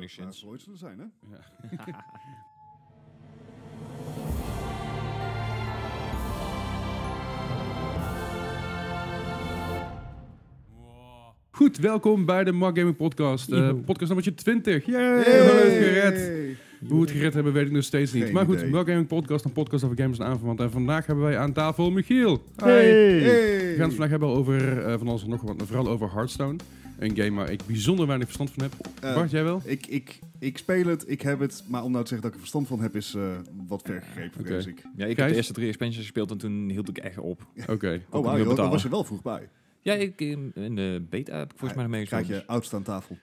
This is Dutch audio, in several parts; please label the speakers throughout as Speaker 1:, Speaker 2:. Speaker 1: enigszins.
Speaker 2: Dat zou er zijn, hè?
Speaker 3: Goed, welkom bij de Mark Gaming Podcast. eh,
Speaker 4: Yo.
Speaker 3: podcast nummer 20. Yay,
Speaker 2: Hey!
Speaker 3: we hebben het gered. Hoe we het gered hebben, weet ik nog steeds niet.
Speaker 2: Geen
Speaker 3: maar goed,
Speaker 2: idee.
Speaker 3: Mark Gaming Podcast, een podcast over games en aanverwant. En vandaag hebben wij aan tafel Michiel. We gaan het vandaag hebben over eh, van alles en nog wat. maar Vooral over Hearthstone. Een game waar ik bijzonder weinig verstand van heb.
Speaker 2: Eh,
Speaker 3: Bart, jij wel?
Speaker 2: ik, ik, ik speel het, ik heb het, maar om nou te zeggen dat ik er verstand van heb, is eh, wat ver gegrepen,
Speaker 3: Oké.
Speaker 2: vrees ik.
Speaker 1: Ja, ik heb
Speaker 3: Gijs?
Speaker 1: de eerste drie expansions gespeeld en toen hield ik echt op.
Speaker 3: Oké.
Speaker 2: Oh,
Speaker 1: hem weer
Speaker 2: wauw, joh, daar
Speaker 1: betalen.
Speaker 2: was je wel vroeg bij.
Speaker 1: Ja, ik, in in de beta heb ik volgens mij nog
Speaker 2: Krijg
Speaker 1: meegespeeld.
Speaker 2: je oudste aan tafel.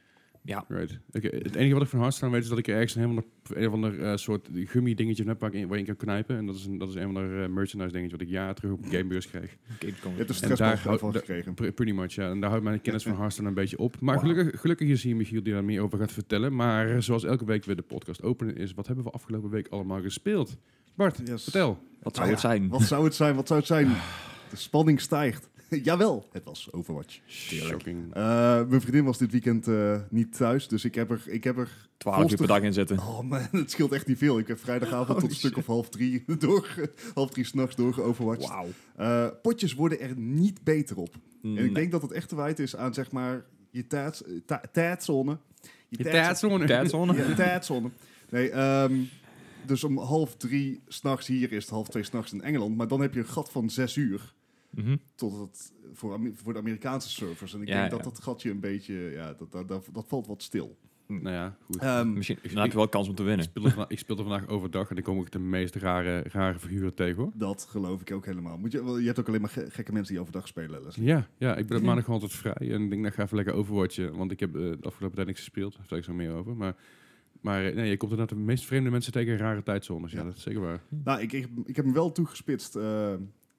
Speaker 1: Ja,
Speaker 3: Right. Oké, Het enige wat ik van Hearthstone weet is dat ik er ergens een helemaal een van de soort gummy dingetje heb waar ik in, waar je in kan knijpen. En dat is een, dat is een van de eh, merchandise dingetje wat ik jaren terug op een gamebeurs kreeg.
Speaker 1: Gamescom.
Speaker 2: Je hebt er
Speaker 3: En daar
Speaker 2: stressbal
Speaker 3: houdt-
Speaker 2: van
Speaker 3: daar-
Speaker 2: gekregen.
Speaker 3: Pre- Pretty much, ja. En daar houdt mijn kennis van Hearthstone een beetje op. Maar
Speaker 2: Wauw.
Speaker 3: gelukkig, gelukkig is hier Michiel die daar meer over gaat vertellen. Maar zoals elke week weer de podcast openen is, wat hebben we afgelopen week allemaal gespeeld? Bart,
Speaker 2: Yes.
Speaker 3: vertel.
Speaker 1: Wat zou
Speaker 2: Ah,
Speaker 1: het
Speaker 2: ja.
Speaker 1: zijn?
Speaker 2: Wat zou het zijn, wat zou het zijn? De spanning stijgt. Jawel, het was Overwatch.
Speaker 3: Shocking.
Speaker 2: Eh, mijn vriendin was dit weekend eh, niet thuis, dus ik heb er, ik heb er
Speaker 1: 12 uur per dag inzetten.
Speaker 2: Oh man, het scheelt echt niet veel. Ik heb vrijdagavond tot een stuk of half drie, door, half drie s'nachts doorgeoverwatcht.
Speaker 1: Wauw.
Speaker 2: Eh, potjes worden er niet beter op. En ik
Speaker 1: Nee.
Speaker 2: denk dat het echt te wijten is aan zeg maar je tijds- ta- tijdzone.
Speaker 3: Je
Speaker 2: tijds-
Speaker 3: tijdzone.
Speaker 1: nou, Tijdzone?
Speaker 2: Je tijdzone. Nee, ehm, dus om half drie s'nachts hier is het half twee s'nachts in Engeland. Maar dan heb je een gat van zes uur
Speaker 1: Mhm.
Speaker 2: tot het, voor, Amer- voor de Amerikaanse servers. En ik
Speaker 1: Ja,
Speaker 2: denk
Speaker 1: ja.
Speaker 2: dat dat gatje een beetje, ja, dat, dat, dat, dat valt wat stil.
Speaker 3: Nou ja, goed.
Speaker 2: Ehm,
Speaker 1: Misschien dan heb je wel kans om te
Speaker 3: Ik
Speaker 1: winnen.
Speaker 3: speelde, vana- ik speelde vandaag overdag en dan kom ik de meest rare, rare figuren tegen hoor.
Speaker 2: Dat geloof ik ook helemaal. Moet je, wel, je hebt ook alleen maar ge- gekke mensen die overdag spelen, Leslie.
Speaker 3: Ja, ja, ik ben op maandag gewoon altijd vrij. En ik denk, nou ga even lekker overwatchen. Want ik heb eh, de afgelopen tijd niks gespeeld. Daar vertel ik zo meer over. Maar, maar eh, nee, je komt inderdaad de meest vreemde mensen tegen in rare tijdzones. Ja,
Speaker 2: Ja.
Speaker 3: dat is zeker waar.
Speaker 2: Nou, ik, ik, ik heb hem wel toegespitst. Eh,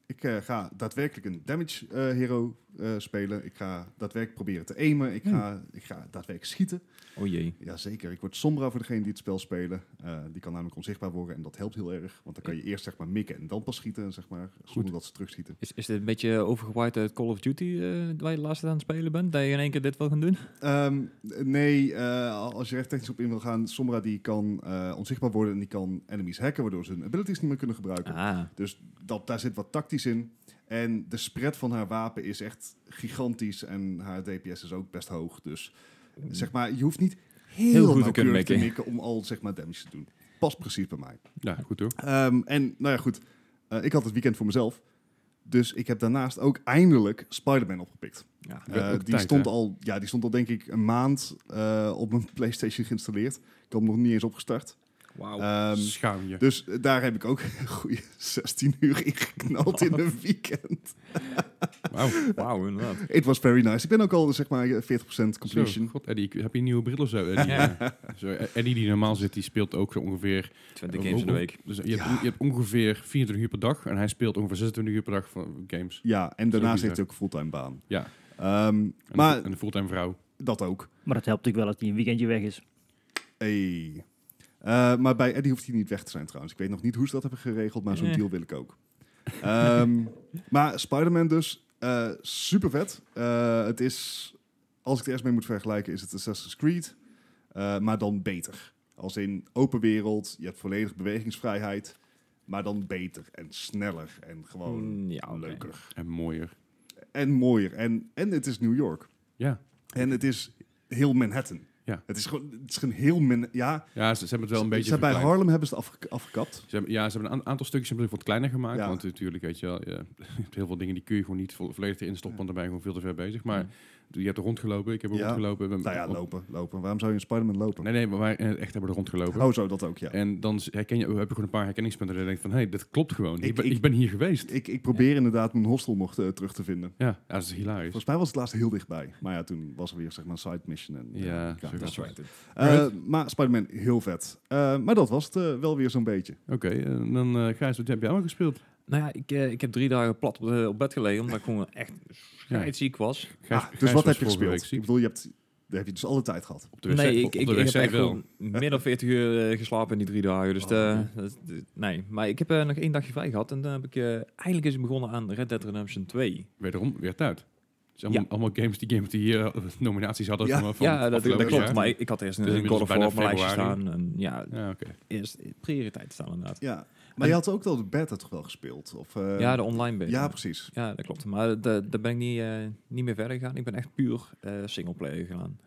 Speaker 2: ik eh, ga daadwerkelijk een damage eh, hero eh, spelen. Ik ga daadwerkelijk proberen te aimen. Ik ga, ik ga daadwerkelijk schieten.
Speaker 1: Oh jee.
Speaker 2: Jazeker, ik word sombra voor degene die het spel spelen. Eh, die kan namelijk onzichtbaar worden en dat helpt heel erg. Want dan kan je eerst zeg maar mikken en dan pas schieten, zeg maar, zonder dat ze terugschieten.
Speaker 1: Is, is dit een beetje overgewaaid uit Call of Duty eh, waar je de laatste aan het spelen bent? Dat je in één keer dit wil gaan doen?
Speaker 2: Ehm, nee, eh, als je recht technisch op in wil gaan, sombra die kan eh, onzichtbaar worden en die kan enemies hacken, waardoor ze hun abilities niet meer kunnen gebruiken.
Speaker 1: Ah,
Speaker 2: Dus dat, daar zit wat tactisch in. En de spread van haar wapen is echt gigantisch. En haar DPS is ook best hoog. Dus zeg maar, je hoeft niet heel,
Speaker 1: Heel goed te
Speaker 2: nauwkeurig
Speaker 1: kunnen
Speaker 2: te
Speaker 1: mikken.
Speaker 2: mikken om al zeg maar damage te doen. Past precies bij mij.
Speaker 3: Ja, goed hoor.
Speaker 2: Ehm, en nou ja, goed. Eh, ik had het weekend voor mezelf. Dus ik heb daarnaast ook eindelijk Spider-Man opgepikt.
Speaker 1: ja.
Speaker 3: Ja,
Speaker 2: Eh,
Speaker 3: ook
Speaker 2: die,
Speaker 3: tijd,
Speaker 2: stond
Speaker 3: hè?
Speaker 2: al, ja, die stond al denk ik een maand eh, op mijn Playstation geïnstalleerd. Ik had hem nog niet eens opgestart.
Speaker 1: Wauw.
Speaker 2: Ehm,
Speaker 3: Schaam je.
Speaker 2: dus eh, daar heb ik ook een goede 16 uur in geknald in een weekend.
Speaker 3: Wauw.
Speaker 1: Wauw, inderdaad.
Speaker 2: It was very nice. Ik ben ook al zeg maar eh, 40% completion.
Speaker 3: Zo, god, Eddie, ik- heb je een nieuwe bril of zo? Eddie, Ja. Zo, eh, Eddie die normaal zit, die speelt ook zo ongeveer...
Speaker 1: 20 games in de week.
Speaker 3: Dus je, hebt, je hebt ongeveer 24 uur per dag. En hij speelt ongeveer 26 uur per dag van games.
Speaker 2: Ja, en
Speaker 3: Zo
Speaker 2: daarnaast
Speaker 3: bizar.
Speaker 2: heeft hij ook een fulltime baan.
Speaker 3: Ja.
Speaker 2: Ehm,
Speaker 3: En
Speaker 2: maar
Speaker 3: een- en een fulltime vrouw.
Speaker 2: dat ook.
Speaker 4: Maar dat helpt ook wel dat hij een weekendje weg is.
Speaker 2: Hey. Eh, maar bij Eddie hoeft hij niet weg te zijn trouwens. Ik weet nog niet hoe ze dat hebben geregeld, maar zo'n
Speaker 1: Eh.
Speaker 2: deal wil ik ook. Ehm, maar Spider-Man dus, eh super vet. Eh, het is, als ik het eerst mee moet vergelijken, is het Assassin's Creed. eh, maar dan beter. Als in open wereld, je hebt volledig bewegingsvrijheid. Maar dan beter en sneller en gewoon
Speaker 1: Mm, ja, oké.
Speaker 2: leuker.
Speaker 3: En mooier.
Speaker 2: En mooier. En, en het is New York.
Speaker 3: Ja.
Speaker 2: En het is heel Manhattan.
Speaker 3: Ja.
Speaker 2: Het is gewoon, het is gewoon heel Manhattan. Ja,
Speaker 3: Ja, ze, ze hebben het wel een
Speaker 2: ze-
Speaker 3: beetje
Speaker 2: ze bij
Speaker 3: verkleind.
Speaker 2: Harlem hebben ze het afge- afgekapt.
Speaker 3: Ze hebben, ja, ze hebben een a- aantal stukjes hebben ze wat kleiner gemaakt.
Speaker 2: Ja.
Speaker 3: Want natuurlijk, weet je wel, ja, je hebt heel veel dingen die kun je gewoon niet vo- volledig erin stoppen, want dan ben je gewoon veel te ver bezig. Maar je hebt er rondgelopen, ik heb er
Speaker 2: Ja.
Speaker 3: rondgelopen. we-
Speaker 2: Nou ja, lopen, lopen. Waarom zou je in Spider-Man lopen?
Speaker 3: Nee, nee, maar wij in het echt hebben we er rondgelopen.
Speaker 2: Oh, zo, dat ook, ja.
Speaker 3: En dan s- herken je, heb je gewoon een paar herkenningspunten. En je denkt van, hé, hey, dit klopt gewoon. Ik,
Speaker 2: Ik-
Speaker 3: ben,
Speaker 2: ik-
Speaker 3: ik ben hier geweest.
Speaker 2: Ik, ik probeer inderdaad mijn hostel nog eh, terug te vinden.
Speaker 3: ja, ja, dat is hilarisch.
Speaker 2: Volgens mij was het laatst heel dichtbij. Maar ja, toen was er weer zeg maar een side mission. En, eh,
Speaker 3: Ja,
Speaker 2: ja,
Speaker 3: zo
Speaker 2: dat
Speaker 3: gaat
Speaker 2: is
Speaker 3: het.
Speaker 2: right. Eh, maar Spider-Man, heel vet. Eh, maar dat was het eh, wel weer zo'n beetje.
Speaker 3: Oké, en dan eh Gijs, wat heb jij allemaal gespeeld?
Speaker 2: Ah,
Speaker 1: Nou ja, ik, eh, ik heb drie dagen plat op, de- op bed gelegen, omdat ik gewoon echt scheidsziek was.
Speaker 3: Gijs,
Speaker 2: Ah, dus
Speaker 3: Gijs
Speaker 2: wat
Speaker 3: was
Speaker 2: heb je
Speaker 3: vorige week
Speaker 2: gespeeld? Ik
Speaker 3: ziek.
Speaker 2: bedoel, je hebt, daar heb je dus alle tijd gehad.
Speaker 3: Op de wc,
Speaker 1: nee,
Speaker 3: op
Speaker 1: ik,
Speaker 3: de
Speaker 1: ik, ik heb
Speaker 3: wc
Speaker 1: echt
Speaker 3: wel. Oh,
Speaker 1: gewoon meer dan 40 uur eh, geslapen in die drie dagen. Dus eh, dat- dat- nee. Maar ik heb eh, nog één dagje vrij gehad en dan heb ik eh, eindelijk is ik begonnen aan Red Dead Redemption 2.
Speaker 3: Wederom, weer tijd. Het zijn allemaal,
Speaker 1: Ja.
Speaker 3: allemaal games die Game of the Year eh, nominaties hadden.
Speaker 2: Ja.
Speaker 3: van, van
Speaker 1: Ja, dat, dat
Speaker 3: afgelopen
Speaker 1: klopt.
Speaker 3: jaar.
Speaker 1: Maar ik, ik had eerst
Speaker 3: Dus
Speaker 1: een God
Speaker 3: inmiddels
Speaker 1: of War op mijn
Speaker 3: bijna
Speaker 1: lijstje
Speaker 3: februari.
Speaker 1: staan. En ja,
Speaker 3: Ja, oké.
Speaker 1: eerst prioriteit staan inderdaad.
Speaker 2: Ja. Maar je had ook wel de beta toch wel gespeeld? Of, eh,
Speaker 1: ja, de online beta.
Speaker 2: ja, precies.
Speaker 1: Ja, dat klopt. Maar da- daar ben ik niet, eh, niet meer verder gegaan. Ik ben echt puur single singleplayer gegaan.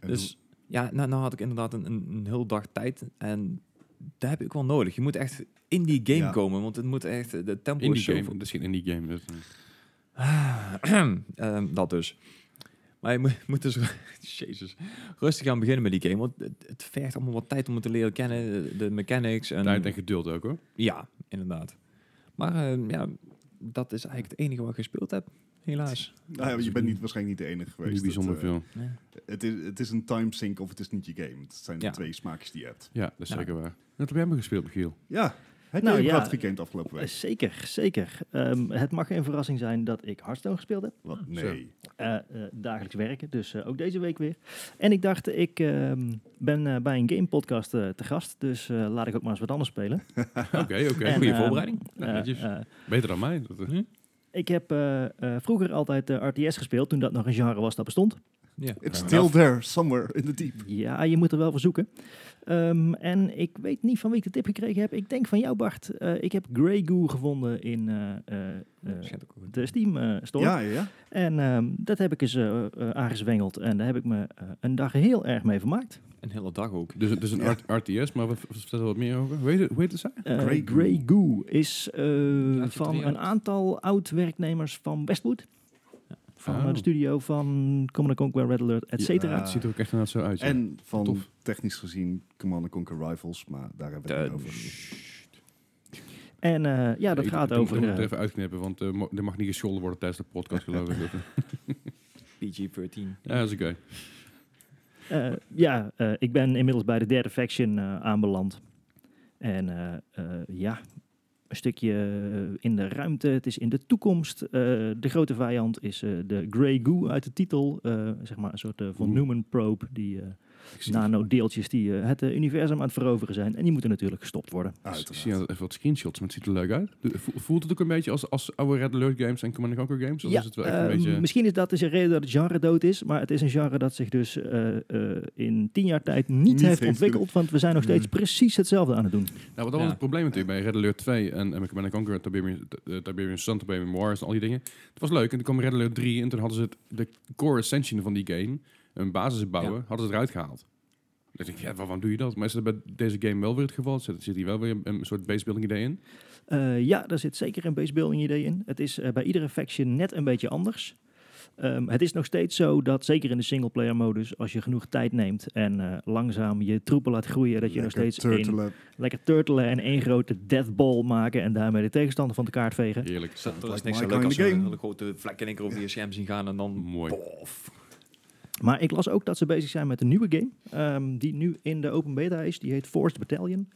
Speaker 2: En
Speaker 1: dus ja, nou, nou had ik inderdaad een, een, een heel dag tijd. En dat heb ik wel nodig. Je moet echt in die game
Speaker 2: Ja.
Speaker 1: komen. Want het moet echt... eh, De tempo
Speaker 3: Indie
Speaker 1: is zo...
Speaker 3: game. Dat is geen indie game. Dat, eh,
Speaker 1: Ehm, dat dus. Maar je moet, moet dus... Jezus. Rustig aan beginnen met die game. Want het, het vergt allemaal wat tijd om het te leren kennen. De, de mechanics en...
Speaker 3: Tijd en geduld ook hoor.
Speaker 1: Ja, inderdaad. Maar eh, ja, dat is eigenlijk het enige wat ik gespeeld heb. Helaas.
Speaker 2: Nou ja, je bent niet, waarschijnlijk niet de enige geweest.
Speaker 3: Niet bijzonder
Speaker 2: het, eh,
Speaker 3: veel.
Speaker 1: Ja.
Speaker 2: het, is, het is een time sink of het is niet je game. Het zijn
Speaker 1: Ja.
Speaker 2: de twee smaakjes die je hebt.
Speaker 3: Ja, dat is
Speaker 1: Ja.
Speaker 3: zeker waar. Wat heb jij maar gespeeld, Michiel?
Speaker 2: Ja, heb
Speaker 4: Nou,
Speaker 2: je
Speaker 4: ja.
Speaker 2: überhaupt gekend afgelopen
Speaker 4: Eh,
Speaker 2: week?
Speaker 4: Zeker, zeker. Ehm, het mag geen verrassing zijn dat ik Hearthstone gespeeld heb.
Speaker 2: Wat? Nee.
Speaker 4: Eh, eh, dagelijks werken, dus eh, ook deze week weer. En ik dacht, ik ehm, ben eh, bij een gamepodcast eh te gast, dus eh, laat ik ook maar eens wat anders spelen.
Speaker 3: Oké, oké.
Speaker 4: En,
Speaker 3: Goeie
Speaker 4: eh,
Speaker 3: voorbereiding. Nou,
Speaker 4: Eh,
Speaker 3: netjes.
Speaker 4: eh,
Speaker 3: Beter dan mij. Dat, eh,
Speaker 1: Hm?
Speaker 4: ik heb eh, eh, vroeger altijd eh, RTS gespeeld, toen dat nog een genre was dat bestond.
Speaker 1: Ja.
Speaker 2: It's
Speaker 3: Fair
Speaker 2: still
Speaker 3: enough.
Speaker 2: there, somewhere in the deep.
Speaker 4: Ja, je moet er wel voor zoeken. Ehm, en ik weet niet van wie ik de tip gekregen heb. Ik denk van jou, Bart. Eh, ik heb Grey Goo gevonden in eh, eh, eh,
Speaker 1: Schijnt ook goed.
Speaker 4: de Steam eh, Store.
Speaker 2: Ja, ja, ja.
Speaker 4: En ehm, dat heb ik eens eh, eh, aangezwengeld. En daar heb ik me eh, een dag heel erg mee vermaakt.
Speaker 1: Een hele dag ook.
Speaker 3: Dus, dus een
Speaker 2: Ja.
Speaker 3: art- RTS, maar we we vertellen wat meer over. Hoe heet het, hoe heet het zij?
Speaker 4: Eh,
Speaker 2: Grey
Speaker 4: Grey,
Speaker 2: Goo.
Speaker 4: Goo. is eh,
Speaker 1: Laat je
Speaker 4: van
Speaker 1: drie
Speaker 4: een
Speaker 1: uit.
Speaker 4: aantal oud-werknemers van Westwood. Van eh,
Speaker 3: Oh.
Speaker 4: de studio van Command Conquer, Red Alert, et cetera.
Speaker 2: Ja.
Speaker 3: Het ziet er ook echt inderdaad zo uit. ja.
Speaker 2: En van
Speaker 3: Tof.
Speaker 2: technisch gezien Command and Conquer Rivals, maar daar hebben we het
Speaker 1: De-
Speaker 4: Eh,
Speaker 2: niet over.
Speaker 4: En eh, ja, dat
Speaker 3: Ik-
Speaker 4: gaat
Speaker 3: ik moet-
Speaker 4: over...
Speaker 3: Ik moet het
Speaker 4: eh,
Speaker 3: even uitknippen, want eh, mo- er mag niet gescholden worden tijdens de podcast, geloof ik. eh,
Speaker 1: PG-13.
Speaker 3: ja, dat is oké.
Speaker 4: Eh, ja, eh, ik ben inmiddels bij de derde faction eh, aanbeland. En eh, eh, ja, een stukje eh, in de ruimte. Het is in de toekomst. Eh, de grote vijand is eh, de Grey Goo uit de titel. Eh, zeg maar een soort eh, van
Speaker 3: Oeh.
Speaker 4: Newman probe. Die eh
Speaker 3: Ik
Speaker 2: Nou,
Speaker 3: zie-
Speaker 4: nanodeeltjes die eh, het eh, universum aan het veroveren zijn. En die moeten natuurlijk gestopt worden.
Speaker 3: Ik zie
Speaker 2: Uiteraard.
Speaker 3: al even wat screenshots, maar het ziet er leuk uit. Doe- vo- Voelt het ook een beetje als, als oude Red Alert games en Command Conquer games? Of is het wel echt een
Speaker 4: eh,
Speaker 3: beetje...
Speaker 4: Misschien is dat dus een reden dat het genre dood is. Maar het is een genre dat zich dus eh, eh, in tien jaar tijd niet,
Speaker 2: Niet heeft
Speaker 4: heeft ontwikkeld. Want we zijn nog steeds precies hetzelfde aan het doen.
Speaker 3: Nou, wat dat was
Speaker 1: Ja.
Speaker 3: het probleem natuurlijk bij Red Alert 2 en, en Command Conquer, Tiberian, eh, Tiberian Sun, Tiberian Wars en al die dingen. Het was leuk en toen kwam Red Alert 3 en toen hadden ze het, de core ascension van die game, een basis bouwen,
Speaker 1: Ja.
Speaker 3: hadden ze eruit gehaald. Dus ik dacht, ja, waarom doe je dat? Maar is dat bij deze game wel weer het geval? Zit, zit hier wel weer een, een soort basebuilding idee in?
Speaker 4: Eh, ja, daar zit zeker een basebuilding idee in. Het is eh, bij iedere faction net een beetje anders. Ehm, het is nog steeds zo dat, zeker in de singleplayer modus, als je genoeg tijd neemt en eh, langzaam je troepen laat groeien, dat je nog steeds één,
Speaker 2: turtelen.
Speaker 4: lekker turtelen en één grote deathball maken en daarmee de tegenstander van de kaart vegen.
Speaker 3: Heerlijk.
Speaker 1: Er is
Speaker 2: like
Speaker 1: niks
Speaker 2: my
Speaker 1: zo leuk
Speaker 2: kind
Speaker 1: als
Speaker 2: of
Speaker 1: zo'n
Speaker 2: game.
Speaker 1: hele grote vlek in één keer over je scherm zien gaan en dan...
Speaker 3: Mooi.
Speaker 1: Pof.
Speaker 4: Maar ik las ook dat ze bezig zijn met een nieuwe game, ehm, die nu in de open beta is. Die heet Forced Battalion.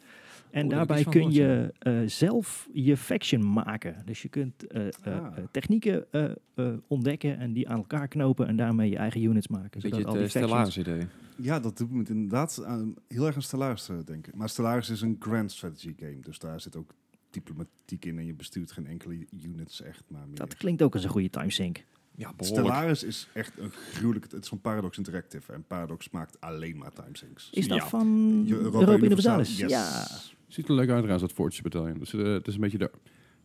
Speaker 4: En
Speaker 1: Oh, daar heb ik
Speaker 4: daarbij
Speaker 1: iets van
Speaker 4: kun je
Speaker 1: gehoord,
Speaker 4: eh, zelf je faction maken. Dus je kunt eh, eh,
Speaker 2: Ah.
Speaker 4: eh, technieken eh, eh, ontdekken en die aan elkaar knopen en daarmee je eigen units maken.
Speaker 1: Beetje
Speaker 4: zodat
Speaker 1: het
Speaker 4: al die
Speaker 1: eh,
Speaker 4: factions-
Speaker 1: Stellaris idee.
Speaker 2: Ja, dat doet me inderdaad aan, heel erg aan Stellaris eh, denken. Maar Stellaris is een grand strategy game, dus daar zit ook diplomatiek in en je bestuurt geen enkele units echt, maar meer.
Speaker 4: Dat klinkt ook als een goede timesync.
Speaker 1: Ja, behoorlijk.
Speaker 2: Stellaris is echt een gruwelijk... Het is van Paradox Interactive en Paradox maakt alleen maar timesinks.
Speaker 4: Is dat
Speaker 1: Ja.
Speaker 4: van
Speaker 2: Je-
Speaker 4: Europa, Universalis? Ja.
Speaker 3: Ziet er leuk uit trouwens, dat Fortune Battalion. Dus, eh, het is een beetje, de,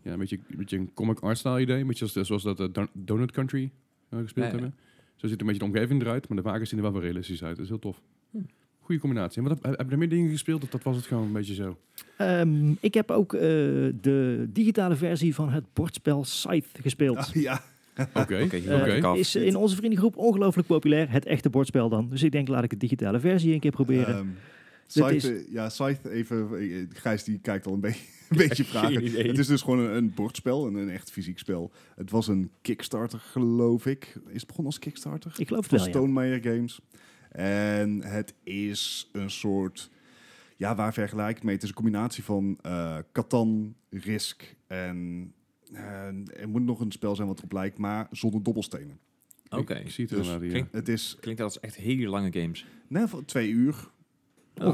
Speaker 3: ja, een, beetje, een beetje een comic art style idee. Een beetje zoals, zoals dat eh, Don- Donut Country eh, gespeeld
Speaker 1: Ja, ja.
Speaker 3: hebben. Zo ziet een beetje de omgeving eruit, maar de wagens zien er wel weer realistisch uit. Dat is heel tof.
Speaker 1: Hm.
Speaker 3: Goede combinatie. En wat, heb, heb je er meer dingen gespeeld of dat was het gewoon een beetje zo?
Speaker 4: Ehm, ik heb ook eh, de digitale versie van het bordspel Scythe gespeeld.
Speaker 2: Ah, ja,
Speaker 3: Oké,
Speaker 1: Oké, hier
Speaker 4: Eh,
Speaker 1: maak ik
Speaker 3: oké.
Speaker 1: af.
Speaker 4: Is in onze vriendengroep ongelooflijk populair. Het echte bordspel dan. Dus ik denk, laat ik de digitale versie een keer proberen.
Speaker 2: Ehm,
Speaker 4: Dit is-
Speaker 2: Scythe, eh, ja, Scythe even... eh, Gijs die kijkt al een, be- een beetje vragen.
Speaker 1: idee.
Speaker 2: Het is dus gewoon een, een bordspel, een, een echt fysiek spel. Het was een Kickstarter, geloof ik. Is het begonnen als Kickstarter?
Speaker 4: ik geloof het
Speaker 2: van
Speaker 4: wel, ja.
Speaker 2: Stonemeyer Games. En het is een soort... Ja, waar vergelijk ik het mee? Het is een combinatie van eh Catan, Risk en... eh, er moet nog een spel zijn wat erop lijkt, maar zonder dobbelstenen.
Speaker 1: Oké.
Speaker 3: Ik, ik zie het
Speaker 2: Dus-
Speaker 3: inderdaad hier.
Speaker 1: Ging-
Speaker 2: Het is
Speaker 1: Klinkt als echt hele lange games.
Speaker 2: nee, voor twee uur.
Speaker 4: Ongeveer.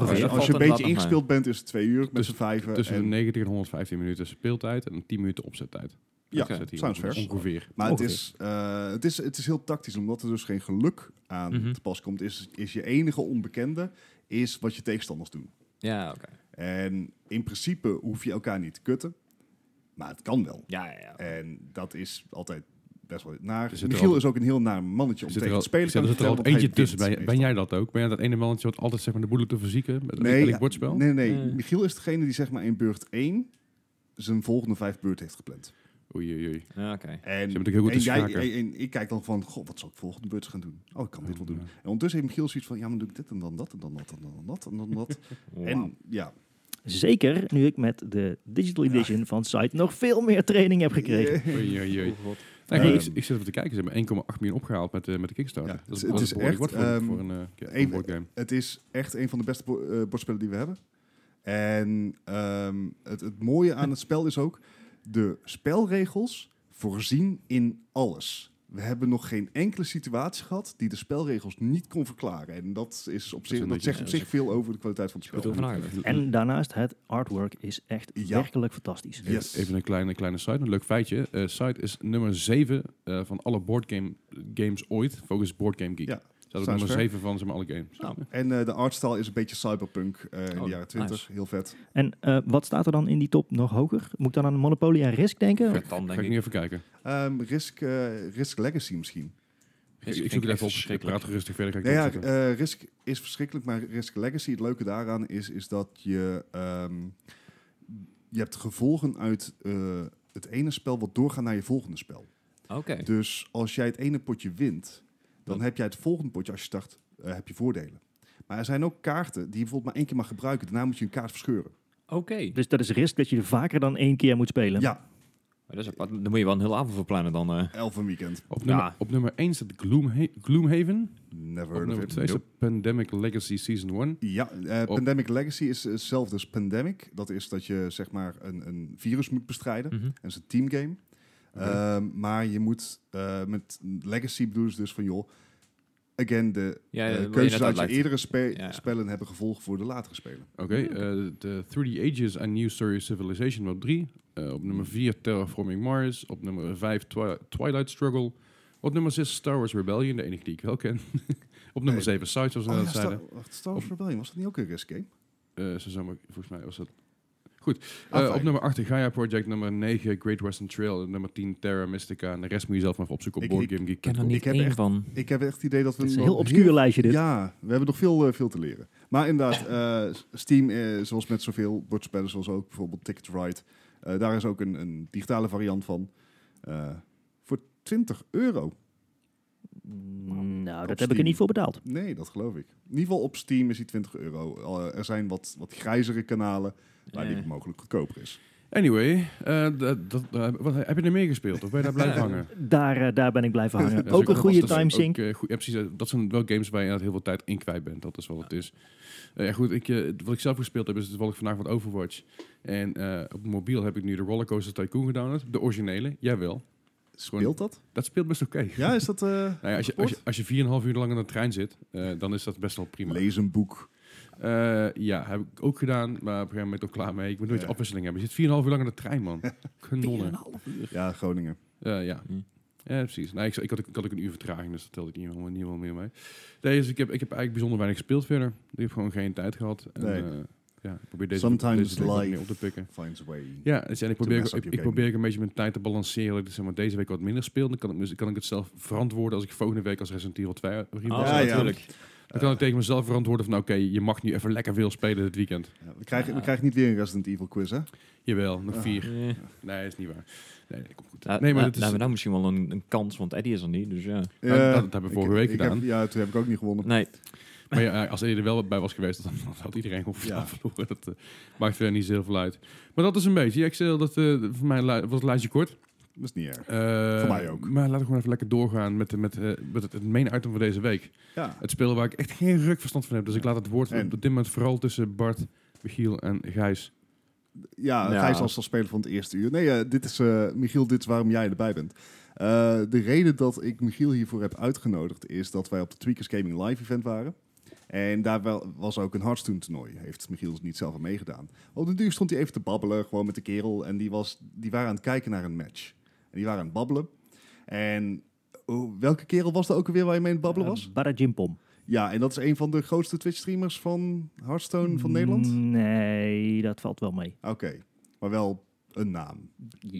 Speaker 1: Oh, dus
Speaker 2: Als je, als
Speaker 1: dat valt
Speaker 2: je een beetje
Speaker 1: inderdaad nog
Speaker 2: ingespeeld bent, is het twee uur met z'n
Speaker 3: Dus Tussen-
Speaker 2: vijven.
Speaker 3: Tussen de
Speaker 2: en,
Speaker 3: 90 en 115 minuten speeltijd en 10 minuten opzettijd.
Speaker 2: Ja,
Speaker 3: Ik zet hier
Speaker 2: sounds fair.
Speaker 3: Ongeveer.
Speaker 2: Maar het
Speaker 3: Ongeveer.
Speaker 2: is, eh, het, is, het is heel tactisch, omdat er dus geen geluk aan
Speaker 1: Mhm.
Speaker 2: te pas komt. Is, is je enige onbekende is wat je tegenstanders doen.
Speaker 1: Ja, oké.
Speaker 2: En in principe hoef je elkaar niet te kutten, maar het kan wel.
Speaker 1: Ja, ja, ja.
Speaker 2: En dat is altijd best wel naar.
Speaker 3: Er zit er
Speaker 2: Michiel
Speaker 3: al-
Speaker 2: is ook een heel naar mannetje om
Speaker 3: Er
Speaker 2: tegen
Speaker 3: zit er
Speaker 2: te
Speaker 3: al,
Speaker 2: spelen.
Speaker 3: er
Speaker 2: kan ik
Speaker 3: zit er al
Speaker 2: vertellen,
Speaker 3: eentje
Speaker 2: want hij
Speaker 3: tussen. Ben,
Speaker 2: wint
Speaker 3: ben
Speaker 2: meestal.
Speaker 3: jij dat ook? Ben jij dat ene mannetje wat altijd zeg maar, de boel op te verzieken? Met
Speaker 2: Nee,
Speaker 3: nee,
Speaker 2: ja,
Speaker 3: bordspel?
Speaker 2: Nee, nee.
Speaker 1: Eh.
Speaker 2: Michiel is degene die zeg maar in beurt 1 zijn volgende vijf beurt heeft gepland.
Speaker 3: Oei, oei, oei.
Speaker 1: Ja, oké.
Speaker 2: En,
Speaker 3: natuurlijk heel goed
Speaker 2: en,
Speaker 3: te
Speaker 2: jij,
Speaker 3: schaken.
Speaker 2: en, en ik kijk dan van, goh, wat zal ik volgende beurt gaan doen? Oh, ik kan dit wel doen.
Speaker 3: Ja.
Speaker 2: En ondertussen heeft Michiel zoiets van, ja, maar doe ik dit en dan dat en dan dat en dan dat en dan dat.
Speaker 1: En
Speaker 2: En ja,
Speaker 4: Zeker nu ik met de Digital Edition van Site nog veel meer training heb gekregen.
Speaker 3: Oei, oei, oei.
Speaker 1: God.
Speaker 3: Nee, goed,
Speaker 2: Ehm.
Speaker 3: ik, ik zit even te kijken. Ze hebben 1,8 miljoen opgehaald met, eh, met de Kickstarter.
Speaker 2: Ja,
Speaker 3: dat is,
Speaker 2: het
Speaker 3: dat
Speaker 2: is
Speaker 3: is behoorlijk
Speaker 2: echt,
Speaker 3: wat voor,
Speaker 2: ehm,
Speaker 3: voor een, eh, ja, voor
Speaker 2: even-
Speaker 3: een boardgame.
Speaker 2: het is echt een van de beste bo- eh, bordspellen die we hebben. En ehm, het, het mooie aan het spel is ook, de spelregels voorzien in alles. We hebben nog geen enkele situatie gehad die de spelregels niet kon verklaren. En dat, is op zich,
Speaker 3: een
Speaker 2: dat,
Speaker 3: beetje-
Speaker 2: zegt op zich veel over de kwaliteit van het
Speaker 1: Goed
Speaker 2: spel.
Speaker 1: over nagedacht.
Speaker 4: En daarnaast, het artwork is echt
Speaker 2: Ja.
Speaker 4: werkelijk fantastisch.
Speaker 2: Ja. Yes.
Speaker 3: Even een kleine, kleine site, een leuk feitje. Eh site is nummer 7 eh, van alle boardgame games ooit, volgens Board Game Geek.
Speaker 2: Ja,
Speaker 3: Ja, dat is
Speaker 2: sounds
Speaker 3: nummer
Speaker 2: fair.
Speaker 3: 7 van zeg maar, alle games.
Speaker 1: Nou,
Speaker 2: En eh, de artstyle is een beetje cyberpunk eh, in
Speaker 1: Oh,
Speaker 2: de jaren 20.
Speaker 1: nice.
Speaker 2: Heel vet.
Speaker 4: En eh, wat staat er dan in die top nog hoger? Moet ik dan aan Monopoly en Risk denken?
Speaker 1: Vet dan,
Speaker 3: Ga
Speaker 1: denk
Speaker 3: ik
Speaker 1: ik.
Speaker 3: nu even kijken.
Speaker 2: Ehm, Risk, eh, Risk Legacy misschien.
Speaker 3: Ik,
Speaker 1: vind
Speaker 3: ik
Speaker 1: ik
Speaker 3: zoek het
Speaker 1: echt
Speaker 3: even op. Ik
Speaker 1: verschrikkelijk.
Speaker 3: praat gerustig verder. Ga ik
Speaker 2: Nou
Speaker 3: het
Speaker 2: ja,
Speaker 3: opzoeken.
Speaker 2: eh, Risk is verschrikkelijk, maar Risk Legacy, het leuke daaraan is, is dat je, ehm, je hebt gevolgen uit eh, het ene spel wat doorgaan naar je volgende spel.
Speaker 1: Oké.
Speaker 2: Dus als jij het ene potje wint, dan
Speaker 1: Dan-
Speaker 2: heb jij het volgende potje, als je start, eh, heb je voordelen. Maar er zijn ook kaarten die je bijvoorbeeld maar één keer mag gebruiken. Daarna moet je een kaart verscheuren.
Speaker 1: Oké.
Speaker 4: Dus dat is Risk dat je er vaker dan één keer moet spelen.
Speaker 2: Ja,
Speaker 1: Maar dat is apart. Dan moet je wel een hele avond voor plannen dan. eh.
Speaker 2: elf een weekend.
Speaker 3: op, nummer,
Speaker 1: ja.
Speaker 3: op nummer 1 staat Gloomha- Gloomhaven.
Speaker 2: Never heard
Speaker 3: Op
Speaker 2: of
Speaker 3: nummer
Speaker 2: it.
Speaker 3: 2
Speaker 2: Nope.
Speaker 3: staat Pandemic Legacy Season 1.
Speaker 2: Ja, eh,
Speaker 3: Op-
Speaker 2: Pandemic Legacy is eh, hetzelfde als Pandemic. Dat is dat je zeg maar een, een virus moet bestrijden.
Speaker 1: Mhm.
Speaker 2: En het is een teamgame.
Speaker 3: Oké.
Speaker 2: Ehm, maar je moet eh, met Legacy bedoelen ze dus van joh. Again, de
Speaker 1: Ja, ja,
Speaker 2: eh,
Speaker 1: wat je
Speaker 2: keuzes
Speaker 1: net
Speaker 2: uit je
Speaker 1: uitlegt.
Speaker 2: eerdere spe-
Speaker 1: ja.
Speaker 2: spellen hebben gevolgen voor de latere spelen.
Speaker 3: Oké, eh, de 3D Ages and New Story of Civilization op 3. Eh, op nummer 4 Terraforming Mars. Op nummer 5 Twi- Twilight Struggle. Op nummer 6 Star Wars Rebellion, de enige die ik wel ken. op nummer
Speaker 2: Nee.
Speaker 3: 7 Sides, zoals we
Speaker 2: Oh,
Speaker 3: net
Speaker 2: ja,
Speaker 3: zeiden.
Speaker 2: Star, wacht, Star Wars Rebellion, was dat niet ook een risk game?
Speaker 3: Eh, ze zijn maar- volgens mij was dat... Goed. Eh,
Speaker 2: Ah, fijn.
Speaker 3: op nummer 8 de Gaia Project. Nummer 9 Great Western Trail. En Nummer 10 Terra Mystica. En de rest moet je zelf maar even opzoeken op
Speaker 2: Ik- ik
Speaker 3: BoardGameGeek.
Speaker 1: Ik ken er
Speaker 2: Ik
Speaker 1: niet
Speaker 2: heb
Speaker 1: één
Speaker 2: echt-
Speaker 1: van.
Speaker 2: Ik heb echt het idee dat we
Speaker 4: Het is een
Speaker 2: nog
Speaker 4: heel obscuur lijstje dit.
Speaker 2: Ja, we hebben nog veel, eh, veel te leren. Maar inderdaad, eh, Steam, eh, zoals met zoveel bordspellen, zoals ook bijvoorbeeld Ticket to Ride, eh, daar is ook een, een digitale variant van. eh, voor 20 euro.
Speaker 4: Mm, Nou,
Speaker 2: Op
Speaker 4: dat heb ik er
Speaker 2: Steam.
Speaker 4: niet voor betaald.
Speaker 2: Nee, dat geloof ik. In ieder geval op Steam is die 20 euro. Al, eh, er zijn wat, wat grijzere kanalen waar
Speaker 1: Eh.
Speaker 2: die mogelijk goedkoper is.
Speaker 3: Anyway, eh, dat, dat, eh, wat, heb je er meer gespeeld? Of ben je daar blijven hangen?
Speaker 4: Daar, eh, daar ben ik blijven hangen.
Speaker 3: Ja,
Speaker 4: ook
Speaker 3: dat
Speaker 4: een
Speaker 3: is
Speaker 4: goede
Speaker 3: dat is ook,
Speaker 4: timesync.
Speaker 3: eh, goed- ja, precies. eh, Dat zijn wel games waar je inderdaad heel veel tijd in kwijt bent. Dat is wel wat het is. Eh, ja, goed, ik, eh, wat ik zelf gespeeld heb, is toevallig vandaag wat Overwatch. En eh, op mobiel heb ik nu de Rollercoaster Tycoon gedownload. De originele, jawel.
Speaker 2: Speelt dat?
Speaker 3: Dat speelt best oké.
Speaker 2: Ja, is dat... eh
Speaker 3: Nou ja, als, je, als, je, als je 4,5 uur lang in de trein zit, eh, dan is dat best wel prima.
Speaker 2: Lees een boek.
Speaker 3: Eh, ja, heb ik ook gedaan, maar op een gegeven moment ook klaar mee. Ik moet nooit
Speaker 2: Ja.
Speaker 3: afwisseling hebben. Je zit 4,5 uur lang in de trein, man. Kanonnen.
Speaker 2: Ja, Groningen.
Speaker 3: Eh, ja.
Speaker 1: Hm.
Speaker 3: ja, precies. Nou, ik, ik, had, ook- ik had ook een uur vertraging, dus dat telde ik niet helemaal, niet helemaal meer mee. Nee, dus ik heb, ik heb eigenlijk bijzonder weinig gespeeld verder. Ik heb gewoon geen tijd gehad. En,
Speaker 2: Nee.
Speaker 3: eh, ja, ik probeer deze,
Speaker 2: Sometimes
Speaker 3: deze week wat
Speaker 2: life.
Speaker 3: meer op te pikken.
Speaker 2: Finds a way.
Speaker 3: Ja, dus, en ik probeer,
Speaker 2: mess
Speaker 3: ik,
Speaker 2: up your
Speaker 3: ik
Speaker 2: game.
Speaker 3: probeer ook een beetje mijn tijd te balanceren. Dat ik zeg maar, deze week wat minder speel. Dan kan ik, me- kan ik het zelf verantwoorden als ik volgende week als Resident Evil 2 review
Speaker 1: Oh,
Speaker 3: heb.
Speaker 2: Ah, ja, ja.
Speaker 1: natuurlijk.
Speaker 3: Dan kan ik tegen mezelf verantwoorden van... Oké, je mag nu even lekker veel spelen dit weekend.
Speaker 2: Ja, we, krijgen, we krijgen niet weer een Resident Evil quiz,
Speaker 3: Nou,
Speaker 2: hè?
Speaker 3: Jawel, nog
Speaker 2: Ah.
Speaker 3: vier.
Speaker 1: Eh,
Speaker 3: Nee, is niet waar. Nee, nee komt goed.
Speaker 1: nou,
Speaker 3: nee, maar
Speaker 1: nou,
Speaker 3: dat is...
Speaker 1: nou, nou misschien wel een, een kans, want Eddie is er niet, dus ja.
Speaker 3: Nou,
Speaker 2: Eh,
Speaker 3: dat- dat hebben we
Speaker 2: ik-
Speaker 3: vorige week
Speaker 2: ik
Speaker 3: gedaan.
Speaker 2: heb- ja, toen heb ik ook niet gewonnen.
Speaker 1: Nee,
Speaker 3: Maar ja, als hij er wel bij was geweest, dan had iedereen gewoon
Speaker 2: Ja.
Speaker 3: ja. verloren. Dat eh, maakt verder niet zo heel veel uit. Maar dat is een beetje. Ja, ik zei al dat eh, voor mij li- was het lijstje kort.
Speaker 2: Dat is niet erg.
Speaker 3: Eh,
Speaker 2: Voor mij ook.
Speaker 3: Maar laten we gewoon even lekker doorgaan met, de- met, eh, met het, het main item van deze week.
Speaker 2: Ja.
Speaker 3: Het spel waar ik echt geen ruk verstand van heb. Dus ik laat het woord
Speaker 2: En-
Speaker 3: op dit moment vooral tussen Bart, Michiel en Gijs.
Speaker 2: Ja,
Speaker 1: Ja.
Speaker 2: Gijs was al speler van het eerste uur. Nee, eh, dit is, eh, Michiel, dit is waarom jij erbij bent. Eh, de reden dat ik Michiel hiervoor heb uitgenodigd is dat wij op de Tweakers Gaming Live event waren. En daar wel- was ook een Hearthstone toernooi. Heeft Michiel dus niet zelf aan meegedaan. Op de duur stond hij even te babbelen, gewoon met de kerel. En die, was, die waren aan het kijken naar een match. die waren aan het babbelen. En oh, welke kerel was dat ook alweer waar je mee aan het babbelen was?
Speaker 4: Eh, Barajimpom.
Speaker 2: Ja, en dat is een van de grootste Twitch-streamers van Hearthstone
Speaker 4: Mm.
Speaker 2: van Nederland. Oh.
Speaker 4: Nee, dat valt wel mee.
Speaker 2: Oké, maar wel een naam.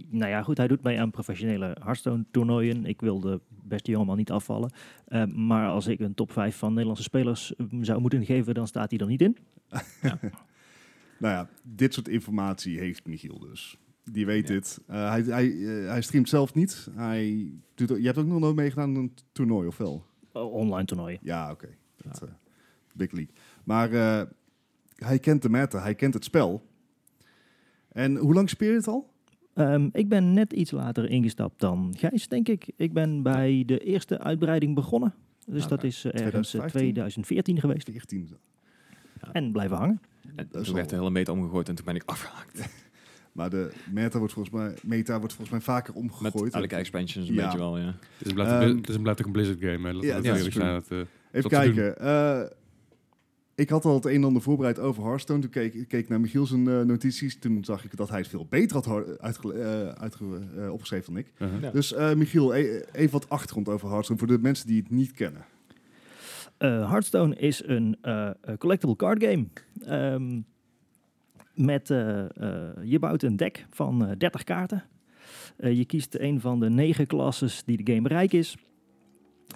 Speaker 4: Nou ja, goed, hij doet mee aan professionele Hearthstone-toernooien. Ik wil de beste jongeman niet afvallen. Eh, maar als ik een top 5 van Nederlandse spelers eh, zou moeten geven, dan staat hij er niet in.
Speaker 2: Nou ja, dit soort informatie heeft Michiel dus. Die weet
Speaker 1: Ja.
Speaker 2: dit. Eh, hij, hij, eh, hij streamt zelf niet. Hij doet, je hebt ook nog nooit meegedaan aan een toernooi, of wel?
Speaker 4: Oh, Online toernooien.
Speaker 2: Ja, oké. Dat, eh, big league. Maar eh, hij kent de meta, hij kent het spel. En hoe lang speel je het al?
Speaker 4: Ehm, ik ben net iets later ingestapt dan Gijs, denk ik. Ik ben bij de eerste uitbreiding begonnen. Dus
Speaker 1: Oké.
Speaker 4: dat is eh, ergens eh,
Speaker 2: 2015?
Speaker 4: 2014 geweest.
Speaker 2: 14.
Speaker 4: En blijven hangen.
Speaker 1: En
Speaker 2: Dat is
Speaker 1: toen werd
Speaker 2: al-
Speaker 1: de hele meter omgegooid en toen ben ik afgehaakt.
Speaker 2: Maar de meta wordt volgens mij, meta wordt volgens mij vaker
Speaker 1: Met
Speaker 2: omgegooid.
Speaker 1: elke expansions een
Speaker 2: Ja.
Speaker 1: beetje wel, ja.
Speaker 3: Het is blijft
Speaker 2: Ehm,
Speaker 3: het is een blijft ook een Blizzard game. Hè. Laten we
Speaker 2: ja,
Speaker 3: dat
Speaker 2: ja,
Speaker 3: eerlijk
Speaker 2: dat is
Speaker 3: zijn. Dat, eh,
Speaker 2: Even
Speaker 3: Wat te
Speaker 2: kijken. eh, ik had al het een en ander voorbereid over Hearthstone. Toen keek ik keek naar Michiel zijn eh, notities. Toen zag ik dat hij het veel beter had har- uitge- eh, uitge- eh, opgeschreven dan ik.
Speaker 3: uh-huh.
Speaker 1: Ja.
Speaker 2: Dus eh, Michiel, e- even wat achtergrond over Hearthstone voor de mensen die het niet kennen.
Speaker 4: Eh, Hearthstone is een eh, eh, collectible card game. Ehm, met, eh, eh, je bouwt een deck van eh, 30 kaarten. Eh, je kiest een van de 9 klasses die de game rijk is.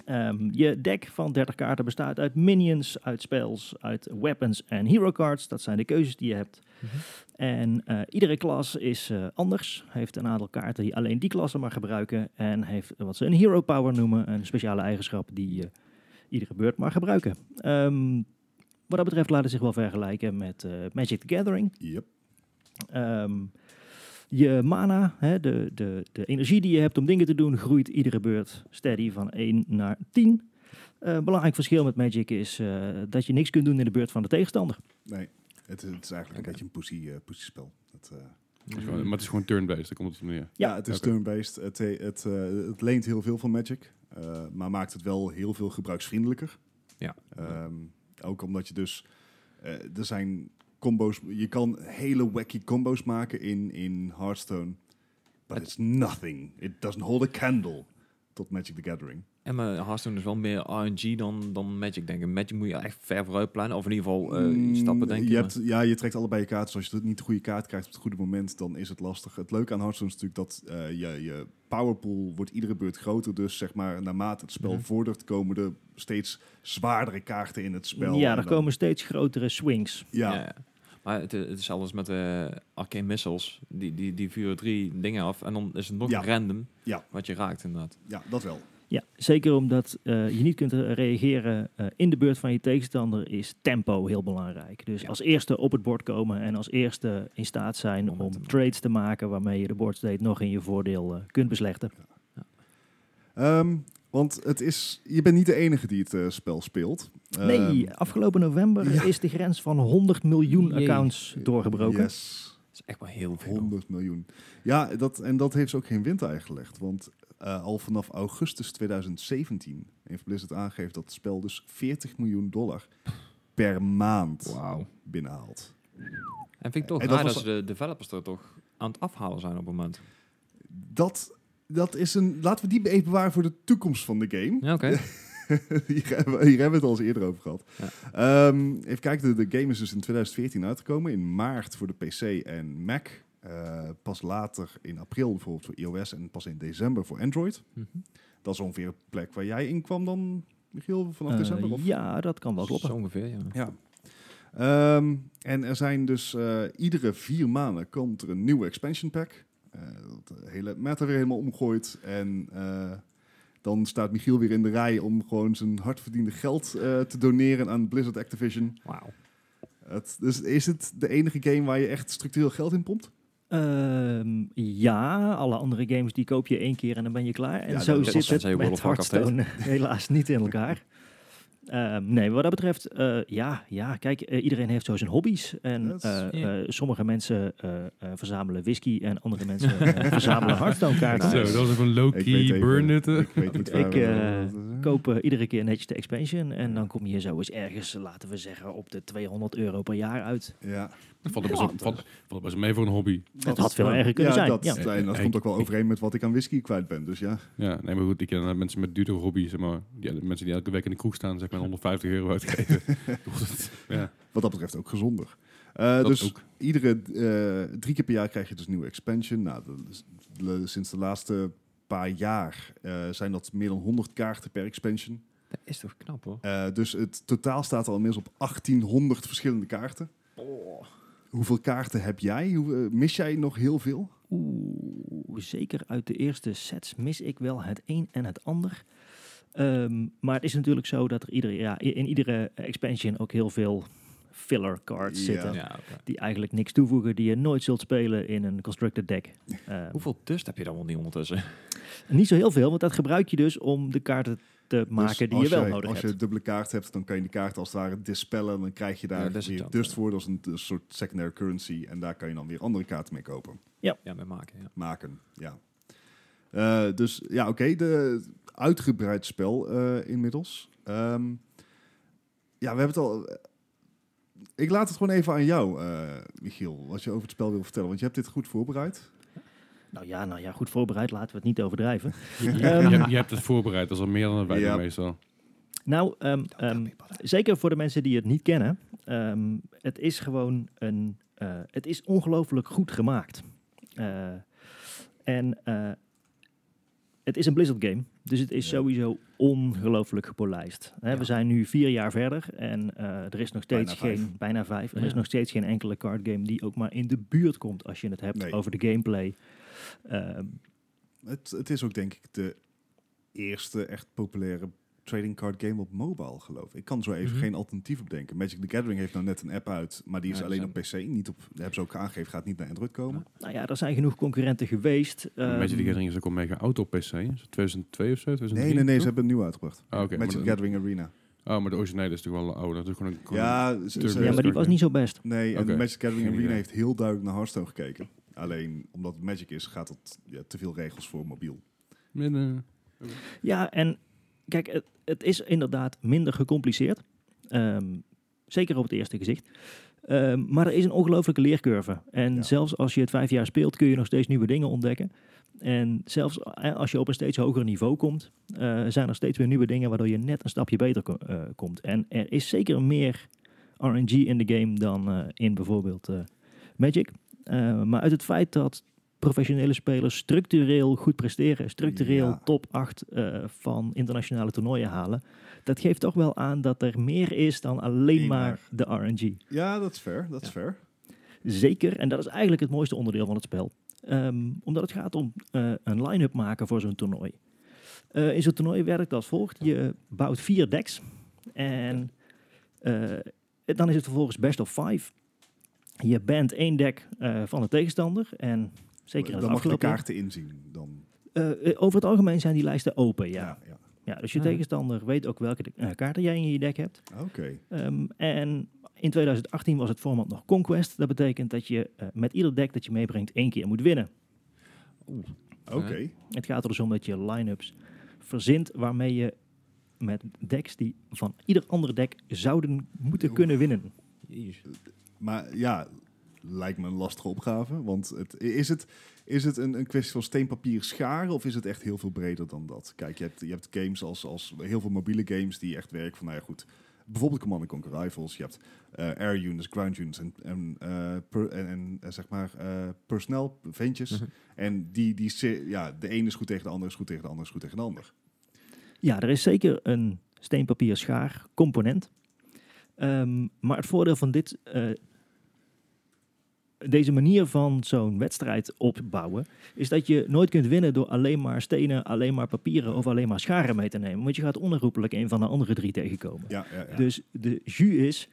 Speaker 4: Ehm, je deck van 30 kaarten bestaat uit minions, uit spells, uit weapons en hero cards. Dat zijn de keuzes die je hebt.
Speaker 1: Mhm.
Speaker 4: En eh, iedere klas is eh, anders. Heeft een aantal kaarten die alleen die klassen maar gebruiken. En heeft wat ze een hero power noemen. Een speciale eigenschap die je iedere beurt maar gebruiken. Ehm, wat dat betreft laten zich wel vergelijken met eh, Magic the Gathering.
Speaker 2: Yep.
Speaker 4: Ehm, je mana, hè, de, de, de energie die je hebt om dingen te doen, groeit iedere beurt steady van 1 naar 10. Eh belangrijk verschil met Magic is eh, dat je niks kunt doen in de beurt van de tegenstander.
Speaker 2: Nee, het, het is eigenlijk een
Speaker 1: Oké.
Speaker 2: beetje een pussy, eh, pussyspel. Het, eh,
Speaker 3: Het is gewoon- Maar het is gewoon turn-based, daar komt het op neer.
Speaker 4: Ja.
Speaker 2: ja. het is
Speaker 3: Oké.
Speaker 2: turn-based. Het, eh, het, eh, het leent heel veel van Magic, eh, maar maakt het wel heel veel gebruiksvriendelijker.
Speaker 1: Ja.
Speaker 2: Ehm, ook omdat je dus, eh, er zijn combo's, je kan hele wacky combo's maken in, in Hearthstone. But
Speaker 1: Het-
Speaker 2: it's nothing. It doesn't hold a candle tot Magic the Gathering.
Speaker 1: En maar Hearthstone is dus wel meer RNG dan, dan Magic, denk ik. Magic moet je echt ver vooruit plannen. Of in ieder geval eh,
Speaker 2: Mm,
Speaker 1: stappen, denk ik.
Speaker 2: Je
Speaker 1: maar-
Speaker 2: hebt, ja, je trekt allebei je kaarten. Dus als je niet de goede kaart krijgt op het goede moment, dan is het lastig. Het leuke aan Hearthstone is natuurlijk dat eh, je, je powerpool wordt iedere beurt groter. Dus zeg maar, naarmate het spel
Speaker 1: Mhm.
Speaker 2: vordert, komen er steeds zwaardere kaarten in het spel.
Speaker 4: ja,
Speaker 2: En
Speaker 4: er
Speaker 2: dan-
Speaker 4: komen steeds grotere swings.
Speaker 2: Ja,
Speaker 1: Ja. Maar het, het is alles met eh arcane missiles. Die, die, die vuren drie dingen af. En dan is het nog
Speaker 2: Ja.
Speaker 1: random
Speaker 2: Ja.
Speaker 1: wat je raakt inderdaad.
Speaker 2: ja, dat wel.
Speaker 4: Ja, zeker omdat eh, je niet kunt eh, reageren eh, in de beurt van je tegenstander is tempo heel belangrijk. Dus
Speaker 1: Ja.
Speaker 4: als eerste op het bord komen en als eerste in staat zijn
Speaker 1: Om het te
Speaker 4: om
Speaker 1: maken.
Speaker 4: trades te maken waarmee je de boardstate nog in je voordeel eh, kunt beslechten.
Speaker 2: Ehm, want het is, je bent niet de enige die het eh, spel speelt.
Speaker 4: Nee,
Speaker 2: Ehm,
Speaker 4: afgelopen november
Speaker 2: ja.
Speaker 4: is de grens van 100 miljoen
Speaker 1: Jee.
Speaker 4: accounts doorgebroken.
Speaker 2: Ehm, Yes.
Speaker 1: Dat is echt wel heel veel.
Speaker 2: 100 miljoen. Ja, dat, en dat heeft ze ook geen wind aangelegd. Want eh, al vanaf augustus 2017 heeft Blizzard aangegeven dat het spel dus 40 miljoen dollar per maand
Speaker 1: Wauw.
Speaker 2: binnenhaalt.
Speaker 1: En vind ik toch
Speaker 2: En dat
Speaker 1: raar dat,
Speaker 2: was-
Speaker 1: ze de developers er toch aan het afhalen zijn op het moment.
Speaker 2: Dat, dat is een... Laten we die even bewaren voor de toekomst van de game.
Speaker 1: Ja, oké.
Speaker 2: hier, hebben we, hier hebben we het al eens eerder over gehad. Ehm, even kijken, de, de game is dus in 2014 uitgekomen. In maart voor de PC en Mac. Eh, pas later in april bijvoorbeeld voor iOS en pas in december voor Android.
Speaker 1: Mhm.
Speaker 2: Dat is ongeveer de plek waar jij in kwam dan, Michiel, vanaf
Speaker 4: Eh,
Speaker 2: december? Of?
Speaker 4: ja, dat kan wel kloppen.
Speaker 1: Zo ongeveer, ja.
Speaker 2: Ja. Ehm, en er zijn dus eh, iedere vier maanden komt er een nieuwe expansion pack. Eh, dat de hele meta weer helemaal omgooit. En eh, dan staat Michiel weer in de rij om gewoon zijn hardverdiende geld eh, te doneren aan Blizzard Activision.
Speaker 1: Wauw.
Speaker 2: Het, dus is het de enige game waar je echt structureel geld in pompt?
Speaker 4: Ehm, ja, alle andere games die koop je één keer en dan ben je klaar. En
Speaker 2: Ja,
Speaker 4: zo
Speaker 2: dat-
Speaker 4: zit
Speaker 1: tenzij
Speaker 4: het
Speaker 1: World
Speaker 4: met
Speaker 1: of Warcraft
Speaker 4: Hearthstone helaas niet in elkaar. Ehm, nee, wat dat betreft, eh, ja, ja, kijk, eh, iedereen heeft zo zijn hobby's. En
Speaker 2: Dat is-
Speaker 4: eh,
Speaker 1: Ja.
Speaker 4: eh, sommige mensen eh, eh, verzamelen whisky en andere mensen eh, verzamelen hardstone kaarten.
Speaker 1: Nice.
Speaker 3: Zo, dat was even een
Speaker 2: Ik weet
Speaker 3: low-key
Speaker 2: even-
Speaker 3: burn-nutten.
Speaker 2: Ik weet niet waar
Speaker 4: Ik,
Speaker 2: we-
Speaker 4: eh, Kopen iedere keer netjes de expansion en dan kom je zo eens ergens, laten we zeggen, op de 200 euro per jaar uit.
Speaker 2: Ja.
Speaker 3: Dat valt er best- valt- valt er best mee voor een hobby.
Speaker 4: Dat had veel erger kunnen
Speaker 2: ja,
Speaker 4: zijn,
Speaker 2: Dat,
Speaker 4: ja.
Speaker 2: en dat komt ook wel overeen met wat ik aan whisky kwijt ben. Dus ja,
Speaker 3: Ja, nee, maar goed, ik ken eh, mensen met duurdere hobby's, zeg maar, ja, de mensen die elke week in de kroeg staan, zeg maar 150 euro uitgeven. ja,
Speaker 2: wat dat betreft ook gezonder. Eh,
Speaker 3: dat
Speaker 2: dus
Speaker 3: ook.
Speaker 2: iedere eh, drie keer per jaar krijg je dus een nieuwe expansion. Nou, dat is- de- sinds de laatste paar jaar eh, zijn dat meer dan 100 kaarten per expansion.
Speaker 1: Dat is toch knap hoor.
Speaker 2: Eh, dus het totaal staat al inmiddels op 1800 verschillende kaarten.
Speaker 4: Oh.
Speaker 2: Hoeveel kaarten heb jij? Hoe, eh, mis jij nog heel veel?
Speaker 4: Oeh, zeker uit de eerste sets mis ik wel het een en het ander. Ehm, maar het is natuurlijk zo dat er iedere, ja, i- in iedere expansion ook heel veel filler cards
Speaker 2: Ja.
Speaker 4: zitten.
Speaker 1: Ja, oké.
Speaker 4: Die eigenlijk niks toevoegen, die je nooit zult spelen in een constructed deck. Ehm,
Speaker 1: Hoeveel dust heb je dan wel niet ondertussen?
Speaker 4: niet zo heel veel, want dat gebruik je dus om de kaarten te maken
Speaker 2: Dus
Speaker 4: die
Speaker 2: als
Speaker 4: je wel
Speaker 2: jij-
Speaker 4: nodig
Speaker 2: Als
Speaker 4: hebt.
Speaker 2: je dubbele kaart hebt, dan kan je die kaart als het ware dispellen. En dan krijg je
Speaker 1: Ja,
Speaker 2: daar
Speaker 1: dat is
Speaker 2: weer
Speaker 1: het dan.
Speaker 2: dust voor. Dat is een, een soort secondary currency. En daar kan je dan weer andere kaarten mee kopen.
Speaker 1: Ja, met maken. Ja.
Speaker 2: Maken, ja. Eh, dus ja, oké. de uitgebreid spel eh, inmiddels. Ehm, ja, we hebben het al... eh, Ik laat het gewoon even aan jou, eh, Michiel. Wat je over het spel wil vertellen. Want je hebt dit goed voorbereid.
Speaker 4: Nou ja, nou ja, goed voorbereid, laten we het niet overdrijven.
Speaker 3: Je, je-
Speaker 4: Ehm.
Speaker 3: je hebt- je hebt het voorbereid, dat is al meer dan wij doen
Speaker 2: Ja.
Speaker 3: meestal.
Speaker 4: Nou, ehm, ehm, zeker voor de mensen die het niet kennen, ehm, het is gewoon een, eh, het is ongelooflijk goed gemaakt. Eh, en eh, het is een Blizzard game, dus het is
Speaker 2: Ja.
Speaker 4: sowieso ongelooflijk gepolijst. Hè,
Speaker 1: Ja.
Speaker 4: We zijn nu vier jaar verder en eh, er is nog steeds
Speaker 2: Bijna vijf.
Speaker 4: geen, bijna vijf, er is
Speaker 1: Ja.
Speaker 4: nog steeds geen enkele card game die ook maar in de buurt komt als je het hebt
Speaker 2: Nee.
Speaker 4: over de gameplay. Ehm,
Speaker 2: Het, het is ook denk ik de eerste echt populaire trading card game op mobile, geloof ik. Ik kan zo even
Speaker 1: Mhm.
Speaker 2: geen alternatief bedenken. Magic the Gathering heeft nou net een app uit, maar die is
Speaker 1: Ja, die
Speaker 2: alleen op
Speaker 1: zijn-
Speaker 2: PC. Niet op, dat hebben ze ook aangegeven, gaat niet naar Android komen.
Speaker 4: nou ja, er zijn genoeg concurrenten geweest.
Speaker 3: Een
Speaker 4: ehm,
Speaker 3: beetje die gathering is ook al mega oud op PC, hè? Is het 2002 of zo? 2003,
Speaker 2: nee, nee, nee, ze
Speaker 3: toch?
Speaker 2: hebben het nieuw uitgebracht.
Speaker 3: Ah, oké, maar
Speaker 2: Magic the
Speaker 3: de-
Speaker 2: Gathering Arena.
Speaker 3: Oh, maar de originele is toch wel ouder. Dat is gewoon een, gewoon een-
Speaker 2: Ja, ze-
Speaker 3: turn-based
Speaker 2: ze-
Speaker 4: ja, maar die was niet zo best.
Speaker 2: nee, en
Speaker 3: Oké,
Speaker 2: Magic the Gathering
Speaker 3: geen
Speaker 2: Arena
Speaker 3: idee.
Speaker 2: heeft heel duidelijk naar Hearthstone gekeken. Alleen omdat het Magic is, gaat het ja, te veel regels voor mobiel.
Speaker 3: Met, eh,
Speaker 4: Ja, en kijk, het, het is inderdaad minder gecompliceerd. Ehm, zeker op het eerste gezicht. Ehm, maar er is een ongelofelijke leercurve. En
Speaker 2: Ja.
Speaker 4: zelfs als je het vijf jaar speelt, kun je nog steeds nieuwe dingen ontdekken. En zelfs eh, als je op een steeds hoger niveau komt, eh, zijn er steeds weer nieuwe dingen waardoor je net een stapje beter ko- eh, komt. En er is zeker meer RNG in de game dan eh, in bijvoorbeeld eh, Magic. Eh, maar uit het feit dat professionele spelers structureel goed presteren, structureel
Speaker 2: Ja.
Speaker 4: top 8 eh, van internationale toernooien halen, dat geeft toch wel aan dat er meer is dan alleen
Speaker 2: Eén
Speaker 4: maar de RNG.
Speaker 2: Ja, dat is fair, dat is
Speaker 1: Ja.
Speaker 2: fair.
Speaker 4: Zeker, en dat is eigenlijk het mooiste onderdeel van het spel. Ehm, omdat het gaat om eh, een line-up maken voor zo'n toernooi. Eh, in zo'n toernooi werkt als volgt. Je bouwt vier decks. En eh, dan is het vervolgens best of five. Je bent één deck eh, van de tegenstander. En zeker
Speaker 2: Dan
Speaker 4: in het
Speaker 2: mag je de
Speaker 4: afgelopen...
Speaker 2: kaarten inzien. Dan,
Speaker 4: Eh, eh, over het algemeen zijn die lijsten open, ja. ja.
Speaker 2: ja, ja.
Speaker 4: dus je
Speaker 1: Ah.
Speaker 4: tegenstander weet ook welke de- eh, kaarten jij in je deck hebt.
Speaker 2: Oké.
Speaker 4: Ehm, en in 2018 was het format nog Conquest. Dat betekent dat je eh, met ieder deck dat je meebrengt één keer moet winnen.
Speaker 2: Oké.
Speaker 4: Het gaat er dus om dat je line-ups verzint waarmee je met decks die van ieder ander deck zouden moeten
Speaker 2: Oeh.
Speaker 4: kunnen winnen.
Speaker 1: Jezus.
Speaker 2: Maar ja, lijkt me een lastige opgave. Want het, is het, is het een, een kwestie van steen, papier, schaar? Of is het echt heel veel breder dan dat? Kijk, je hebt, je hebt games als, als heel veel mobiele games die echt werken van, nou ja goed, bijvoorbeeld Command Conquer Rifles. Je hebt eh, air units, ground units en, en, eh, per- en, en, eh, zeg maar eh, personnel, ventjes.
Speaker 1: Mhm.
Speaker 2: En die, die, se- ja, de een is goed tegen de ander, is goed tegen de ander, is goed tegen de ander.
Speaker 4: Ja, er is zeker een steen-papier-schaar component. Ehm, maar het voordeel van dit, eh, deze manier van zo'n wedstrijd opbouwen, is dat je nooit kunt winnen door alleen maar stenen, alleen maar papieren of alleen maar scharen mee te nemen. Want je gaat onherroepelijk een van de andere drie tegenkomen.
Speaker 2: Ja, ja, ja.
Speaker 4: Dus de jus is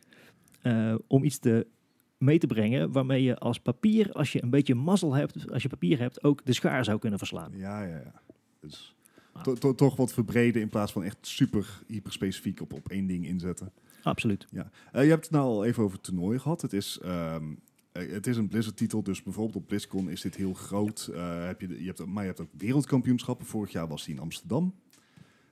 Speaker 4: eh, om iets te, mee te brengen waarmee je als papier, als je een beetje mazzel hebt, als je papier hebt, ook de schaar zou kunnen verslaan.
Speaker 2: ja, ja, ja. Dus, to- to- toch wat verbreden in plaats van echt super hyper specifiek op, op één ding inzetten.
Speaker 4: Absoluut.
Speaker 2: Eh, je hebt het nou al even over toernooien gehad. Het is, ehm, eh, het is een Blizzard-titel, dus bijvoorbeeld op BlizzCon is dit heel groot. Eh, heb je, de- je hebt, maar je hebt ook wereldkampioenschappen. Vorig jaar was die in Amsterdam.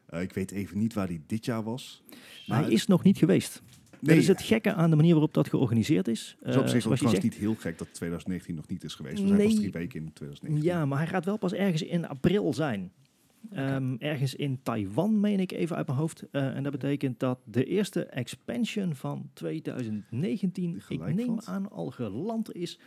Speaker 2: Eh, ik weet even niet waar die dit jaar was. Maar
Speaker 4: Hij is nog niet geweest.
Speaker 2: Nee,
Speaker 4: Dat is dus het gekke aan de manier waarop dat georganiseerd is.
Speaker 2: Het is op
Speaker 4: Eh,
Speaker 2: zich
Speaker 4: zoals
Speaker 2: ook
Speaker 4: je
Speaker 2: trouwens
Speaker 4: zegt,
Speaker 2: niet heel gek dat 2019 nog niet is geweest. We zijn pas
Speaker 4: Nee.
Speaker 2: drie weken in 2019.
Speaker 4: Ja, maar hij gaat wel pas ergens in april zijn. Ehm, ergens in Taiwan, meen ik even uit mijn hoofd. Eh, en dat betekent dat de eerste expansion van 2019,
Speaker 2: Die gelijk
Speaker 4: ik neem
Speaker 2: valt.
Speaker 4: aan, al geland is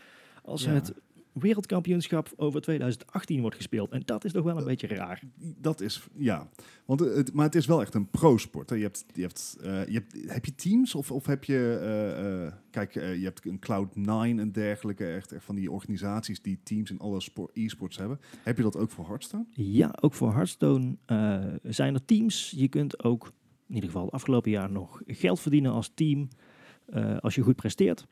Speaker 4: als
Speaker 2: Ja.
Speaker 4: het wereldkampioenschap over 2018 wordt gespeeld. En dat is toch wel
Speaker 2: Eh.
Speaker 4: een beetje raar.
Speaker 2: Dat is, ja. Want eh, het, maar het is wel echt een pro-sport. hè. Je hebt, je hebt, eh, je hebt, heb je teams of, of heb je, eh, eh, kijk, eh, je hebt een Cloud9 en dergelijke, echt, echt van die organisaties die teams in alle spor- e-sports hebben. Heb je dat ook voor Hearthstone?
Speaker 4: Ja, ook voor Hearthstone eh, zijn er teams. Je kunt ook, in ieder geval het afgelopen jaar, nog geld verdienen als team. eh, als je goed presteert.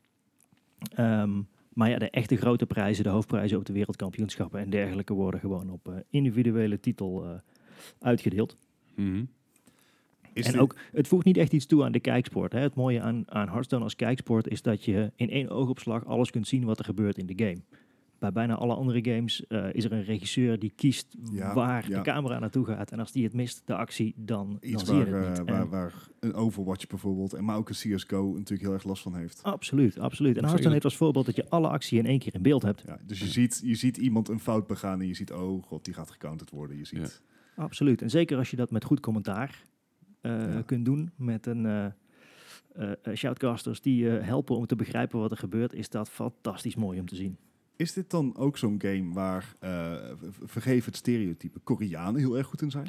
Speaker 4: Ehm, maar ja, de echte grote prijzen, de hoofdprijzen op de wereldkampioenschappen en dergelijke, worden gewoon op eh, individuele titel eh, uitgedeeld.
Speaker 3: Mhm.
Speaker 2: Is
Speaker 4: en
Speaker 2: dit-
Speaker 4: ook, het voegt niet echt iets toe aan de kijksport. Hè. Het mooie aan, aan Hearthstone als kijksport is dat je in één oogopslag alles kunt zien wat er gebeurt in de game. Bij bijna alle andere games eh, is er een regisseur die kiest
Speaker 2: Ja,
Speaker 4: waar
Speaker 2: ja.
Speaker 4: de camera naartoe gaat. En als die het mist, de actie, dan, dan
Speaker 2: iets
Speaker 4: nou, zie je
Speaker 2: waar,
Speaker 4: het niet.
Speaker 2: eh,
Speaker 4: En-
Speaker 2: waar, waar een Overwatch bijvoorbeeld, en maar ook een CSGO natuurlijk heel erg last van heeft.
Speaker 4: Absoluut, absoluut. En
Speaker 3: Zeker.
Speaker 4: Hearthstone heeft als voorbeeld dat je alle actie in één keer in beeld hebt.
Speaker 2: Ja, dus je ziet, je ziet iemand een fout begaan en je ziet, oh god, die gaat gecounterd worden. Je ziet...
Speaker 3: Ja.
Speaker 4: Absoluut. En zeker als je dat met goed commentaar eh,
Speaker 2: Ja.
Speaker 4: kunt doen. Met een eh, eh, eh, shoutcasters die je helpen om te begrijpen wat er gebeurt. Is dat fantastisch mooi om te zien.
Speaker 2: Is dit dan ook zo'n game waar, eh, v- vergeef het stereotype, Koreanen heel erg goed in zijn?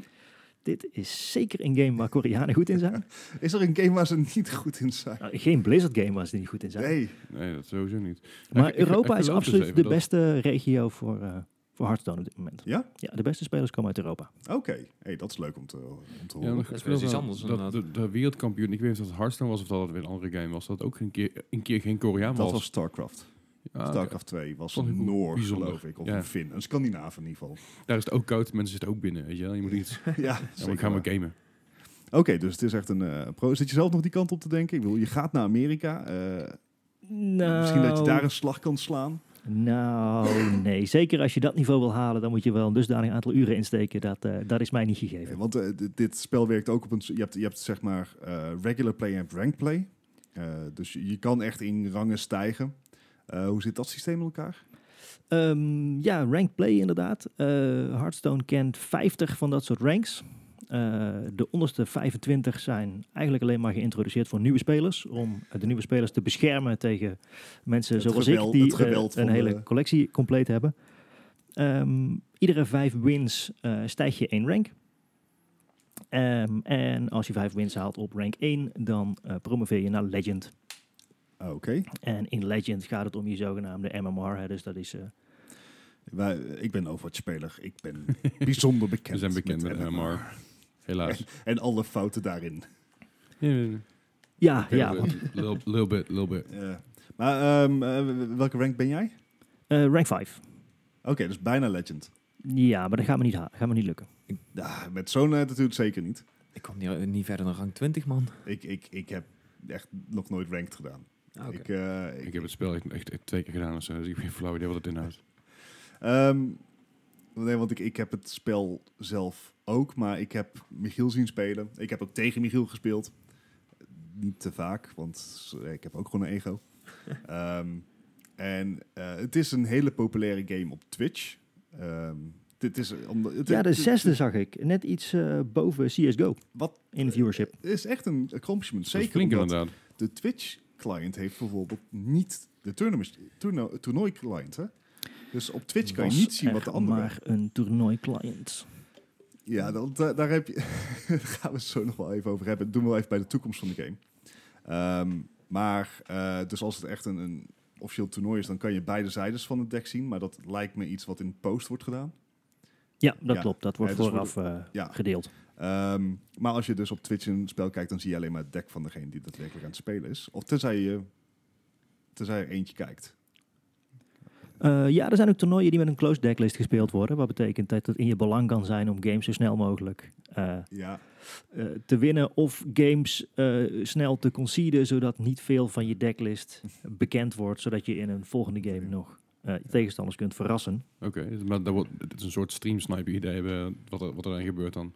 Speaker 4: Dit is zeker een game waar Koreanen goed in zijn.
Speaker 2: Is er een game waar ze niet goed in zijn?
Speaker 4: Nou, geen Blizzard game waar ze niet goed in zijn.
Speaker 2: Nee.
Speaker 3: Nee, dat sowieso niet.
Speaker 4: Maar
Speaker 3: Ik- ik-
Speaker 4: Europa
Speaker 3: ik geloof
Speaker 4: is
Speaker 3: dus
Speaker 4: absoluut
Speaker 3: even
Speaker 4: de
Speaker 3: dat-
Speaker 4: beste regio voor, eh, voor Hearthstone op dit moment.
Speaker 2: Ja?
Speaker 4: Ja, de beste spelers komen uit Europa.
Speaker 2: Oké. Hey, dat is leuk om te, om te
Speaker 3: Ja,
Speaker 2: horen.
Speaker 3: maar
Speaker 1: Dat is
Speaker 3: speelde
Speaker 1: iets
Speaker 3: wel
Speaker 1: anders
Speaker 3: Dat,
Speaker 1: inderdaad.
Speaker 3: de, de wereldkampioen, ik weet niet of het Hearthstone was of dat het weer een andere game was, dat ook een keer, een keer geen Koreaan
Speaker 2: dat
Speaker 3: was.
Speaker 2: was Starcraft.
Speaker 3: Ja,
Speaker 2: Starcraft 2 was
Speaker 3: Ah, Vond ik
Speaker 2: een
Speaker 3: ook
Speaker 2: Noor,
Speaker 3: bijzonder.
Speaker 2: geloof ik. Of
Speaker 3: Ja.
Speaker 2: een Fin. Een Scandinaaf in ieder geval.
Speaker 3: Daar is het ook koud, mensen zitten ook binnen, weet je wel. Je moet niet...
Speaker 2: ja,
Speaker 3: Ja,
Speaker 2: zeker
Speaker 3: maar ik ga maar
Speaker 2: waar.
Speaker 3: gamen.
Speaker 2: Oké, dus het is echt een eh, pro. Zit je zelf nog die kant op te denken? Ik bedoel, je gaat naar Amerika. eh,
Speaker 3: Nou.
Speaker 2: Nou, Misschien dat je daar een slag kan slaan.
Speaker 4: Nou, nee. Zeker als je dat niveau wil halen, dan moet je wel een dusdanig aantal uren insteken. Dat, eh, dat is mij niet
Speaker 2: Nee,
Speaker 4: gegeven.
Speaker 2: want eh, dit- dit spel werkt ook op een... s- Je hebt, je hebt zeg maar eh, regular play en ranked play. Eh, dus je, je kan echt in rangen stijgen. Eh, hoe zit dat systeem in elkaar?
Speaker 4: Ehm, ja, ranked play inderdaad. Eh, Hearthstone kent 50 van dat soort ranks. Eh, de onderste 25 zijn eigenlijk alleen maar geïntroduceerd voor nieuwe spelers. Om eh, de nieuwe spelers te beschermen tegen mensen
Speaker 2: Het
Speaker 4: zoals
Speaker 2: geweld- het
Speaker 4: ik, die eh,
Speaker 2: geweld van
Speaker 4: een hele
Speaker 2: de-
Speaker 4: collectie compleet hebben. Ehm, iedere vijf wins eh stijg je één rank. Ehm, en als je vijf wins haalt op rank 1, dan eh, promoveer je naar Legend.
Speaker 2: Ah, Oké.
Speaker 4: En in Legend gaat het om je zogenaamde MMR. Hè, dus dat is eh,
Speaker 2: Wij- Ik ben Overwatch-speler. Ik ben bijzonder bekend.
Speaker 3: We zijn bekend met
Speaker 2: MMR.
Speaker 3: MMR. Helaas.
Speaker 2: En alle fouten daarin.
Speaker 3: Ja, ja, ja.
Speaker 4: Ja, ja.
Speaker 3: Little bit, little- little bit, little bit.
Speaker 2: Eh, maar ehm, eh, welke rank ben jij?
Speaker 4: Eh, rank 5.
Speaker 2: Oké, dus bijna legend.
Speaker 4: Ja, maar dat gaat me niet, ha- gaat me niet lukken.
Speaker 2: Ah, met zo'n attitude zeker niet.
Speaker 1: Ik kwam niet, niet verder dan rang 20, man.
Speaker 2: Ik, ik, ik heb echt nog nooit ranked gedaan.
Speaker 1: Ah, oké.
Speaker 2: Ik, eh, ik-
Speaker 3: Ik heb het spel echt, echt, echt twee keer gedaan of zo, dus ik heb geen flauw idee wat het inhoudt.
Speaker 2: Ehm, nee, want ik, ik heb het spel zelf ook, maar ik heb Michiel zien spelen. Ik heb ook tegen Michiel gespeeld. Niet te vaak, want eh, ik heb ook gewoon een ego. Ehm, en eh, het is een hele populaire game op Twitch. Ehm, dit is, omdat- het-
Speaker 4: Ja, de
Speaker 2: het-
Speaker 4: zesde zag ik. Net iets eh, boven CSGO
Speaker 2: Wat?
Speaker 4: in viewership.
Speaker 2: Het is echt een accomplishment.
Speaker 3: Dat is
Speaker 2: Zeker
Speaker 3: flink
Speaker 2: omdat
Speaker 3: inderdaad.
Speaker 2: de Twitch-client heeft bijvoorbeeld niet de tournament- toerno- toernooi-client. hè? Dus op Twitch kan je
Speaker 4: Was
Speaker 2: niet zien wat de
Speaker 4: er
Speaker 2: andere...
Speaker 4: maar een toernooi-client.
Speaker 2: Ja, dan, da- daar, heb je, daar gaan we het zo nog wel even over hebben. Dat doen we wel even bij de toekomst van de game. Ehm, maar, eh, dus als het echt een, een officieel toernooi is, dan kan je beide zijdes van het deck zien. Maar dat lijkt me iets wat in post wordt gedaan.
Speaker 4: Ja, dat
Speaker 2: Ja.
Speaker 4: klopt. Dat wordt
Speaker 2: Ja, dus
Speaker 4: vooraf eh,
Speaker 2: ja.
Speaker 4: gedeeld.
Speaker 2: Ehm, maar als je dus op Twitch een spel kijkt, dan zie je alleen maar het deck van degene die daadwerkelijk aan het spelen is. Of tenzij je tenzij er eentje kijkt.
Speaker 4: Eh, ja, er zijn ook toernooien die met een closed decklist gespeeld worden. Wat betekent dat het in je belang kan zijn om games zo snel mogelijk eh,
Speaker 2: Ja,
Speaker 4: eh, te winnen. Of games eh, snel te conceden, zodat niet veel van je decklist bekend wordt. Zodat je in een volgende game nog eh, je tegenstanders kunt verrassen.
Speaker 3: Oké, dus maar dat wordt, het is een soort stream sniper idee hebben wat er, wat er dan gebeurt dan.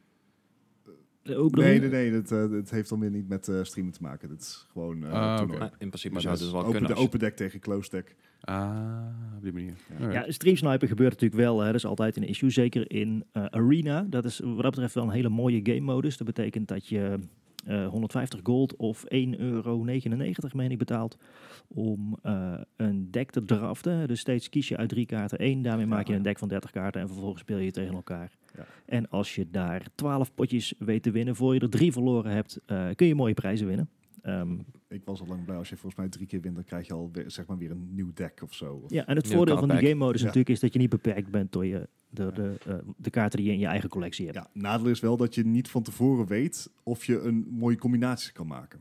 Speaker 4: Eh, hoe bedoel
Speaker 2: nee,
Speaker 4: je?
Speaker 2: nee, nee. Dat, eh, dat heeft dan weer niet met eh, streamen te maken. Dat is gewoon eh
Speaker 3: Ah,
Speaker 2: toernooi.
Speaker 3: oké.
Speaker 1: Maar in principe
Speaker 3: Maar
Speaker 1: zou
Speaker 3: dat
Speaker 1: het dus
Speaker 3: is
Speaker 1: wel
Speaker 2: Open,
Speaker 1: kunnen.
Speaker 2: de
Speaker 1: als je-
Speaker 2: open deck tegen close deck.
Speaker 3: Ah, op die manier.
Speaker 2: Ja.
Speaker 3: Alright.
Speaker 4: Ja, streamsniper gebeurt natuurlijk wel. Hè. Dat is altijd een issue. Zeker in eh, Arena. Dat is wat dat betreft wel een hele mooie game modus. Dat betekent dat je eh, 150 gold of 1,99 euro meen ik betaalt om eh, een deck te draften. Dus steeds kies je uit drie kaarten één. Daarmee maak je een deck van 30 kaarten en vervolgens speel je tegen elkaar.
Speaker 2: Ja.
Speaker 4: En als je daar 12 potjes weet te winnen, voor je er drie verloren hebt, eh, kun je mooie prijzen winnen. Ehm,
Speaker 2: Ik was al lang blij. Als je volgens mij drie keer wint, dan krijg je al weer, zeg maar weer een nieuw deck of zo. Of-
Speaker 4: Ja, en het
Speaker 1: Ja,
Speaker 4: voordeel van die
Speaker 1: kaartpack.
Speaker 4: game modus
Speaker 2: Ja.
Speaker 4: natuurlijk is dat je niet beperkt bent door je, door de, eh, de kaarten die je in je eigen collectie hebt.
Speaker 2: Ja, nadeel is wel dat je niet van tevoren weet of je een mooie combinatie kan maken.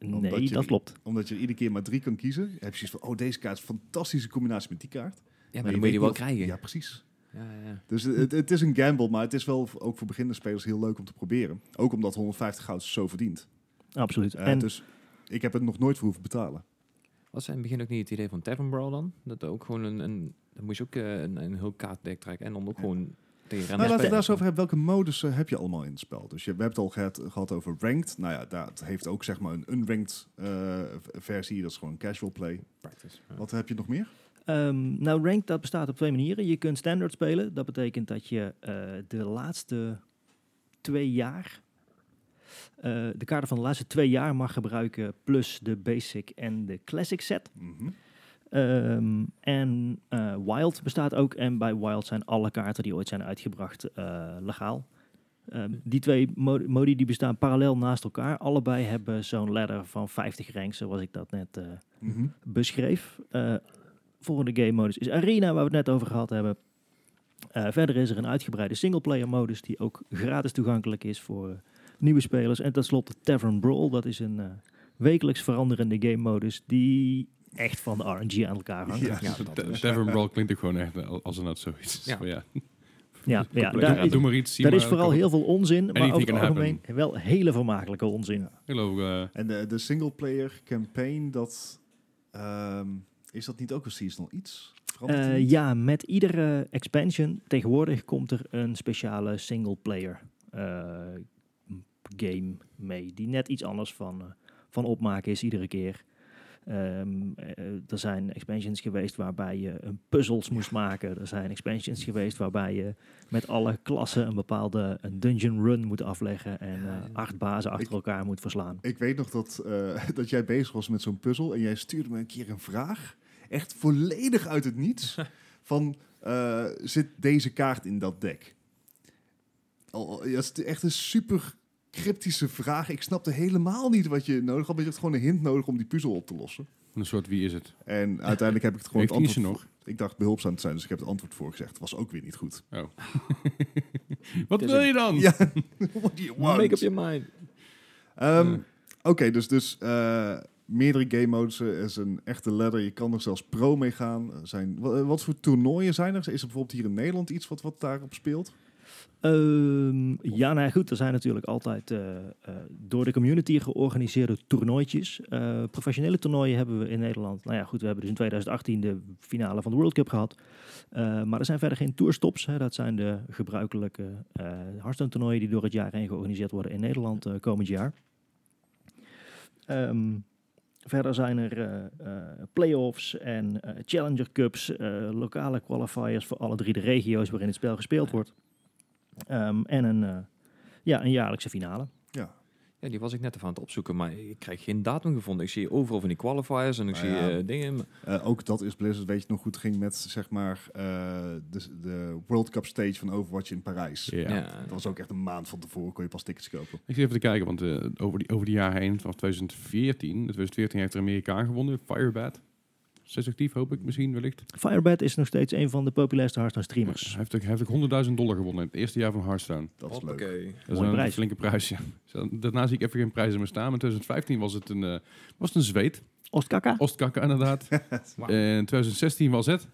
Speaker 2: omdat
Speaker 4: nee,
Speaker 2: je-
Speaker 4: dat klopt.
Speaker 2: Omdat je er iedere keer maar drie kan kiezen. Heb je zoiets van, oh, deze kaart is een fantastische combinatie met die kaart.
Speaker 1: Ja,
Speaker 2: Maar
Speaker 1: maar
Speaker 2: je
Speaker 1: dan moet je die
Speaker 2: weet
Speaker 1: wel
Speaker 2: niet
Speaker 1: krijgen.
Speaker 2: Ja, precies.
Speaker 1: Ja, ja, ja.
Speaker 2: Dus het, het is een gamble, maar het is wel v- ook voor beginnende spelers heel leuk om te proberen. Ook omdat 150 goud is zo verdient.
Speaker 4: Absoluut.
Speaker 2: Eh,
Speaker 4: en
Speaker 2: Dus ik heb het nog nooit voor hoeven betalen.
Speaker 1: Was in het begin ook niet het idee van Tavern Brawl dan? Dat er ook gewoon een... een dan moest je ook eh, een, een heel kaartdek trekken. En dan ook
Speaker 2: Ja.
Speaker 1: gewoon tegen
Speaker 2: maar Nou,
Speaker 1: random
Speaker 2: laten we daar
Speaker 1: spelers.
Speaker 2: eens over hebben. Welke modus eh, heb je allemaal in het spel? Dus je, we hebben het al gehad, gehad over ranked. Nou ja, dat heeft ook zeg maar een unranked eh, v- versie. Dat is gewoon casual play.
Speaker 1: Practice, ja.
Speaker 2: Wat heb je nog meer?
Speaker 4: Ehm, nou, ranked dat bestaat op twee manieren. Je kunt standaard spelen. Dat betekent dat je eh, de laatste twee jaar, eh, de kaarten van de laatste twee jaar mag gebruiken, plus de basic en de classic set.
Speaker 2: Mhm.
Speaker 4: Ehm, en eh, Wild bestaat ook. En bij Wild zijn alle kaarten die ooit zijn uitgebracht eh, legaal. Ehm, die twee mo- modi die bestaan parallel naast elkaar. Allebei hebben zo'n ladder van 50 ranks, zoals ik dat net eh,
Speaker 2: Mhm.
Speaker 4: beschreef. Eh, volgende game modus is Arena, waar we het net over gehad hebben. Eh, verder is er een uitgebreide singleplayer modus die ook gratis toegankelijk is voor eh, nieuwe spelers. En tenslotte Tavern Brawl, dat is een eh, wekelijks veranderende game modus die echt van de RNG aan elkaar hangt. Ja,
Speaker 2: Ja,
Speaker 1: Ja,
Speaker 2: dat
Speaker 1: dat
Speaker 2: is-
Speaker 1: is-
Speaker 3: Tavern Brawl klinkt ook gewoon echt eh, als er net zoiets is.
Speaker 1: Ja.
Speaker 3: Van, ja.
Speaker 4: ja,
Speaker 3: Doe-
Speaker 4: daar,
Speaker 3: doe maar iets. zie
Speaker 4: daar
Speaker 3: maar,
Speaker 4: is vooral
Speaker 3: kom-
Speaker 4: heel veel onzin,
Speaker 3: Anything
Speaker 4: maar over het
Speaker 3: can happen.
Speaker 4: algemeen wel hele vermakelijke onzin.
Speaker 3: Geloof ik, eh,
Speaker 2: En de, de singleplayer campaign, dat, ehm, is dat niet ook een seasonal iets? Verandert die
Speaker 4: Eh,
Speaker 2: niet?
Speaker 4: ja, met iedere expansion tegenwoordig komt er een speciale single-player eh, game mee. Die net iets anders van, eh, van opmaken is iedere keer. Ehm, eh, er zijn expansions geweest waarbij je een puzzels moest maken. Er zijn expansions geweest waarbij je met alle klassen een bepaalde een dungeon run moet afleggen. En eh, acht bazen achter
Speaker 2: Ik-
Speaker 4: elkaar moet verslaan.
Speaker 2: Ik weet nog dat, eh, dat jij bezig was met zo'n puzzel en jij stuurde me een keer een vraag, echt volledig uit het niets, van eh, zit deze kaart in dat deck? Al- al- Dat is echt een super cryptische vraag. Ik snapte helemaal niet wat je nodig had, maar je had gewoon een hint nodig om die puzzel op te lossen.
Speaker 3: een soort wie is het?
Speaker 2: En uiteindelijk heb ik het gewoon...
Speaker 3: Heeft
Speaker 2: het
Speaker 3: Ietsje
Speaker 2: antwoord
Speaker 3: nog?
Speaker 2: Ik dacht behulpzaam te zijn, dus ik heb het antwoord voor gezegd. was ook weer niet goed.
Speaker 3: Wat
Speaker 1: is
Speaker 3: wil
Speaker 1: een-
Speaker 3: je dan?
Speaker 2: Ja, what do you want?
Speaker 1: Make up your mind.
Speaker 2: Ehm,
Speaker 3: Ja.
Speaker 2: Oké, dus, dus eh, meerdere game modes. Er is een echte ladder. Je kan er zelfs pro mee gaan. Er Zijn, wa- eh, wat voor toernooien zijn er? Is er bijvoorbeeld hier in Nederland iets wat, wat daarop speelt?
Speaker 4: Ehm, ja, nou ja, goed, er zijn natuurlijk altijd eh, eh, door de community georganiseerde toernooitjes. Eh, professionele toernooien hebben we in Nederland. Nou ja, goed, we hebben dus in 2018 de finale van de World Cup gehad. Eh, maar er zijn verder geen tourstops. Hè. Dat zijn de gebruikelijke eh Hearthstone toernooien die door het jaar heen georganiseerd worden in Nederland eh, komend jaar. Ehm, verder zijn er eh, eh, play-offs en eh, Challenger Cups, eh, lokale qualifiers voor alle drie de regio's waarin het spel gespeeld wordt. Ehm, en een, eh, ja, een jaarlijkse finale.
Speaker 2: Ja.
Speaker 1: Ja, die was ik net even aan het opzoeken, maar ik krijg geen datum gevonden. Ik zie overal van die qualifiers en ik
Speaker 2: Nou
Speaker 1: zie
Speaker 2: ja.
Speaker 1: eh, dingen.
Speaker 2: Eh, ook dat is Blizzard, weet je nog goed, ging met zeg maar eh, de, de World Cup stage van Overwatch in Parijs.
Speaker 3: Ja.
Speaker 1: Ja.
Speaker 2: Dat was ook echt een maand van tevoren, kon je pas tickets kopen.
Speaker 3: Ik zit even te kijken, want eh, over, die, over die jaar heen, vanaf 2014, 2014 heeft er Amerikaan gewonnen, Firebat. Steeds actief, hoop ik misschien, wellicht.
Speaker 4: Firebed is nog steeds een van de populairste Hearthstone
Speaker 3: Hij
Speaker 4: streamers.
Speaker 3: heeft ook, hij heeft ook 100.000 dollar gewonnen in het eerste jaar van Hearthstone.
Speaker 2: Dat is leuk.
Speaker 1: Hoppakee.
Speaker 3: Dat is
Speaker 4: Mooie
Speaker 3: een
Speaker 4: prijs.
Speaker 3: Dus flinke prijs, ja. Zo, Daarna zie ik even geen prijzen meer staan, maar in 2015 was het een, eh, was het een zweet.
Speaker 2: Oh.
Speaker 4: Ostkaka.
Speaker 3: Ostkakka inderdaad.
Speaker 1: Wauw.
Speaker 3: En 2016 was het.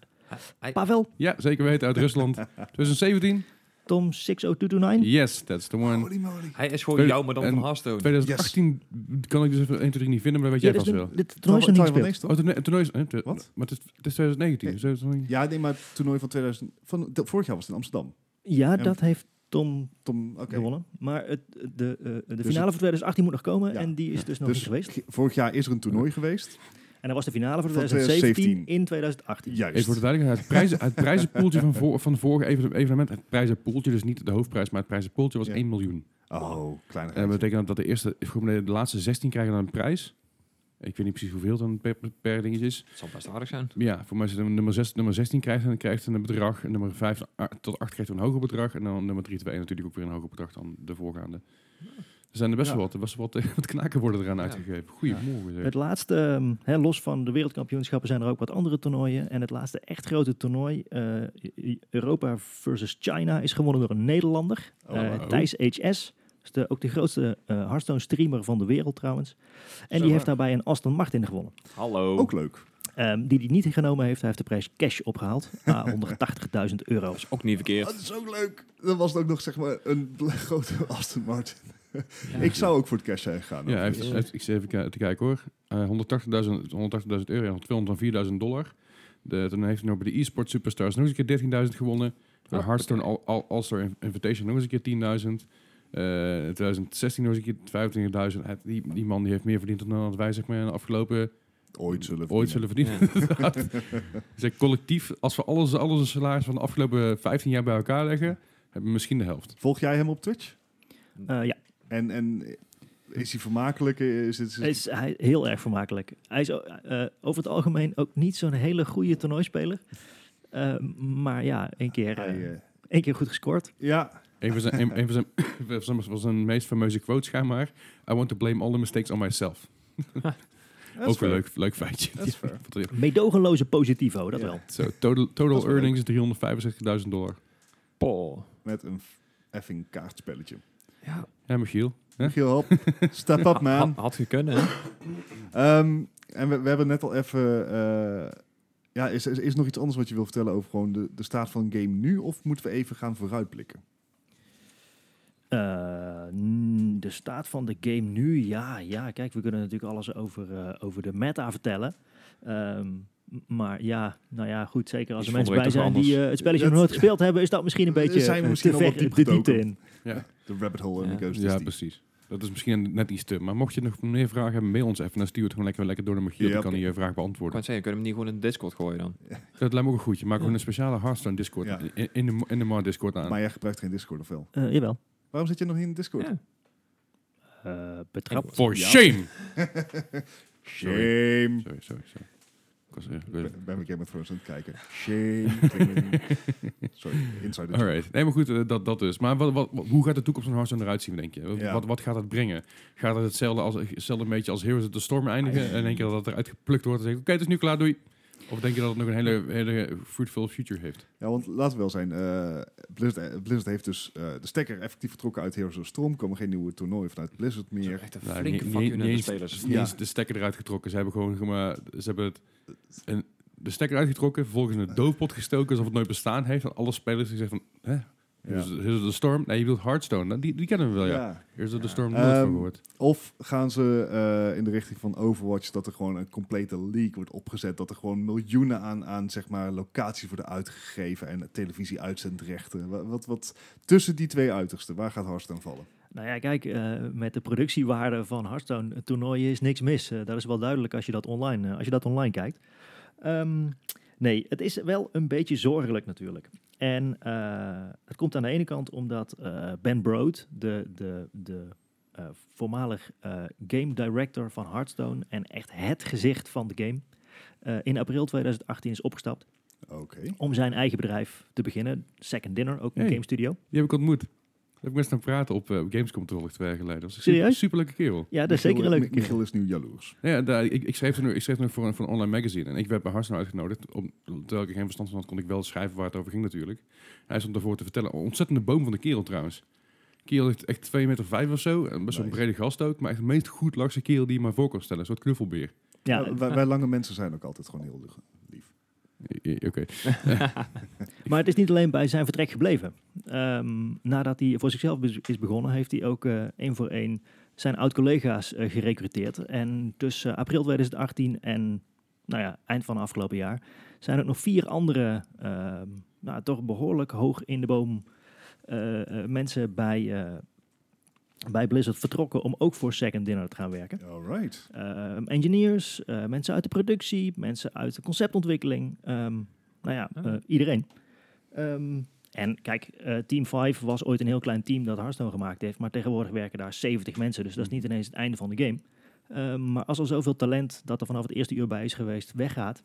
Speaker 1: Hij-
Speaker 4: Pavel.
Speaker 3: Ja, zeker weten, uit Rusland. 2017.
Speaker 4: Tom 60229.
Speaker 3: Yes, that's the one.
Speaker 4: Oh,
Speaker 2: Holy moly.
Speaker 1: Hij is gewoon
Speaker 3: Tweede-
Speaker 1: jou, maar dan
Speaker 3: en-
Speaker 1: van Hearthstone.
Speaker 3: 2018 kan ik dus even 1, 2, 3 niet vinden, maar weet jij
Speaker 4: dit
Speaker 3: vast
Speaker 4: is
Speaker 3: wel.
Speaker 4: een- dit toernooi is nog niet
Speaker 2: Toernooi
Speaker 4: gespeeld.
Speaker 2: van
Speaker 3: Oh, toernooi- toernooi is... eh, te-
Speaker 2: Wat?
Speaker 3: Maar het is, het is 2019. dus het is nog niet-
Speaker 2: Ja, nee, maar het toernooi van 2000... Van, de- vorig jaar was het in Amsterdam.
Speaker 4: Ja,
Speaker 2: Ja.
Speaker 4: dat heeft Tom
Speaker 2: Tom, oké.
Speaker 4: gewonnen. Maar het, de, eh, de
Speaker 2: Dus het-
Speaker 4: finale voor 2018 moet nog komen
Speaker 2: Ja.
Speaker 4: en die is dus nog
Speaker 2: Dus
Speaker 4: niet geweest.
Speaker 2: ge- vorig jaar is er een toernooi geweest.
Speaker 4: En dat was de finale
Speaker 2: Van
Speaker 4: voor 2017,
Speaker 2: 2017.
Speaker 4: in 2018.
Speaker 2: Juist.
Speaker 3: Even voor de duidelijkheid, het, prijzen, het prijzenpoeltje van, voor, van vorige even- evenement, het prijzenpoeltje, dus niet de hoofdprijs, maar het prijzenpoeltje was
Speaker 2: Ja.
Speaker 3: 1 miljoen.
Speaker 2: Oh, kleine
Speaker 3: En dat betekent dat de, eerste, de laatste 16 krijgen dan een prijs. Ik weet niet precies hoeveel dan per, per dingetje is.
Speaker 1: Het zal best aardig zijn.
Speaker 3: Maar Ja, voor mij is het nummer, 6, nummer 16 krijgt en dan krijgt een bedrag. En nummer 5 tot 8 krijgt een hoger bedrag. En dan nummer 3 tot 1 natuurlijk ook weer een hoger bedrag dan de voorgaande. Er zijn er best
Speaker 2: Ja.
Speaker 3: wel wat, er was wat, eh, wat knaken worden eraan
Speaker 1: Ja.
Speaker 3: uitgegeven. Goedemorgen. zeg.
Speaker 4: Het laatste, ehm, hè, los van de wereldkampioenschappen, zijn er ook wat andere toernooien. En het laatste echt grote toernooi, eh, Europa versus China, is gewonnen door een Nederlander.
Speaker 2: Oh,
Speaker 4: eh,
Speaker 3: wauw.
Speaker 4: Thijs HS. Is de, ook de grootste eh Hearthstone streamer van de wereld trouwens. En die
Speaker 2: maar.
Speaker 4: heeft daarbij een Aston Martin gewonnen.
Speaker 1: Hallo.
Speaker 2: Ook leuk.
Speaker 4: Ehm, die hij niet genomen heeft, hij heeft de prijs cash opgehaald. Ah, 180.000 euro.
Speaker 1: Ook niet verkeerd.
Speaker 2: Oh, Dat is ook leuk. Dat was ook nog zeg maar een grote Aston Martin.
Speaker 1: Ja.
Speaker 2: Ik zou ook voor het cash zijn gegaan.
Speaker 3: Ja, hij heeft,
Speaker 2: overigens.
Speaker 3: hij heeft- ik zit even ki- te kijken hoor. Eh, 180.000 180.000 euro en 204.000 dollar. De, toen heeft hij nog bij de e-sport superstars nog eens een keer 13.000 gewonnen. Bij de
Speaker 1: Oh,
Speaker 3: Hearthstone All- All- All-Star Inv- Invitation nog eens een keer 10.000. Eh, in 2016 nog eens een keer 25.000. Hij- Die, die man die heeft meer verdiend dan dat wij zeg maar, in de afgelopen
Speaker 2: ooit zullen we
Speaker 3: ooit zullen verdienen. inderdaad. Dus ik collectief, als we alles, alles een salaris van de afgelopen 15 jaar bij elkaar leggen, hebben we misschien de helft.
Speaker 2: Volg jij hem op Twitch?
Speaker 4: Eh, ja,
Speaker 2: En, en is hij vermakelijk? Is het, is het-
Speaker 4: Hij is hij, heel erg vermakelijk. Hij is o- eh, over het algemeen ook niet zo'n hele goede toernooispeler. Eh, maar ja, één keer, eh,
Speaker 2: hij, eh,
Speaker 4: één keer goed gescoord.
Speaker 2: ja,
Speaker 3: Een van zijn, een, een van zijn, van zijn- van zijn meest fameuze quotes, schijnbaar. I want to blame all the mistakes on myself.
Speaker 2: dat is
Speaker 3: Ook wel
Speaker 2: fair.
Speaker 3: leuk, leuk feitje.
Speaker 2: Dat is fair.
Speaker 3: Ja.
Speaker 4: Meedogenloze positivo, dat
Speaker 2: Ja.
Speaker 4: wel.
Speaker 3: Zo, total,
Speaker 2: Dat is
Speaker 3: total
Speaker 2: wel
Speaker 3: earnings 365.000 dollar.
Speaker 1: Paul.
Speaker 2: Met een f- effing kaartspelletje.
Speaker 1: Ja,
Speaker 3: Ja, Michiel. Hè?
Speaker 2: Michiel, help. Step up, man.
Speaker 1: Had, had gekund, hè?
Speaker 2: Ehm, en we, we hebben net al even... eh, ja, is, is, is nog iets anders wat je wil vertellen over gewoon de, de staat van game nu? Of moeten we even gaan vooruitblikken?
Speaker 4: Eh, mm, de staat van de game nu, ja, ja. Kijk, we kunnen natuurlijk alles over, eh, over de meta vertellen. Ehm, m- maar ja, nou ja, goed. Zeker als
Speaker 1: Ik
Speaker 4: er mensen
Speaker 1: vond
Speaker 4: bij
Speaker 1: het
Speaker 4: zijn
Speaker 1: toch
Speaker 4: die
Speaker 1: anders.
Speaker 4: eh, het spelletje nog
Speaker 2: Dat-
Speaker 4: nooit gespeeld hebben, is dat misschien een beetje
Speaker 2: Zijn we
Speaker 4: eh,
Speaker 2: misschien
Speaker 4: te
Speaker 2: al wat
Speaker 4: ver
Speaker 2: diep
Speaker 4: de diepte
Speaker 2: gedoken?
Speaker 4: in.
Speaker 2: De rabbit hole en
Speaker 1: Ja.
Speaker 2: de ghost is
Speaker 3: Ja,
Speaker 2: die.
Speaker 3: precies. Dat is misschien net iets te. Maar mocht je nog meer vragen hebben, mail ons even. Dan stuur het gewoon lekker, lekker door naar Michiel.
Speaker 2: Ja,
Speaker 3: Die kan
Speaker 2: oké.
Speaker 3: je vraag
Speaker 1: Ik
Speaker 3: beantwoorden.
Speaker 1: kan zeggen, kunnen we hem niet gewoon in de Discord gooien dan?
Speaker 3: Dat lijkt me ook een goedje. Maak gewoon een speciale Hearthstone Discord.
Speaker 2: Ja.
Speaker 3: In, in de, in de Mar Discord aan.
Speaker 2: Maar jij gebruikt geen Discord of wel?
Speaker 4: Eh, jawel.
Speaker 2: Waarom zit je nog niet in Discord?
Speaker 1: Ja.
Speaker 4: Eh, betrapt.
Speaker 3: For
Speaker 2: Ja.
Speaker 3: shame!
Speaker 2: Shame.
Speaker 3: Sorry, sorry, sorry. Ik was
Speaker 2: Ik
Speaker 3: er-
Speaker 2: ben bij mijn Game of Thrones aan het kijken. Shame. Sorry, insider. joke.
Speaker 3: Alright. Nee, maar goed, eh, dat, dat dus. Maar wat, wat, wat- hoe gaat de toekomst van Hearthstone eruit zien, denk je? Wat,
Speaker 2: Ja.
Speaker 3: wat, wat gaat het brengen? Gaat het hetzelfde, als, hetzelfde beetje als Heroes of the Storm
Speaker 2: Ah,
Speaker 3: eindigen? En denk je dat het eruit geplukt wordt en zegt, oké, het is nu klaar, doei. Of denk je dat het nog een hele, hele fruitful future heeft?
Speaker 2: Ja, want laten we wel zijn. eh, Blizzard, eh, Blizzard heeft dus eh, de stekker effectief getrokken uit Heroes of Storm. Komen geen nieuwe toernooien vanuit Blizzard
Speaker 1: Zo,
Speaker 2: meer.
Speaker 1: Echt een
Speaker 3: Nou,
Speaker 1: flinke
Speaker 3: niet-
Speaker 1: fuck
Speaker 3: niet-
Speaker 1: you naar
Speaker 3: niet
Speaker 1: de
Speaker 3: eens-
Speaker 1: spelers.
Speaker 3: niet
Speaker 2: Ja.
Speaker 3: eens de stekker eruit getrokken. Ze hebben gewoon, zeg maar, ze hebben het, een, de stekker uitgetrokken, vervolgens in het doofpot gestoken, alsof het nooit bestaan heeft. En alle spelers die zeggen van, hè? Heroes
Speaker 2: Ja.
Speaker 3: Heroes of the Storm? Nee, je wilt Hearthstone. Nou, die, die kennen we wel, Dus, ja.
Speaker 2: Ja.
Speaker 3: Heroes of the
Speaker 1: Ja.
Speaker 3: Storm, nooit van
Speaker 2: Ehm,
Speaker 3: gehoord.
Speaker 2: Of gaan ze eh, in de richting van Overwatch dat er gewoon een complete league wordt opgezet. Dat er gewoon miljoenen aan, aan zeg maar, locaties worden uitgegeven en televisie-uitzendrechten. Wat, wat, wat tussen die twee uitersten, waar gaat Hearthstone vallen?
Speaker 4: Nou ja, kijk, eh, met de productiewaarde van Hearthstone eh, toernooien is niks mis. Eh, dat is wel duidelijk als je dat online, eh, als je dat online kijkt. Ehm, nee, het is wel een beetje zorgelijk natuurlijk. En eh, het komt aan de ene kant omdat eh, Ben Broad, de, de, de eh, voormalig eh, game director van Hearthstone en echt het gezicht van de game, eh, in april 2018 is opgestapt
Speaker 2: Oké.
Speaker 4: om zijn eigen bedrijf te beginnen. Second Dinner, ook een
Speaker 3: Hey.
Speaker 4: game studio.
Speaker 3: Die heb ik ontmoet. Daar heb ik best aan praten op eh, Gamescom toevallig twee jaar geleden. Dat was een super,
Speaker 4: Serieus?
Speaker 3: superleuke kerel.
Speaker 4: Ja, dat is zeker een
Speaker 2: Michiel-
Speaker 4: leuke
Speaker 2: Mi-
Speaker 4: kerel.
Speaker 2: Michiel is nu jaloers.
Speaker 3: Nou Ja, daar, ik, ik schreef er nu, ik schreef er nog voor, een, voor een online magazine. En ik werd bij Harsen uitgenodigd. Om, terwijl ik er geen verstand van had, kon ik wel schrijven waar het over ging natuurlijk. En hij stond daarvoor te vertellen. Een ontzettende boom van de kerel trouwens. Kerel heeft echt 2 meter vijf of zo. En best wel een
Speaker 2: Nice.
Speaker 3: brede gast ook. Maar echt de meest goed lakse kerel die je maar voor kan stellen. Een soort knuffelbeer.
Speaker 4: Ja,
Speaker 2: Ja, wij, wij lange mensen zijn ook altijd gewoon heel lief.
Speaker 3: I- i- Oké.
Speaker 4: Maar het is niet alleen bij zijn vertrek gebleven. Ehm, nadat hij voor zichzelf bez- is begonnen, heeft hij ook eh, één voor één zijn oud-collega's eh, gerecruiteerd. En tussen april 2018 en nou ja, eind van het afgelopen jaar zijn er nog vier andere, ehm, nou, toch behoorlijk hoog in de boom eh, eh, mensen bij, eh, bij Blizzard vertrokken om ook voor Second Dinner te gaan werken.
Speaker 2: All right.
Speaker 4: Ehm, engineers, eh, mensen uit de productie, mensen uit de conceptontwikkeling. ehm, nou ja,
Speaker 1: Ah.
Speaker 4: eh, iedereen. Ehm, en kijk, eh, Team 5 was ooit een heel klein team dat Hearthstone gemaakt heeft. Maar tegenwoordig werken daar 70 mensen. Dus dat is niet ineens het einde van de game. Ehm, maar als al zoveel talent dat er vanaf het eerste uur bij is geweest weggaat,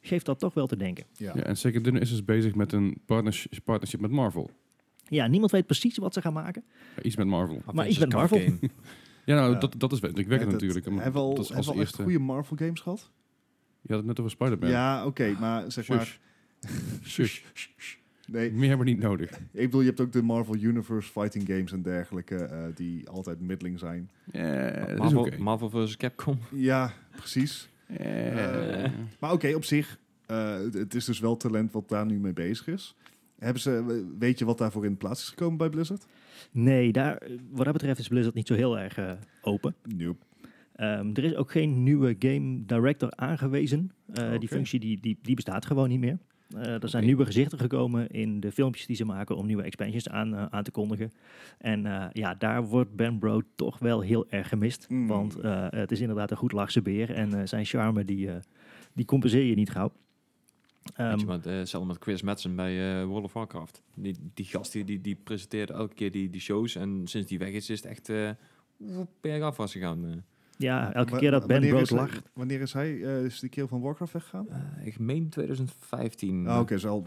Speaker 4: geeft dat toch wel te denken.
Speaker 2: Ja.
Speaker 3: Ja, en Second Dinner is dus bezig met een partnership, partnership met Marvel.
Speaker 4: Ja, niemand weet precies wat ze gaan maken.
Speaker 3: Ja, Iets met Marvel.
Speaker 4: Maar ik ben Marvel.
Speaker 1: Game.
Speaker 3: Ja, nou,
Speaker 2: Ja.
Speaker 3: dat, dat is ik
Speaker 2: Ja,
Speaker 3: wekker
Speaker 2: dat-
Speaker 3: natuurlijk. maar
Speaker 2: Hebben we al,
Speaker 3: dat is
Speaker 2: hebben we
Speaker 3: als
Speaker 2: al echt
Speaker 3: eerste.
Speaker 2: goede Marvel games gehad?
Speaker 3: Je had het net over Spider-Man.
Speaker 2: Ja, oké, maar zeg maar...
Speaker 3: Shush. Shush.
Speaker 2: Nee,
Speaker 3: Meer hebben we niet nodig.
Speaker 2: ik bedoel, je hebt ook de Marvel Universe fighting games en dergelijke, eh, die altijd middeling zijn.
Speaker 3: Ja, dat is
Speaker 1: Marvel,
Speaker 3: oké.
Speaker 1: Marvel vs. Capcom.
Speaker 2: Ja, precies.
Speaker 3: Ja.
Speaker 1: Eh.
Speaker 2: Maar oké, op zich, eh, het- het is dus wel talent wat daar nu mee bezig is. Hebben ze, weet je wat daarvoor in plaats is gekomen bij Blizzard?
Speaker 4: Nee, daar, eh, wat dat betreft is Blizzard niet zo heel erg eh, open.
Speaker 2: Nope.
Speaker 4: Ehm, er is ook geen nieuwe game director aangewezen. Eh,
Speaker 2: Oké.
Speaker 4: Die functie die, die, die bestaat gewoon niet meer. Eh, er zijn
Speaker 3: Oké.
Speaker 4: nieuwe gezichten gekomen in de filmpjes die ze maken om nieuwe expansions aan, eh, aan te kondigen. En eh, ja, daar wordt Ben Bro toch wel heel erg gemist.
Speaker 2: Mm.
Speaker 4: Want eh, het is inderdaad een goed lachse beer. En eh, zijn charme, die, eh, die compenseer je niet gauw. Ehm,
Speaker 1: Weet je wat, eh, hetzelfde met Chris Madsen bij eh, World of Warcraft. Die, die gast die, die, die presenteerde elke keer die, die shows. En sinds die weg is, is het echt eh woep, bergaf was gegaan. eh.
Speaker 4: ja, elke keer dat Ben Bro lacht.
Speaker 2: Wanneer is hij, eh, is die kerel van Warcraft weggegaan?
Speaker 1: Eh, ik meen 2015.
Speaker 2: Ah, oké, is al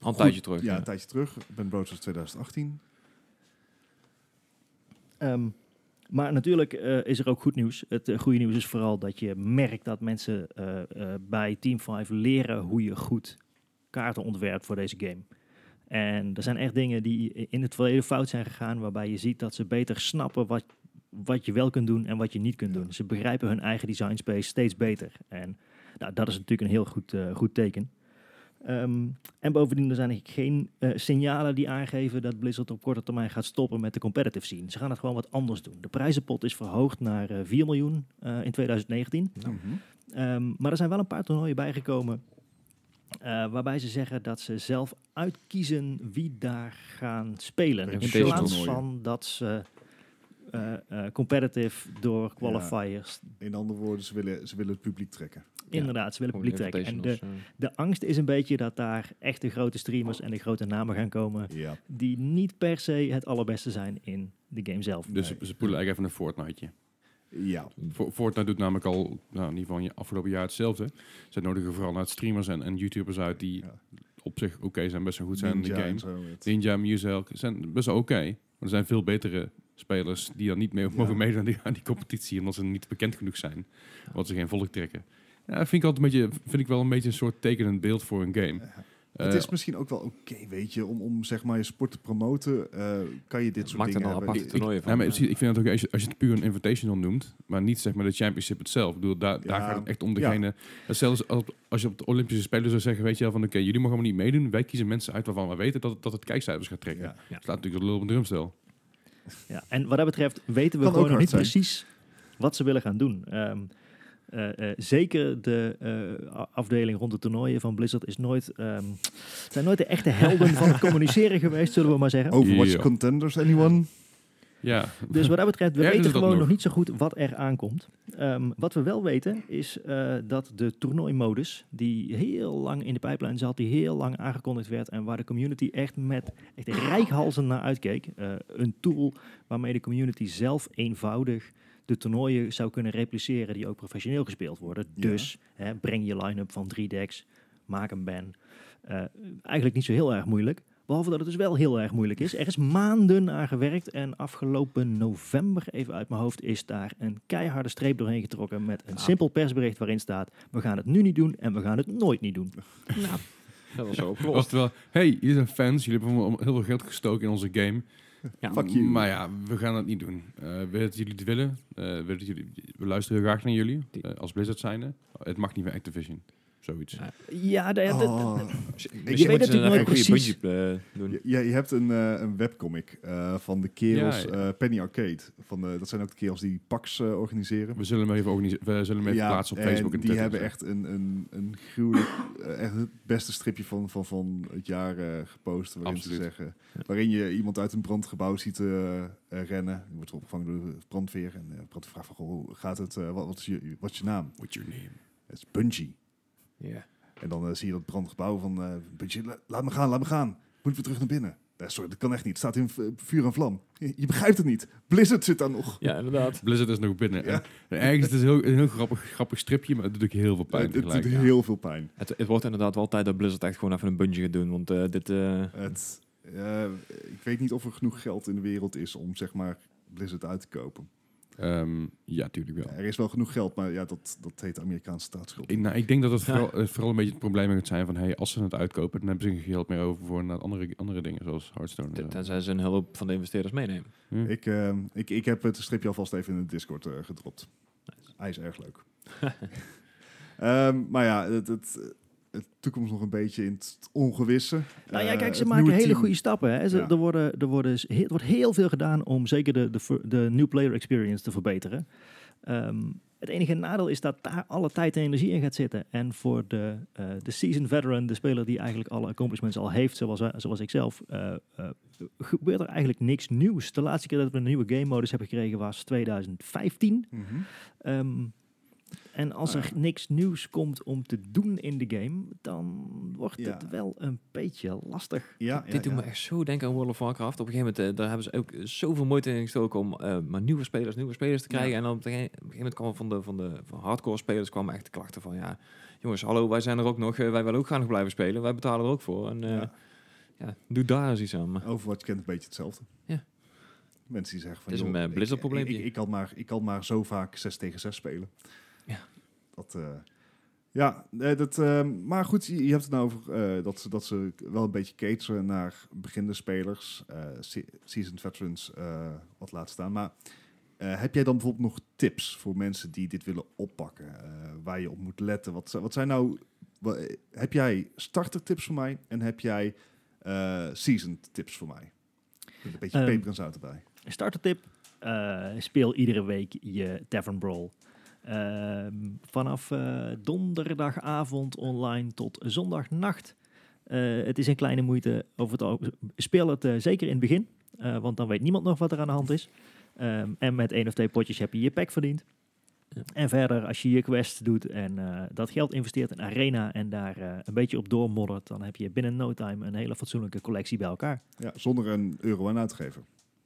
Speaker 1: Al een tijdje terug.
Speaker 2: ja,
Speaker 1: Ja,
Speaker 2: een tijdje terug. Ben Brood was 2018.
Speaker 4: Ehm, maar natuurlijk eh, is er ook goed nieuws. Het eh, goede nieuws is vooral dat je merkt dat mensen eh, eh, bij Team 5 leren hoe je goed kaarten ontwerpt voor deze game. En er zijn echt dingen die i- in het verleden fout zijn gegaan, waarbij je ziet dat ze beter snappen wat, wat je wel kunt doen en wat je niet kunt
Speaker 2: Ja.
Speaker 4: doen. Ze begrijpen hun eigen design space steeds beter. En nou, dat is natuurlijk een heel goed, eh, goed teken. Ehm, en bovendien er zijn eigenlijk geen eh, signalen die aangeven dat Blizzard op korte termijn gaat stoppen met de competitive scene. Ze gaan het gewoon wat anders doen. De prijzenpot is verhoogd naar eh, 4 miljoen eh, in 2019.
Speaker 2: Mhm.
Speaker 4: Ehm, maar er zijn wel een paar toernooien bijgekomen. eh, waarbij ze zeggen dat ze zelf uitkiezen wie daar gaan spelen.
Speaker 2: In
Speaker 4: In,
Speaker 1: deze
Speaker 4: plaats
Speaker 2: toernooien.
Speaker 4: van dat ze eh, eh, competitive door qualifiers.
Speaker 2: In andere woorden, ze willen, ze willen het publiek trekken.
Speaker 4: Inderdaad, ze willen publiek trekken. En de,
Speaker 1: invitationals, eh.
Speaker 4: de angst is een beetje dat daar echt de grote streamers en de grote namen gaan komen.
Speaker 2: Ja.
Speaker 4: die niet per se het allerbeste zijn in de game zelf.
Speaker 3: Dus
Speaker 2: Nee.
Speaker 3: ze poelen eigenlijk even een Fortniteje.
Speaker 2: Ja.
Speaker 3: Fo- Fortnite doet namelijk al, nou, in ieder geval in je afgelopen jaar hetzelfde. Ze nodigen vooral uit streamers en, en YouTubers uit die
Speaker 2: Ja.
Speaker 3: op zich oké zijn, best wel goed zijn in
Speaker 2: Ninja
Speaker 3: de
Speaker 2: en
Speaker 3: game.
Speaker 2: zo, het-
Speaker 3: Ninja, Muzel zijn best wel oké. Maar er zijn veel betere spelers die dan niet mee
Speaker 2: Ja.
Speaker 3: mogen meedoen aan die, aan die competitie. Omdat ze niet bekend genoeg zijn. Wat ze geen volk trekken. Ja, dat vind ik altijd een beetje, vind ik wel een beetje een soort tekenend beeld voor een game.
Speaker 2: Ja.
Speaker 3: Eh,
Speaker 2: het is misschien ook wel oké, weet je, om, om zeg maar je sport te promoten, eh, kan je dit soort
Speaker 1: Maakt er
Speaker 2: dingen
Speaker 1: nou
Speaker 2: hebben.
Speaker 1: aparte toernooien
Speaker 3: ja,
Speaker 1: van.
Speaker 3: maar
Speaker 1: eh.
Speaker 3: precies, ik vind het ook, als je, als je het puur een invitational noemt, maar niet zeg maar de championship het zelf. Ik bedoel, daar, daar
Speaker 2: Ja.
Speaker 3: gaat het echt om
Speaker 2: Ja.
Speaker 3: degene. Zelfs als, als je op de Olympische Spelen zou zeggen, weet je wel, van oké, jullie mogen allemaal niet meedoen. Wij kiezen mensen uit waarvan we weten dat, het- dat het kijkcijfers gaat trekken.
Speaker 2: Ja.
Speaker 3: Dat slaat natuurlijk de lul op een drumstel.
Speaker 4: Ja, en wat dat betreft weten we
Speaker 2: Kan ook
Speaker 4: gewoon nog
Speaker 2: hard
Speaker 4: niet
Speaker 2: zijn.
Speaker 4: precies wat ze willen gaan doen. Ehm, eh, eh, zeker de eh, a- afdeling rond de toernooien van Blizzard is nooit, ehm, zijn nooit de echte helden van het communiceren geweest, zullen we maar zeggen.
Speaker 2: Overwatch
Speaker 3: Ja.
Speaker 2: contenders, anyone?
Speaker 3: Ja,
Speaker 4: Dus wat dat betreft, we
Speaker 3: Ergens
Speaker 4: weten
Speaker 3: is dat
Speaker 4: gewoon nog.
Speaker 3: nog.
Speaker 4: niet zo goed wat er aankomt. Ehm, wat we wel weten is eh, dat de toernooimodus, die heel lang in de pijplijn zat, die heel lang aangekondigd werd en waar de community echt met echt rijkhalzen naar uitkeek. eh, een tool waarmee de community zelf eenvoudig de toernooien zou kunnen repliceren die ook professioneel gespeeld worden.
Speaker 2: Ja.
Speaker 4: Dus hè, breng je line-up van drie decks, maak een ban. Eh, eigenlijk niet zo heel erg moeilijk. Behalve dat het dus wel heel erg moeilijk is. Er is maanden aan gewerkt en afgelopen november, even uit mijn hoofd, is daar een keiharde streep doorheen getrokken met een
Speaker 1: Ah.
Speaker 4: simpel persbericht waarin staat: we gaan het nu niet doen en we gaan het nooit niet doen.
Speaker 1: Dat was
Speaker 3: was
Speaker 1: zo opgelost.
Speaker 3: het wel, hey, jullie zijn fans, jullie hebben allemaal heel veel geld gestoken in onze game.
Speaker 1: Ja.
Speaker 2: Fuck you.
Speaker 3: Maar ja, we gaan dat niet doen. Eh we weten dat jullie het willen. Eh, we, weten dat jullie, we luisteren heel graag naar jullie.
Speaker 1: Die-
Speaker 3: eh, als Blizzard zijnde. Het mag niet van Activision. Zoiets.
Speaker 1: Ja.
Speaker 4: Ja, dat- dat-
Speaker 2: Oh.
Speaker 1: Misschien
Speaker 2: weet
Speaker 1: moeten
Speaker 4: het
Speaker 1: ze
Speaker 4: natuurlijk
Speaker 1: eh, een
Speaker 4: nooit
Speaker 1: goede
Speaker 4: precies.
Speaker 1: bungee, eh, doen.
Speaker 2: Je, je hebt een, eh, een webcomic eh, van de kerels
Speaker 3: Ja,
Speaker 2: eh, Penny Arcade. Van de, dat zijn ook de kerels die PAX eh, organiseren.
Speaker 3: We zullen hem even, organise- we zullen hem even plaatsen op
Speaker 2: en
Speaker 3: Facebook. en
Speaker 2: die
Speaker 3: Twitter.
Speaker 2: hebben echt een, een, een gruwelijk, eh, echt het beste stripje van, van, van het jaar eh, gepost. Waarin, ze
Speaker 3: Absoluut.
Speaker 2: zeggen, waarin je iemand uit een brandgebouw ziet eh, eh, rennen. Die wordt opgevangen door de brandweer. En de brandweer vraagt van, "Goh, hoe gaat het, eh, wat, wat, is je, wat is je naam?
Speaker 3: What's your name?
Speaker 2: Het is Bungie.
Speaker 1: Ja.
Speaker 2: En dan eh, zie je dat brandgebouw van, eh Bungie, la- laat me gaan, laat me gaan. Moet weer terug naar binnen. Nee, sorry, dat kan echt niet. Het staat in v- vuur en vlam. Je, je begrijpt het niet. Blizzard zit daar nog.
Speaker 1: ja, inderdaad.
Speaker 3: Blizzard is nog binnen.
Speaker 2: Ja.
Speaker 3: En ergens is het heel, een heel grappig, grappig stripje, maar het doet ook heel veel pijn
Speaker 2: Het het doet
Speaker 3: tegelijk.
Speaker 2: heel veel pijn.
Speaker 1: Het, het wordt inderdaad wel tijd dat Blizzard echt gewoon even een bungee gaat doen. Want eh, dit... eh,
Speaker 2: Het, eh, ik weet niet of er genoeg geld in de wereld is om zeg maar Blizzard uit te kopen.
Speaker 3: Ehm, ja, tuurlijk wel.
Speaker 2: Er is wel genoeg geld, maar ja, dat, dat heet Amerikaanse staatsschuld.
Speaker 3: Ik, nou, ik denk dat het
Speaker 1: Ja.
Speaker 3: vooral, eh, vooral een beetje het probleem gaat zijn van... Hey, als ze het uitkopen, dan hebben ze geen geld meer over voor naar andere, andere dingen, zoals Hearthstone.
Speaker 1: ten-
Speaker 3: En zo.
Speaker 1: Tenzij ze een hulp van de investeerders meenemen.
Speaker 3: Ja.
Speaker 2: Ik, eh, ik, ik heb het stripje alvast even in de Discord eh, gedropt. Hij is erg leuk. Ehm, maar ja, het, het, het toekomst nog een beetje in het ongewisse.
Speaker 4: Nou ja,
Speaker 2: Eh,
Speaker 4: kijk, ze
Speaker 2: het
Speaker 4: maken
Speaker 2: nieuwe
Speaker 4: hele
Speaker 2: team-
Speaker 4: goede stappen. Hè. Ze-
Speaker 2: Ja.
Speaker 4: er, worden, er, worden, s- he- er wordt heel veel gedaan om zeker de, de, ver- de new player experience te verbeteren. Ehm, het enige nadeel is dat daar alle tijd en energie in gaat zitten. En voor de, eh de seasoned veteran, de speler die eigenlijk alle accomplishments al heeft, zoals, wij- zoals ik zelf, eh, eh, gebeurt er eigenlijk niks nieuws. De laatste keer dat we een nieuwe game modus hebben gekregen was 2015.
Speaker 2: Mhm.
Speaker 4: Ehm, en als
Speaker 2: Ah,
Speaker 4: er niks nieuws komt om te doen in de game, dan wordt
Speaker 2: Ja.
Speaker 4: het wel een beetje lastig.
Speaker 2: Ja,
Speaker 1: dit
Speaker 2: ja,
Speaker 1: doet
Speaker 2: ja.
Speaker 1: me echt zo denken aan World of Warcraft. Op een gegeven moment eh, daar hebben ze ook zoveel moeite in gestoken om eh, maar nieuwe spelers, nieuwe spelers te
Speaker 2: Ja.
Speaker 1: krijgen. En dan op een gegeven moment kwam van de, van de van hardcore spelers kwam echt de klachten van ja, jongens, hallo, wij zijn er ook nog. eh, wij willen ook gaan nog blijven spelen. Wij betalen er ook voor. En eh,
Speaker 2: Ja.
Speaker 1: ja. doe daar eens iets aan. Maar
Speaker 2: Overwatch kent een beetje hetzelfde.
Speaker 1: Ja.
Speaker 2: Mensen die zeggen van...
Speaker 1: Het is een,
Speaker 2: joh,
Speaker 1: eh,
Speaker 2: ik-
Speaker 1: Blizzard-probleem
Speaker 2: Ik, ik,
Speaker 1: hier.
Speaker 2: ik kan maar, ik kan maar zo vaak 6 tegen 6 spelen.
Speaker 1: Ja.
Speaker 2: Dat, eh, ja, eh, dat, eh, maar goed, je, je hebt het nou over eh, dat, ze, dat ze wel een beetje cateren naar beginnende spelers. eh, se- seasoned veterans, eh, wat laat staan. Maar eh, heb jij dan bijvoorbeeld nog tips voor mensen die dit willen oppakken? eh, waar je op moet letten? Wat, zi- wat zijn nou... wa- eh, heb jij startertips voor mij? En heb jij eh seasoned tips voor mij? Met een beetje
Speaker 4: Ehm,
Speaker 2: peper en zout erbij.
Speaker 4: Startertip, eh, speel iedere week je Tavern Brawl. Ehm, vanaf eh, donderdagavond online tot zondagnacht. Eh, het is een kleine moeite. Over het, al- speel het eh, zeker in het begin, eh, want dan weet niemand nog wat er aan de hand is. Ehm, en met één of twee potjes heb je je pack verdiend.
Speaker 1: Ja.
Speaker 4: En verder, als je je quest doet en eh, dat geld investeert in Arena en daar eh, een beetje op doormoddert, dan heb je binnen no time een hele fatsoenlijke collectie bij elkaar
Speaker 2: Ja, zonder een euro aan uit te geven.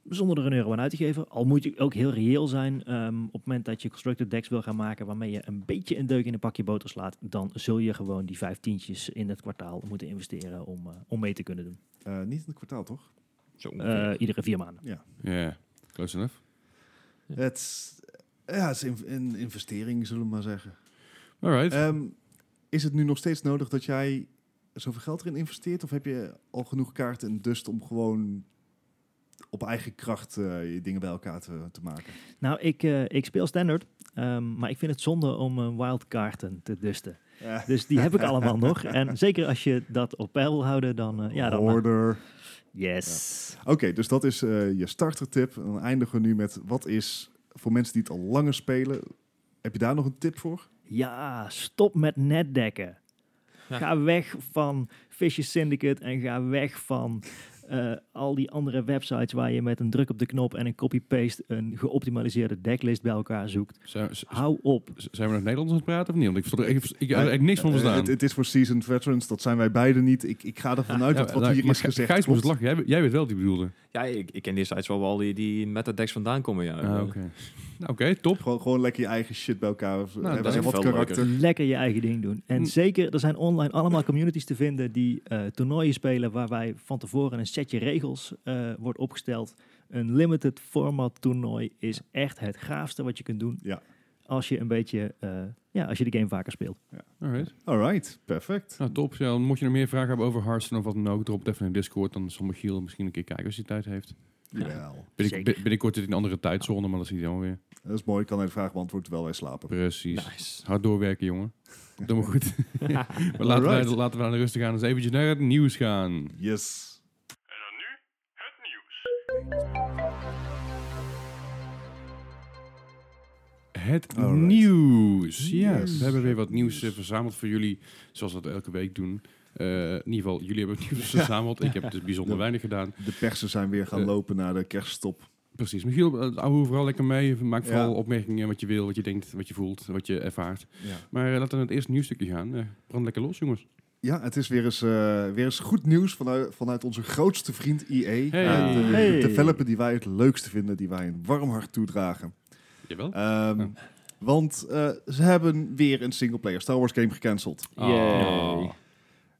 Speaker 4: zonder er een euro aan uit te geven. Al moet je ook heel reëel zijn. ehm, op het moment dat je constructed decks wil gaan maken waarmee je een beetje een deuk in een pakje boter slaat, dan zul je gewoon die vijf tientjes in het kwartaal moeten investeren om, eh, om mee te kunnen doen.
Speaker 2: Eh, niet in het kwartaal, toch?
Speaker 1: zo
Speaker 4: Eh,
Speaker 1: ongeveer.
Speaker 4: iedere vier maanden.
Speaker 3: Ja, close enough.
Speaker 2: Het, is- eh, ja, het is in- een investering, zullen we maar zeggen.
Speaker 3: Alright.
Speaker 2: Ehm, is het nu nog steeds nodig dat jij zoveel geld erin investeert? Of heb je al genoeg kaarten en dust om gewoon op eigen kracht eh, je dingen bij elkaar te, te maken?
Speaker 4: Nou, ik, eh, ik speel standard, ehm, maar ik vind het zonde om een wildkaarten te dusten.
Speaker 2: Eh,
Speaker 4: Dus die heb ik allemaal nog. En zeker als je dat op peil wil houden, dan eh, ja, dan maar.
Speaker 2: Hoarder.
Speaker 4: Yes.
Speaker 2: Oké, dus dat is eh, je startertip. En dan eindigen we nu met wat is voor mensen die het al langer spelen. Heb je daar nog een tip voor?
Speaker 4: Ja, stop met netdekken.
Speaker 1: Ja.
Speaker 4: Ga weg van Fishers Syndicate en ga weg van eh, al die andere websites waar je met een druk op de knop en een copy-paste een geoptimaliseerde decklist bij elkaar zoekt.
Speaker 3: Zijn, z- z-
Speaker 4: Hou op.
Speaker 3: zijn we nog Nederlands aan het praten of niet? Want ik, verstond er echt- ik, had er
Speaker 2: Eh,
Speaker 3: echt niks van
Speaker 2: eh,
Speaker 3: verstaan.
Speaker 2: het, het is voor seasoned veterans, dat zijn wij beiden niet. Ik, ik ga ervan uit dat
Speaker 3: Ja,
Speaker 2: wat
Speaker 3: nou,
Speaker 2: hier
Speaker 3: maar
Speaker 2: is
Speaker 3: Gij-
Speaker 2: gezegd
Speaker 3: Gijs
Speaker 2: klopt.
Speaker 3: moest lachen. Jij, jij weet wel wat ik bedoelde.
Speaker 1: ja, ik, ik ken die sites wel al die, die met de decks vandaan komen. Ja.
Speaker 3: Ah,
Speaker 1: Eh,
Speaker 3: Oké, Nou, oké, top.
Speaker 2: Gewoon, gewoon lekker je eigen shit bij elkaar. eh,
Speaker 3: Nou,
Speaker 2: hebben
Speaker 1: dat is
Speaker 2: wat
Speaker 1: veel leuker.
Speaker 2: karakter.
Speaker 4: Lekker je eigen ding doen. En
Speaker 3: Hm.
Speaker 4: zeker, er zijn online allemaal communities te vinden die eh, toernooien spelen waar wij van tevoren een setje regels eh, wordt opgesteld. Een limited format toernooi is echt het gaafste wat je kunt doen
Speaker 2: Ja.
Speaker 4: als je een beetje, eh, ja, als je de game vaker speelt.
Speaker 3: Alright.
Speaker 2: Alright, perfect.
Speaker 3: Nou, top. Ja, dan mocht je nog meer vragen hebben over Hearthstone of wat dan ook, drop het even in Discord. Dan zal Michiel misschien een keer kijken als hij tijd heeft.
Speaker 2: Jawel.
Speaker 3: Ben ik,
Speaker 4: Zeker.
Speaker 3: ben- binnenkort zit ik in een andere tijdzone, maar dat zie je dan weer.
Speaker 2: Dat is mooi. Ik kan even vraag beantwoorden terwijl wij slapen.
Speaker 3: Precies.
Speaker 2: Nou.
Speaker 1: Nice.
Speaker 3: Hard doorwerken, jongen. Doe maar goed. maar laten, wij,
Speaker 2: Alright.
Speaker 3: laten we aan de rustig aan eens eventjes naar het nieuws gaan.
Speaker 2: Yes.
Speaker 3: Het
Speaker 2: Alright.
Speaker 3: nieuws. Ja,
Speaker 2: Yes.
Speaker 3: we hebben weer wat nieuws eh, verzameld voor jullie, zoals we dat elke week doen. Eh, in ieder geval, jullie hebben het nieuws verzameld. Ik heb dus bijzonder
Speaker 2: Ja.
Speaker 3: weinig gedaan.
Speaker 2: De persen zijn weer gaan
Speaker 3: Eh.
Speaker 2: lopen naar de kerststop.
Speaker 3: Precies. Michiel, eh, hou vooral lekker mee. Maak
Speaker 2: Ja.
Speaker 3: vooral opmerkingen wat je wil, wat je denkt, wat je voelt, wat je ervaart.
Speaker 2: Ja.
Speaker 3: Maar eh, laten we naar het eerste nieuwsstukje gaan. Eh, brand lekker los, jongens.
Speaker 2: Ja, het is weer eens, eh, weer eens goed nieuws vanuit, vanuit onze grootste vriend EA.
Speaker 3: Hey.
Speaker 2: Ja, de, de
Speaker 4: Hey.
Speaker 2: developer die wij het leukste vinden, die wij een warm hart toedragen.
Speaker 3: Jawel.
Speaker 2: Ehm,
Speaker 3: Ja.
Speaker 2: Want eh, ze hebben weer een singleplayer Star Wars game gecanceld.
Speaker 3: Ah.
Speaker 4: Yay.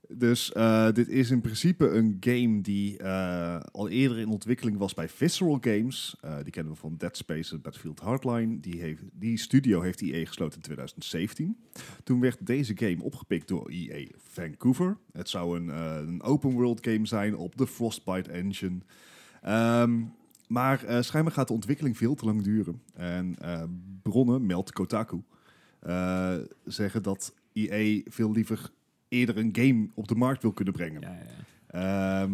Speaker 2: Dus eh, dit is in principe een game die eh, al eerder in ontwikkeling was bij Visceral Games. Eh, die kennen we van Dead Space en Battlefield Hardline. Die, heeft, die studio heeft EA gesloten in 2017. Toen werd deze game opgepikt door EA Vancouver. Het zou een, eh, een open world game zijn op de Frostbite engine. Ehm, maar eh, schijnbaar gaat de ontwikkeling veel te lang duren. En eh, bronnen, meldt Kotaku, eh, zeggen dat EA veel liever eerder een game op de markt wil kunnen brengen.
Speaker 1: Ja, ja.
Speaker 2: Ehm,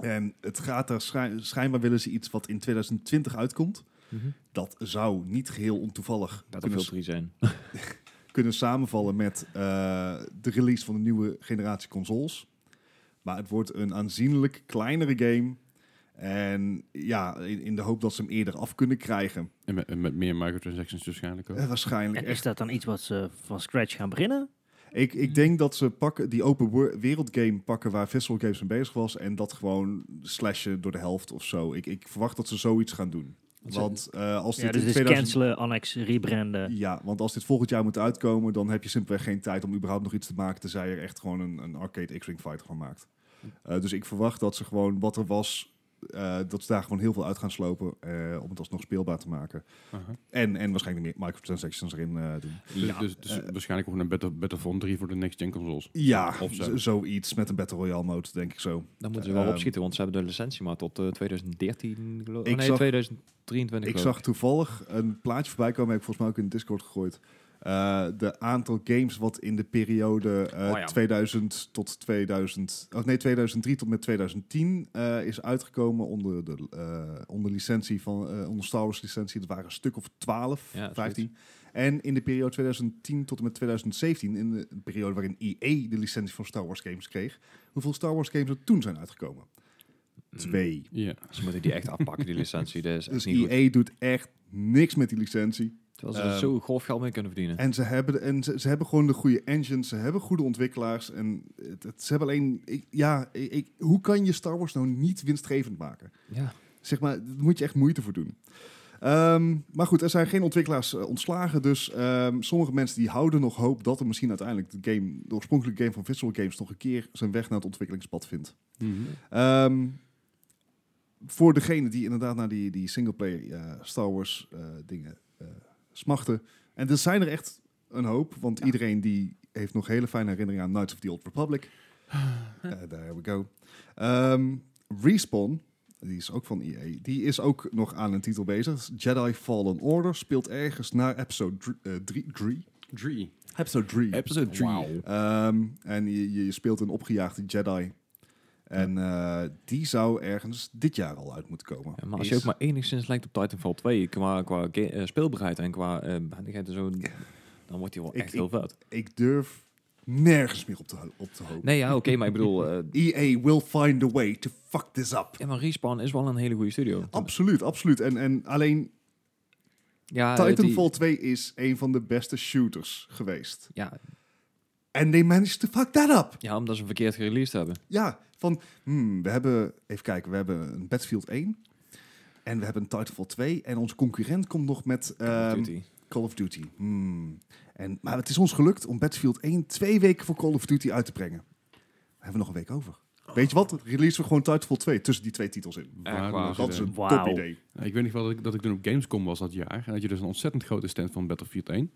Speaker 2: en het gaat daar schijn- schijnbaar willen ze iets wat in 2020 uitkomt. Dat zou niet geheel ontoevallig kunnen,
Speaker 1: Battlefield 3 Mhm. zijn.
Speaker 2: kunnen samenvallen met eh, de release van de nieuwe generatie consoles. Maar het wordt een aanzienlijk kleinere game. En ja, in, in de hoop dat ze hem eerder af kunnen krijgen.
Speaker 3: En met, en met meer microtransactions waarschijnlijk ook.
Speaker 2: Eh, waarschijnlijk
Speaker 4: En
Speaker 2: echt.
Speaker 4: is dat dan iets wat ze van scratch gaan beginnen?
Speaker 2: Ik, ik denk dat ze pakken, die open wor- wereld game pakken waar Vessel Games mee bezig was. En dat gewoon slashen door de helft of zo. Ik, ik verwacht dat ze zoiets gaan doen.
Speaker 1: Want ze-
Speaker 2: Want eh, als dit
Speaker 4: Ja, dus
Speaker 2: in
Speaker 4: het is
Speaker 2: 2000
Speaker 4: cancelen, annex, rebranden.
Speaker 2: Ja, want als dit volgend jaar moet uitkomen, dan heb je simpelweg geen tijd om überhaupt nog iets te maken, tenzij je er echt gewoon een, een arcade X-Wing fighter van maakt. Eh, dus ik verwacht dat ze gewoon wat er was, eh, dat ze daar gewoon heel veel uit gaan slopen eh, om het alsnog speelbaar te maken.
Speaker 3: Aha.
Speaker 2: En, en waarschijnlijk meer microtransactions erin eh, doen.
Speaker 3: Dus, dus, dus waarschijnlijk gewoon een Battle, Battlefront 3 voor de next-gen consoles.
Speaker 2: Ja,
Speaker 3: Of zo.
Speaker 2: z- zoiets met een Battle Royale mode, denk ik zo.
Speaker 1: Dan moeten ze wel
Speaker 2: Ehm,
Speaker 1: opschieten, want ze hebben de licentie maar tot eh, 2013, geloof
Speaker 2: Ik
Speaker 1: oh, nee,
Speaker 2: zag-
Speaker 1: 2023
Speaker 2: Ik
Speaker 1: geloof
Speaker 2: zag toevallig een plaatje voorbij komen, heb ik volgens mij ook in de Discord gegooid. Eh, de aantal games wat in de periode eh,
Speaker 1: Oh ja.
Speaker 2: 2000 tot 2000, of nee, 2003 tot met 2010 eh, is uitgekomen onder de eh, onder licentie van eh, onder Star Wars licentie. Dat waren een stuk of 12,
Speaker 1: Ja, zoiets.
Speaker 2: 15. En in de periode 2010 tot en met 2017, in de periode waarin EA de licentie van Star Wars games kreeg, hoeveel Star Wars games er toen zijn uitgekomen?
Speaker 1: Mm.
Speaker 2: Twee.
Speaker 3: Ja.
Speaker 1: Ze moeten die echt afpakken, die licentie. Dat is echt
Speaker 2: Dus
Speaker 1: niet goed.
Speaker 2: EA doet echt niks met die licentie.
Speaker 1: Terwijl ze er
Speaker 2: Ehm,
Speaker 1: zo grof geld mee kunnen verdienen.
Speaker 2: En ze hebben, en ze, ze hebben gewoon de goede engines, ze hebben goede ontwikkelaars. En het, het- ze hebben alleen. Ik, ja, ik, ik- hoe kan je Star Wars nou niet winstgevend maken?
Speaker 1: ja.
Speaker 2: Zeg maar, daar moet je echt moeite voor doen. Ehm, maar goed, er zijn geen ontwikkelaars eh, ontslagen. Dus ehm, sommige mensen die houden nog hoop dat er misschien uiteindelijk de, game, de oorspronkelijke game van Visceral Games nog een keer zijn weg naar het ontwikkelingspad vindt.
Speaker 3: Mhm.
Speaker 2: Ehm, voor degene die inderdaad naar die, die singleplayer eh, Star Wars eh, dingen eh, smachten. En er zijn er echt een hoop, want iedereen die heeft nog hele fijne herinneringen aan Knights of the Old Republic. Eh, there we go. Ehm, Respawn, die is ook van EA, die is ook nog aan een titel bezig. Jedi Fallen Order speelt ergens na episode eh, 3.
Speaker 3: Drie.
Speaker 2: episode 3.
Speaker 3: Episode 3.
Speaker 2: Ehm, en je, je- je speelt een opgejaagde Jedi. En eh, die zou ergens dit jaar al uit moeten komen.
Speaker 1: Ja, maar als je ook maar enigszins lijkt op Titanfall 2, qua, qua ga- eh, speelbaarheid en qua eh behendigheid en zo, dan wordt hij wel
Speaker 2: Ik-
Speaker 1: echt heel vet.
Speaker 2: Ik durf nergens meer op te, ho- op te hopen.
Speaker 1: Nee, ja, oké, maar ik bedoel, eh,
Speaker 2: EA will find a way to fuck this up.
Speaker 1: ja, maar Respawn is wel een hele goede studio.
Speaker 2: Absoluut, absoluut. En, en alleen
Speaker 1: Ja, eh, die-
Speaker 2: Titanfall 2 is een van de beste shooters geweest.
Speaker 1: ja,
Speaker 2: En they managed to fuck that up.
Speaker 1: ja, omdat ze hem verkeerd gereleased hebben.
Speaker 2: Ja, van hmm, we hebben, even kijken, we hebben een Battlefield 1. En we hebben een Titanfall 2. En onze concurrent komt nog met...
Speaker 1: Call of
Speaker 2: ehm,
Speaker 1: Duty.
Speaker 2: Call of Duty. Hmm. En, maar het is ons gelukt om Battlefield 1 twee weken voor Call of Duty uit te brengen. We hebben nog een week over. Weet je wat? Release we gewoon Titanfall 2 tussen die twee titels in.
Speaker 1: waar.
Speaker 3: Waardeloos
Speaker 2: Dat is
Speaker 3: idee.
Speaker 2: een
Speaker 4: Wauw.
Speaker 2: top idee.
Speaker 3: Nou, ik weet nog wel dat ik, dat ik toen op Gamescom was dat jaar. En dat je dus een ontzettend grote stand van Battlefield 1.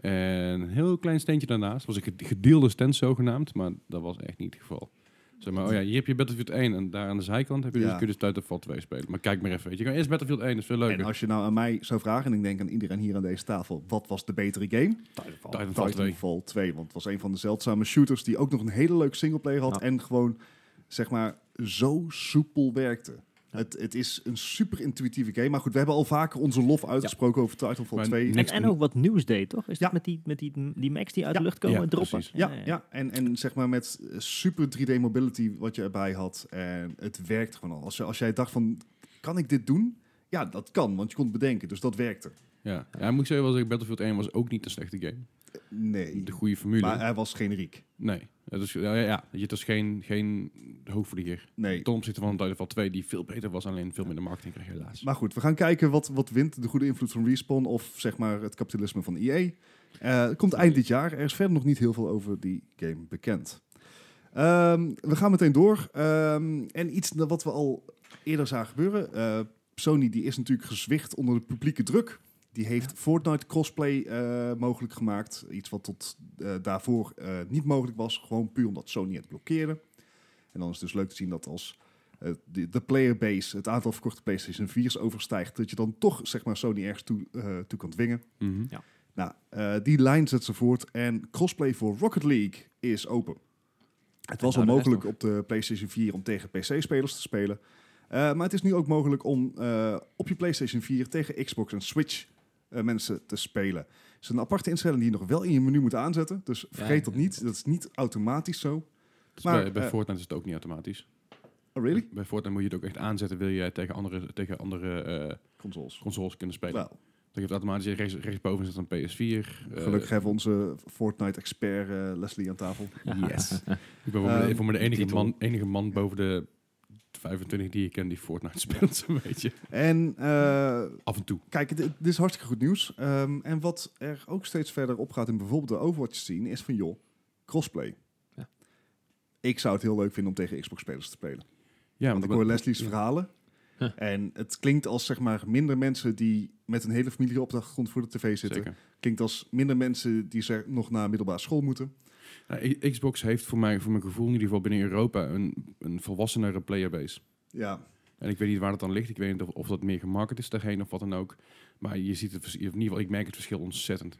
Speaker 3: En een heel klein steentje daarnaast. was een ged- gedeelde stand zogenaamd. Maar dat was echt niet het geval. Zeg maar, oh ja, hier heb je Battlefield 1 en daar aan de zijkant heb je dus,
Speaker 2: Ja.
Speaker 3: kun je dus Titanfall 2 spelen. Maar kijk maar even, weet je. Gewoon Eerst Battlefield 1, is veel leuker.
Speaker 2: En als je nou aan mij zou vragen, en ik denk aan iedereen hier aan deze tafel, wat was de betere game?
Speaker 1: Titanfall.
Speaker 3: Titanfall 2.
Speaker 2: Titanfall 2, want het was een van de zeldzame shooters die ook nog een hele leuke singleplayer had
Speaker 1: Ja.
Speaker 2: en gewoon, zeg maar, zo soepel werkte. Het, het is een super intuïtieve game, maar goed, we hebben al vaker onze lof uitgesproken over Titanfall
Speaker 3: Maar
Speaker 2: 2.
Speaker 3: niks-
Speaker 4: En, en ook wat nieuws deed, toch? Is
Speaker 2: Ja.
Speaker 4: dat met die, met die, die Macs die uit
Speaker 2: Ja.
Speaker 4: de lucht komen
Speaker 3: Ja,
Speaker 4: droppen?
Speaker 3: precies.
Speaker 2: Ja, ja. En, en zeg maar met eh, super 3D mobility wat je erbij had. En het werkt gewoon al. Als, je, als jij dacht van, kan ik dit doen? Ja, dat kan, want je kon het bedenken. Dus dat werkte.
Speaker 3: Ja. ja, moet ik zeggen, wel zeggen, Battlefield 1 was ook niet een slechte game.
Speaker 2: Nee,
Speaker 3: De goede formule.
Speaker 2: maar eh, hij was generiek.
Speaker 3: nee. Het is, ja, ja, ja, het is geen, geen hoogvlieger.
Speaker 2: Nee.
Speaker 3: Ten opzichte van Titanfall 2, die veel beter was, alleen veel minder marketing kreeg helaas.
Speaker 2: Maar goed, we gaan kijken wat, wat wint de goede invloed van Respawn of zeg maar het kapitalisme van EA. Eh, het komt eind dit jaar. Er is verder nog niet heel veel over die game bekend. Ehm, we gaan meteen door. Ehm, en iets na- wat we al eerder zagen gebeuren. Eh, Sony die is natuurlijk gezwicht onder de publieke druk. Die heeft Fortnite crossplay eh, mogelijk gemaakt. Iets wat tot eh, daarvoor eh, niet mogelijk was. Gewoon puur omdat Sony het blokkeerde. En dan is het dus leuk te zien dat als eh, de, de playerbase, het aantal verkochte PlayStation 4's overstijgt, dat je dan toch zeg maar, Sony ergens toe, eh, toe kan dwingen.
Speaker 3: Mhm.
Speaker 2: Nou, eh, die lijn zet ze voort en crossplay voor Rocket League is open. Het was al
Speaker 1: nou, de rest
Speaker 2: mogelijk op de PlayStation 4 om tegen PC-spelers te spelen. Eh, maar het is nu ook mogelijk om eh, op je PlayStation 4 tegen Xbox en Switch eh, mensen te spelen. Het is een aparte instelling die je nog wel in je menu moet aanzetten. Dus vergeet dat
Speaker 1: ja,
Speaker 2: niet. Dat is niet automatisch zo.
Speaker 3: Dus
Speaker 2: maar,
Speaker 3: bij bij
Speaker 2: eh,
Speaker 3: Fortnite is het ook niet automatisch.
Speaker 2: Oh, really?
Speaker 3: Bij Fortnite moet je het ook echt aanzetten, wil je tegen andere, tegen andere eh,
Speaker 2: Consoles.
Speaker 3: consoles kunnen spelen.
Speaker 2: Wel,
Speaker 3: Dan geeft automatisch rechts, rechtsboven zit een PS4. eh,
Speaker 2: Gelukkig hebben we onze Fortnite-expert eh, Leslie aan tafel.
Speaker 3: Yes. ik ben voor
Speaker 2: Ehm,
Speaker 3: me- voor me de enige
Speaker 1: titel.
Speaker 3: man, enige man boven de 25 die ik ken die Fortnite speelt, zo'n beetje.
Speaker 2: En eh,
Speaker 3: Af en toe.
Speaker 2: kijk, dit, dit is hartstikke goed nieuws. Ehm, en wat er ook steeds verder op gaat in bijvoorbeeld de Overwatch scene, is van joh, crossplay.
Speaker 1: Ja.
Speaker 2: Ik zou het heel leuk vinden om tegen Xbox-spelers te spelen.
Speaker 3: Ja,
Speaker 2: want
Speaker 3: maar
Speaker 2: ik
Speaker 3: dat-
Speaker 2: hoor Leslie's
Speaker 3: ja.
Speaker 2: verhalen.
Speaker 1: Huh.
Speaker 2: En het klinkt als zeg maar minder mensen die met een hele familie op de achtergrond voor de tv zitten.
Speaker 3: Zeker.
Speaker 2: Klinkt als minder mensen die zeg, nog naar middelbare school moeten.
Speaker 3: Nou, I- Xbox heeft voor, mij, voor mijn gevoel in ieder geval binnen Europa een, een volwassenere playerbase.
Speaker 2: Ja,
Speaker 3: En ik weet niet waar dat aan ligt. Ik weet niet of, of dat meer gemarket is daarheen of wat dan ook. Maar je ziet het, vers- in ieder geval, ik merk het verschil ontzettend.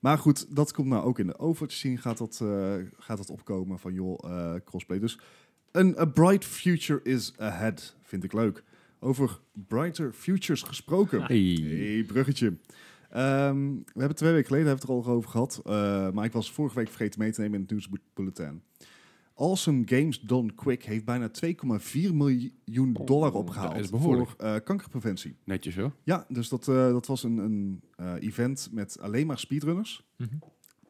Speaker 2: Maar goed, dat komt nou ook in de Overwatch scene gaat dat, eh, gaat dat opkomen van joh, eh, crossplay. Dus een a bright future is ahead, vind ik leuk. Over brighter futures gesproken. Hey, bruggetje. Ehm, we hebben twee weken geleden hebben we het er al over gehad. eh, maar ik was vorige week vergeten mee te nemen in het nieuwsbulletin. Awesome Games Done Quick heeft bijna 2,4 miljoen dollar
Speaker 3: Oh, dat
Speaker 2: opgehaald
Speaker 3: is
Speaker 2: voor
Speaker 3: behoorlijk.
Speaker 2: eh, kankerpreventie.
Speaker 3: Netjes hoor.
Speaker 2: Ja, dus dat, eh, dat was een, een eh, event met alleen maar speedrunners.
Speaker 1: Mhm.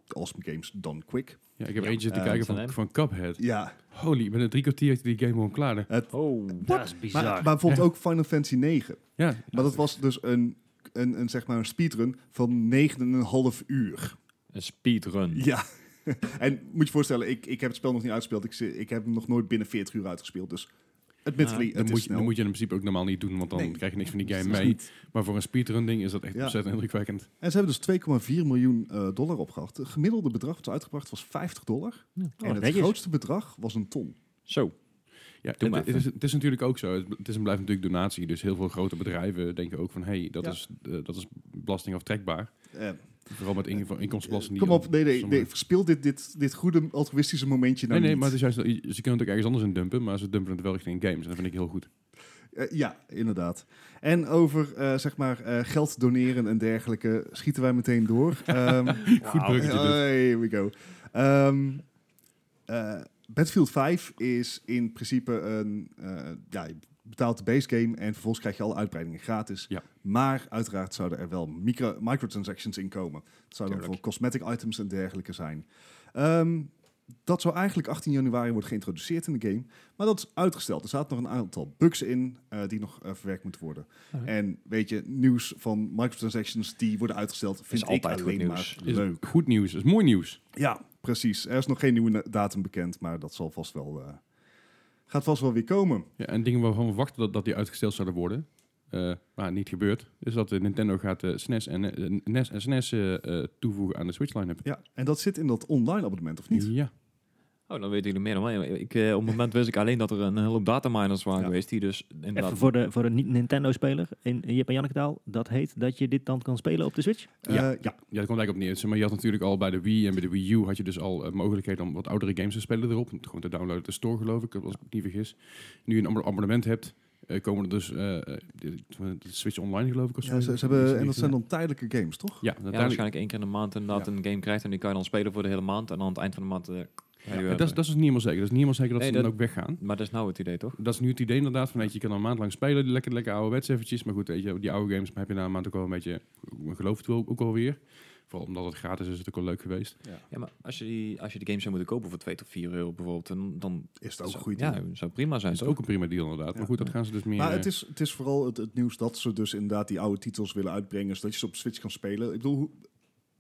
Speaker 2: Awesome Games Done Quick.
Speaker 3: Ja, ik heb
Speaker 1: Ja.
Speaker 3: eentje te
Speaker 2: Eh,
Speaker 3: kijken
Speaker 1: dat
Speaker 3: van,
Speaker 1: zijn
Speaker 3: van Cuphead.
Speaker 2: Ja,
Speaker 3: Holy, ik ben in drie kwartier heeft die game gewoon klaar. hè.
Speaker 1: Oh.
Speaker 4: Dat is bizar.
Speaker 2: maar, maar bijvoorbeeld ook Final Fantasy 9.
Speaker 3: Ja,
Speaker 2: Maar dat was dus een, een, een, zeg maar een speedrun van 9,5 uur.
Speaker 1: Een speedrun.
Speaker 2: Ja. en moet je voorstellen, ik, ik heb het spel nog niet uitgespeeld. Ik, zi- ik heb hem nog nooit binnen 40 uur uitgespeeld. Dus admittedly,
Speaker 3: dan
Speaker 2: het
Speaker 3: moet,
Speaker 2: is
Speaker 3: je,
Speaker 2: snel.
Speaker 3: dan moet je in principe ook normaal niet doen, want dan
Speaker 2: Nee.
Speaker 3: krijg je niks van die game
Speaker 2: Dat is dus
Speaker 3: mee.
Speaker 2: niet-
Speaker 3: Maar voor een speedrun ding is dat echt
Speaker 2: Ja.
Speaker 3: ontzettend indrukwekkend.
Speaker 2: En ze hebben dus 2,4 miljoen eh, dollar opgehaald. Het gemiddelde bedrag wat ze uitgebracht was 50 dollar.
Speaker 1: Ja.
Speaker 3: Oh,
Speaker 2: en het
Speaker 4: netjes.
Speaker 2: grootste bedrag was een ton.
Speaker 1: Zo.
Speaker 3: Ja,
Speaker 1: Doe maar
Speaker 3: het, het
Speaker 1: even.
Speaker 3: is, het is natuurlijk ook zo. Het, het is en blijft natuurlijk donatie. Dus heel veel grote bedrijven denken ook van... hey, dat,
Speaker 2: Ja.
Speaker 3: is, eh, dat is belasting aftrekbaar.
Speaker 2: Eh,
Speaker 3: Vooral met in, voor inkomstenbelasting. die
Speaker 2: Kom op, nee, nee,
Speaker 3: sommige-
Speaker 2: nee verspil dit, dit, dit goede altruïstische momentje nou
Speaker 3: nee, nee,
Speaker 2: niet.
Speaker 3: maar het is juist, dat- ze kunnen het ook ergens anders in dumpen, maar ze dumpen het wel richting games. En dat vind ik heel goed.
Speaker 2: Eh, ja, inderdaad. En over, eh, zeg maar, eh, geld doneren en dergelijke schieten wij meteen door. Ehm,
Speaker 3: Goed bruggetje dus. dit.
Speaker 2: hey, here we go. Ehm, eh, Battlefield 5 is in principe een... eh, ja, je betaalt de base game en vervolgens krijg je alle uitbreidingen gratis.
Speaker 3: Ja.
Speaker 2: Maar uiteraard zouden er wel micro, microtransactions in komen. Het zou dan voor
Speaker 3: Tuurlijk.
Speaker 2: cosmetic items en dergelijke zijn. Ehm, dat zou eigenlijk 18 januari worden geïntroduceerd in de game. Maar dat is uitgesteld. Er zaten nog een aantal bugs in eh, die nog eh, verwerkt moeten worden.
Speaker 1: Alright.
Speaker 2: En weet je, nieuws van microtransactions die worden uitgesteld... vind ik
Speaker 1: altijd goed
Speaker 2: alleen
Speaker 1: nieuws.
Speaker 2: maar
Speaker 3: Is
Speaker 2: leuk.
Speaker 3: Goed nieuws, is mooi nieuws.
Speaker 2: Ja, precies. Er is nog geen nieuwe na- datum bekend, maar dat zal vast wel, eh, gaat vast wel weer komen.
Speaker 3: Ja, en dingen waarvan we wachten dat, dat die uitgesteld zouden worden, eh, maar niet gebeurd, is dat eh, Nintendo gaat eh, SNES en eh, NES en SNES eh, eh, toevoegen aan de Switch line-up.
Speaker 2: Ja, en dat zit in dat online abonnement, of niet?
Speaker 3: Ja,
Speaker 1: Oh, dan weet ik er meer dan mij. Ik, eh, op het moment wist ik alleen dat er een hele hoop dataminers waren
Speaker 2: Ja.
Speaker 1: geweest. Die dus inderdaad...
Speaker 4: Even voor de, voor de niet-Nintendo-speler in in Jip en Janneke taal. Dat heet dat je dit dan kan spelen op de Switch.
Speaker 3: Ja.
Speaker 2: Eh, ja.
Speaker 3: Ja, dat komt eigenlijk op neer. Zeg Maar je had natuurlijk al bij de Wii en bij de Wii U had je dus al eh, mogelijkheden om wat oudere games te spelen erop. Om het Gewoon te downloaden uit de store, geloof ik, als ik me niet vergis. Nu je een abonne- abonnement hebt, eh, komen er dus eh, eh, de- de Switch Online, geloof ik. Of zo.
Speaker 2: Ja, ze, ze hebben, E en dat zijn dan tijdelijke games, toch?
Speaker 3: Ja,
Speaker 1: Ja,
Speaker 3: uiteindelijk-
Speaker 1: waarschijnlijk één keer in de maand inderdaad
Speaker 2: Ja.
Speaker 1: een game krijgt. En die kan je dan spelen voor de hele maand. En aan het eind van de maand... eh, kan je
Speaker 3: Ja,
Speaker 1: weer-
Speaker 3: dat, is- dat is dus niet helemaal zeker. Dat is niet helemaal zeker dat
Speaker 1: Nee,
Speaker 3: ze dan
Speaker 1: dat-
Speaker 3: ook weggaan.
Speaker 1: Maar dat is nou het idee, toch?
Speaker 3: Dat is nu het idee inderdaad. Van, weet je, je kan dan een maand lang spelen, lekker, lekker ouderwets eventjes. Maar goed, weet je, die oude games heb je na een maand ook wel een beetje, ik geloof het wel ook alweer. Vooral omdat het gratis is, is het ook wel leuk geweest.
Speaker 1: Ja, maar als je die, als je die games zou moeten kopen voor 2 tot 4 euro bijvoorbeeld... Dan, dan
Speaker 2: Is dat ook een
Speaker 1: zou-
Speaker 2: goed idee?
Speaker 1: Ja, zou prima zijn,
Speaker 3: Dat is
Speaker 1: toch?
Speaker 3: ook een prima deal inderdaad.
Speaker 2: Ja.
Speaker 3: Maar goed, dat gaan ze dus meer...
Speaker 2: Maar
Speaker 3: eh,
Speaker 2: het is, het is vooral het, het nieuws dat ze dus inderdaad die oude titels willen uitbrengen, zodat je ze op Switch kan spelen. Ik bedoel, hoe-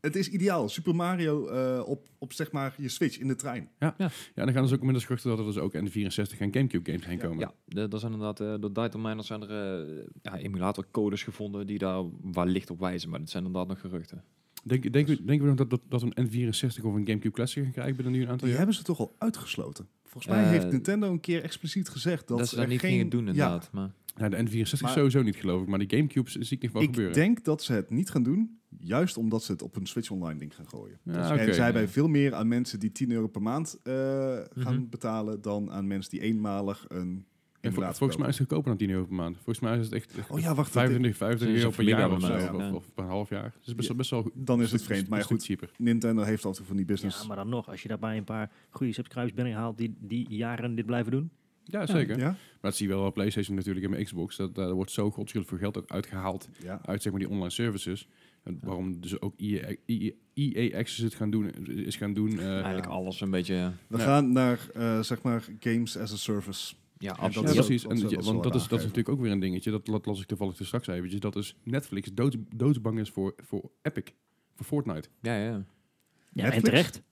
Speaker 2: het is ideaal. Super Mario eh, op, op zeg maar je Switch in de trein.
Speaker 3: Ja, dan gaan dus ook inmiddels geruchten dat er dus ook N64 en Gamecube games heen komen.
Speaker 1: Ja, de- dat zijn inderdaad, eh door dataminers zijn er eh, ja, emulatorcodes gevonden die daar wellicht op wijzen, maar dat zijn inderdaad nog geruchten.
Speaker 3: Denk, denk, denken we nog dat, dat, dat we een N64 of een Gamecube Classic gaan krijgen binnen nu een aantal
Speaker 2: Die
Speaker 3: jaar?
Speaker 2: hebben ze toch al uitgesloten. Volgens mij
Speaker 1: Eh,
Speaker 2: heeft Nintendo een keer expliciet gezegd dat,
Speaker 1: Dat, ze
Speaker 2: er
Speaker 1: dat niet
Speaker 2: geen,
Speaker 1: gingen doen
Speaker 2: Ja,
Speaker 1: inderdaad. Maar,
Speaker 3: Nou, de N64
Speaker 2: Maar-
Speaker 3: sowieso niet geloof ik, maar die Gamecubes zie ik nog wel
Speaker 2: ik
Speaker 3: gebeuren.
Speaker 2: denk dat ze het niet gaan doen, juist omdat ze het op een Switch Online ding gaan gooien.
Speaker 3: Ja,
Speaker 2: Dus-
Speaker 3: oké.
Speaker 2: en zij hebben veel meer aan mensen die 10 euro per maand eh,
Speaker 1: Mhm.
Speaker 2: gaan betalen dan aan mensen die eenmalig een
Speaker 3: En vol-
Speaker 2: emulator
Speaker 3: volgens mij
Speaker 2: kopen.
Speaker 3: is het goedkoper dan 10 euro per maand. Volgens mij is het echt
Speaker 2: Oh ja, wacht. dat-
Speaker 3: 25, 25
Speaker 1: Sinds
Speaker 3: euro
Speaker 1: een
Speaker 3: per jaar of zo.
Speaker 1: familieabonnement,
Speaker 3: Of,
Speaker 1: ja.
Speaker 3: of per half jaar. Dus best, wel- best wel...
Speaker 2: Dan is het vreemd, maar
Speaker 3: best
Speaker 2: goed.
Speaker 3: cheaper.
Speaker 2: Nintendo heeft altijd van die business.
Speaker 4: Ja, maar dan nog. Als je daarbij een paar goede subscribers binnenhaalt die, die jaren dit blijven doen.
Speaker 3: Ja, zeker.
Speaker 2: Ja?
Speaker 3: Maar dat zie je wel op PlayStation natuurlijk en bij Xbox. Dat, daar wordt zo godschuwelijk veel geld uit- uitgehaald
Speaker 2: Ja.
Speaker 3: uit zeg maar, die online services. En waarom dus ook EA, EA, EA E Access het gaan doen, is gaan doen. eh,
Speaker 1: eigenlijk alles een beetje...
Speaker 2: We
Speaker 3: Ja.
Speaker 2: gaan naar, eh, zeg maar, games as a service.
Speaker 1: Ja,
Speaker 2: dat
Speaker 1: absoluut.
Speaker 3: Ja,
Speaker 2: is ook-
Speaker 3: precies.
Speaker 2: dat
Speaker 3: En,
Speaker 2: is ook
Speaker 3: ja,
Speaker 2: wel
Speaker 3: want dat
Speaker 2: zwaar
Speaker 3: is, dat is
Speaker 2: aangegeven.
Speaker 3: natuurlijk ook weer een dingetje. Dat, dat las ik toevallig dus straks eventjes. Dat is Netflix dood, doodsbang is voor, voor Epic. Voor Fortnite.
Speaker 1: Ja, ja.
Speaker 4: Ja, en
Speaker 2: Netflix?
Speaker 4: terecht.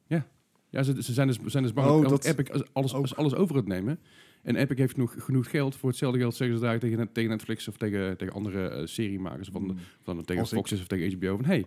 Speaker 3: Ja, ze, ze zijn, dus, zijn dus bang
Speaker 2: Oh,
Speaker 3: dat,
Speaker 2: dat
Speaker 3: Epic alles- alles,
Speaker 2: ook.
Speaker 3: alles over het nemen. En Epic heeft genoeg, genoeg geld. Voor hetzelfde geld zeggen ze daar tegen, tegen Netflix of tegen, tegen andere eh, seriemakers. Of,
Speaker 2: Mm.
Speaker 3: dan- of dan tegen
Speaker 2: Als ik-
Speaker 3: Fox is of tegen HBO. Van, hey,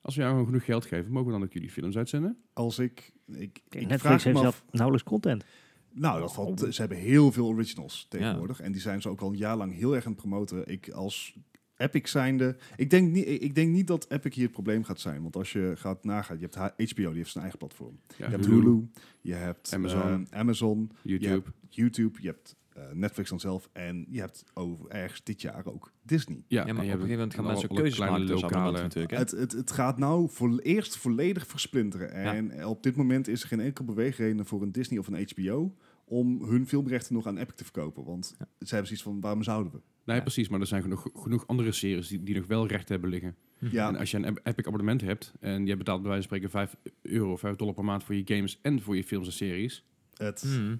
Speaker 3: als we jou gewoon genoeg geld geven, mogen we dan ook jullie films uitzenden?
Speaker 2: Als ik... ik,
Speaker 4: Kijk,
Speaker 2: ik vraag
Speaker 4: Netflix
Speaker 2: me
Speaker 4: heeft
Speaker 2: af-
Speaker 4: zelf Oh. nauwelijks content.
Speaker 2: Nou, dat valt, ze hebben heel veel originals tegenwoordig. En die zijn ze ook al een jaar lang heel erg aan het promoten. Ik als Epic zijnde... Ik denk, niet, ik denk niet dat Epic hier het probleem gaat zijn. Want als je gaat nagaan... Je hebt H- HBO, die heeft zijn eigen platform.
Speaker 3: Ja,
Speaker 2: Je hebt Hulu, je hebt
Speaker 3: Amazon.
Speaker 2: eh, Amazon
Speaker 3: YouTube.
Speaker 2: Je hebt YouTube, je hebt eh, Netflix dan zelf. En je hebt over, ergens dit jaar ook Disney.
Speaker 3: Ja,
Speaker 1: Ja,
Speaker 3: en
Speaker 1: maar
Speaker 3: je
Speaker 1: op een
Speaker 3: hebt
Speaker 1: gegeven moment gaan
Speaker 3: alle-
Speaker 1: mensen
Speaker 3: alle
Speaker 1: keuzes
Speaker 3: kleine
Speaker 1: maken tussen abonnementen
Speaker 3: lokale-
Speaker 1: natuurlijk.
Speaker 2: Het,
Speaker 1: Hè?
Speaker 2: het, het gaat nou voor, eerst volledig versplinteren. En eh, op dit moment is er geen enkel beweegreden voor een Disney of een HBO om hun filmrechten nog aan Epic te verkopen. Want
Speaker 1: Ja.
Speaker 2: ze hebben zoiets van, waarom zouden we?
Speaker 3: Nee,
Speaker 1: Ja.
Speaker 3: precies. Maar er zijn genoeg, genoeg andere series die, die nog wel recht hebben liggen.
Speaker 1: Hm.
Speaker 2: Ja,
Speaker 3: En als je een Ep- Epic abonnement hebt en je betaalt bij wijze van spreken 5 euro, 5 dollar per maand voor je games en voor je films en series.
Speaker 2: het,
Speaker 1: Mhm.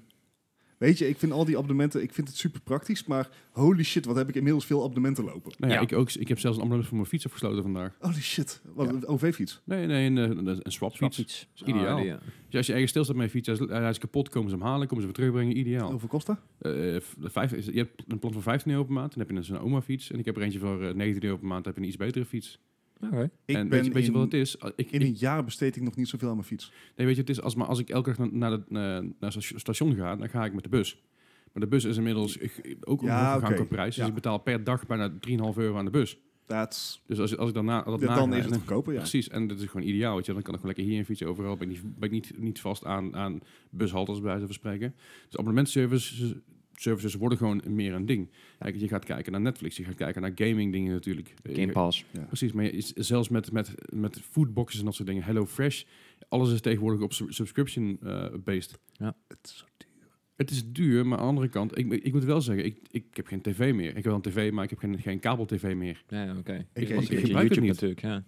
Speaker 2: weet je, ik vind al die abonnementen, ik vind het super praktisch, maar holy shit, wat heb ik inmiddels veel abonnementen lopen.
Speaker 3: Nou ja,
Speaker 1: Ja.
Speaker 3: Ik, ook, ik heb zelfs een abonnement voor mijn fiets afgesloten vandaag.
Speaker 2: Holy shit, wat
Speaker 3: Ja.
Speaker 2: een OV-fiets.
Speaker 3: Nee, nee, een, eh, een, een swapfiets. Dat
Speaker 4: Iets.
Speaker 3: is ideaal.
Speaker 1: Ah, die, ja.
Speaker 3: Dus als je ergens stilstaat met je fiets, hij is, hij is kapot, komen ze hem halen, komen ze hem terugbrengen, ideaal.
Speaker 2: Hoeveel kost dat?
Speaker 3: Eh, v- de vijf, is- je hebt een plan voor 15 euro per maand, dan heb je dus een oma fiets. En ik heb er eentje voor eh, 19 euro per maand, dan heb je een iets betere fiets.
Speaker 1: Oké.
Speaker 2: Ik
Speaker 3: en
Speaker 2: ben
Speaker 3: weet je, weet je
Speaker 2: in,
Speaker 3: wat het is? Ah, Ik,
Speaker 2: in
Speaker 3: ik-
Speaker 2: een jaar besteed ik nog niet zoveel aan mijn fiets.
Speaker 3: Nee, weet je, het is als, maar als ik elke dag na- naar het eh, naar het sta- station ga, dan ga ik met de bus. Maar de bus is inmiddels eh, ook een
Speaker 2: Ja,
Speaker 3: ja, gegaan
Speaker 2: oké.
Speaker 3: qua prijs. Dus
Speaker 2: Ja.
Speaker 3: ik betaal per dag bijna 3,5 euro aan de bus.
Speaker 2: That's,
Speaker 3: Dus als, als ik daarna dat na
Speaker 2: dan is het goedkoper, ja.
Speaker 3: Precies, en dat is gewoon ideaal. Weet je, dan kan ik gewoon lekker hier een fietsen overal. Ben ik niet, ben ik niet, niet vast aan, aan bushalters bij wijze van spreken. Dus abonnementservices services worden gewoon meer een ding. Kijk, je gaat kijken naar Netflix, je gaat kijken naar gaming dingen natuurlijk. Eh,
Speaker 1: Game Pass.
Speaker 3: Precies, maar je is- zelfs met, met, met foodboxes en dat soort dingen, HelloFresh, alles is tegenwoordig op sub- subscription-based.
Speaker 2: Het is-
Speaker 3: het is duur, maar aan de andere kant, ik, ik moet wel zeggen, ik, ik heb geen tv meer. Ik heb wel een tv, maar ik heb geen, geen kabel-tv meer.
Speaker 1: Ja,
Speaker 2: Ik-
Speaker 1: oké. Was
Speaker 2: ik-
Speaker 1: een
Speaker 2: ik
Speaker 1: beetje
Speaker 3: gebruik het
Speaker 1: YouTube
Speaker 3: niet.
Speaker 1: natuurlijk, ja.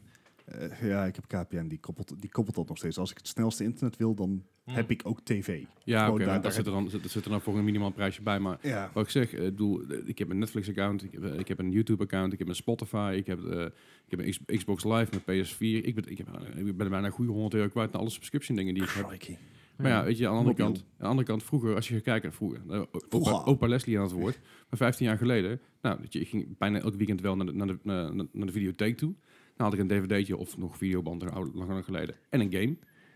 Speaker 2: Eh, ja, ik heb KPN, die koppelt, die koppelt dat nog steeds. Als ik het snelste internet wil, dan heb ik ook tv.
Speaker 3: Hmm. Ja,
Speaker 2: Gewoon
Speaker 3: oké,
Speaker 2: daar-
Speaker 3: maar
Speaker 2: daar
Speaker 3: dat zit er dan, dat zit er dan voor een minimaal prijsje bij. Maar
Speaker 2: Ja.
Speaker 3: wat ik zeg, eh, ik bedoel, eh, ik heb een Netflix-account, ik, heb, eh, ik heb een YouTube-account, ik heb een Spotify, ik heb, eh, ik heb een X- Xbox Live, mijn PS4. Ik ben, ik, heb, eh, ik ben bijna een goede 100 euro kwijt naar alle subscription-dingen die ik heb. Maar ja, weet je, aan de andere
Speaker 2: Mobiel.
Speaker 3: kant, aan de andere kant vroeger, als je gaat kijken, vroeger, eh, o- opa,
Speaker 2: Vroeger.
Speaker 3: opa Leslie aan het woord, maar 15 jaar geleden, nou, weet je, ik ging bijna elk weekend wel naar de, naar de, naar de- naar de videotheek toe. Dan had ik een dvd'tje of nog videoband, een oude- lang lang geleden, en een game.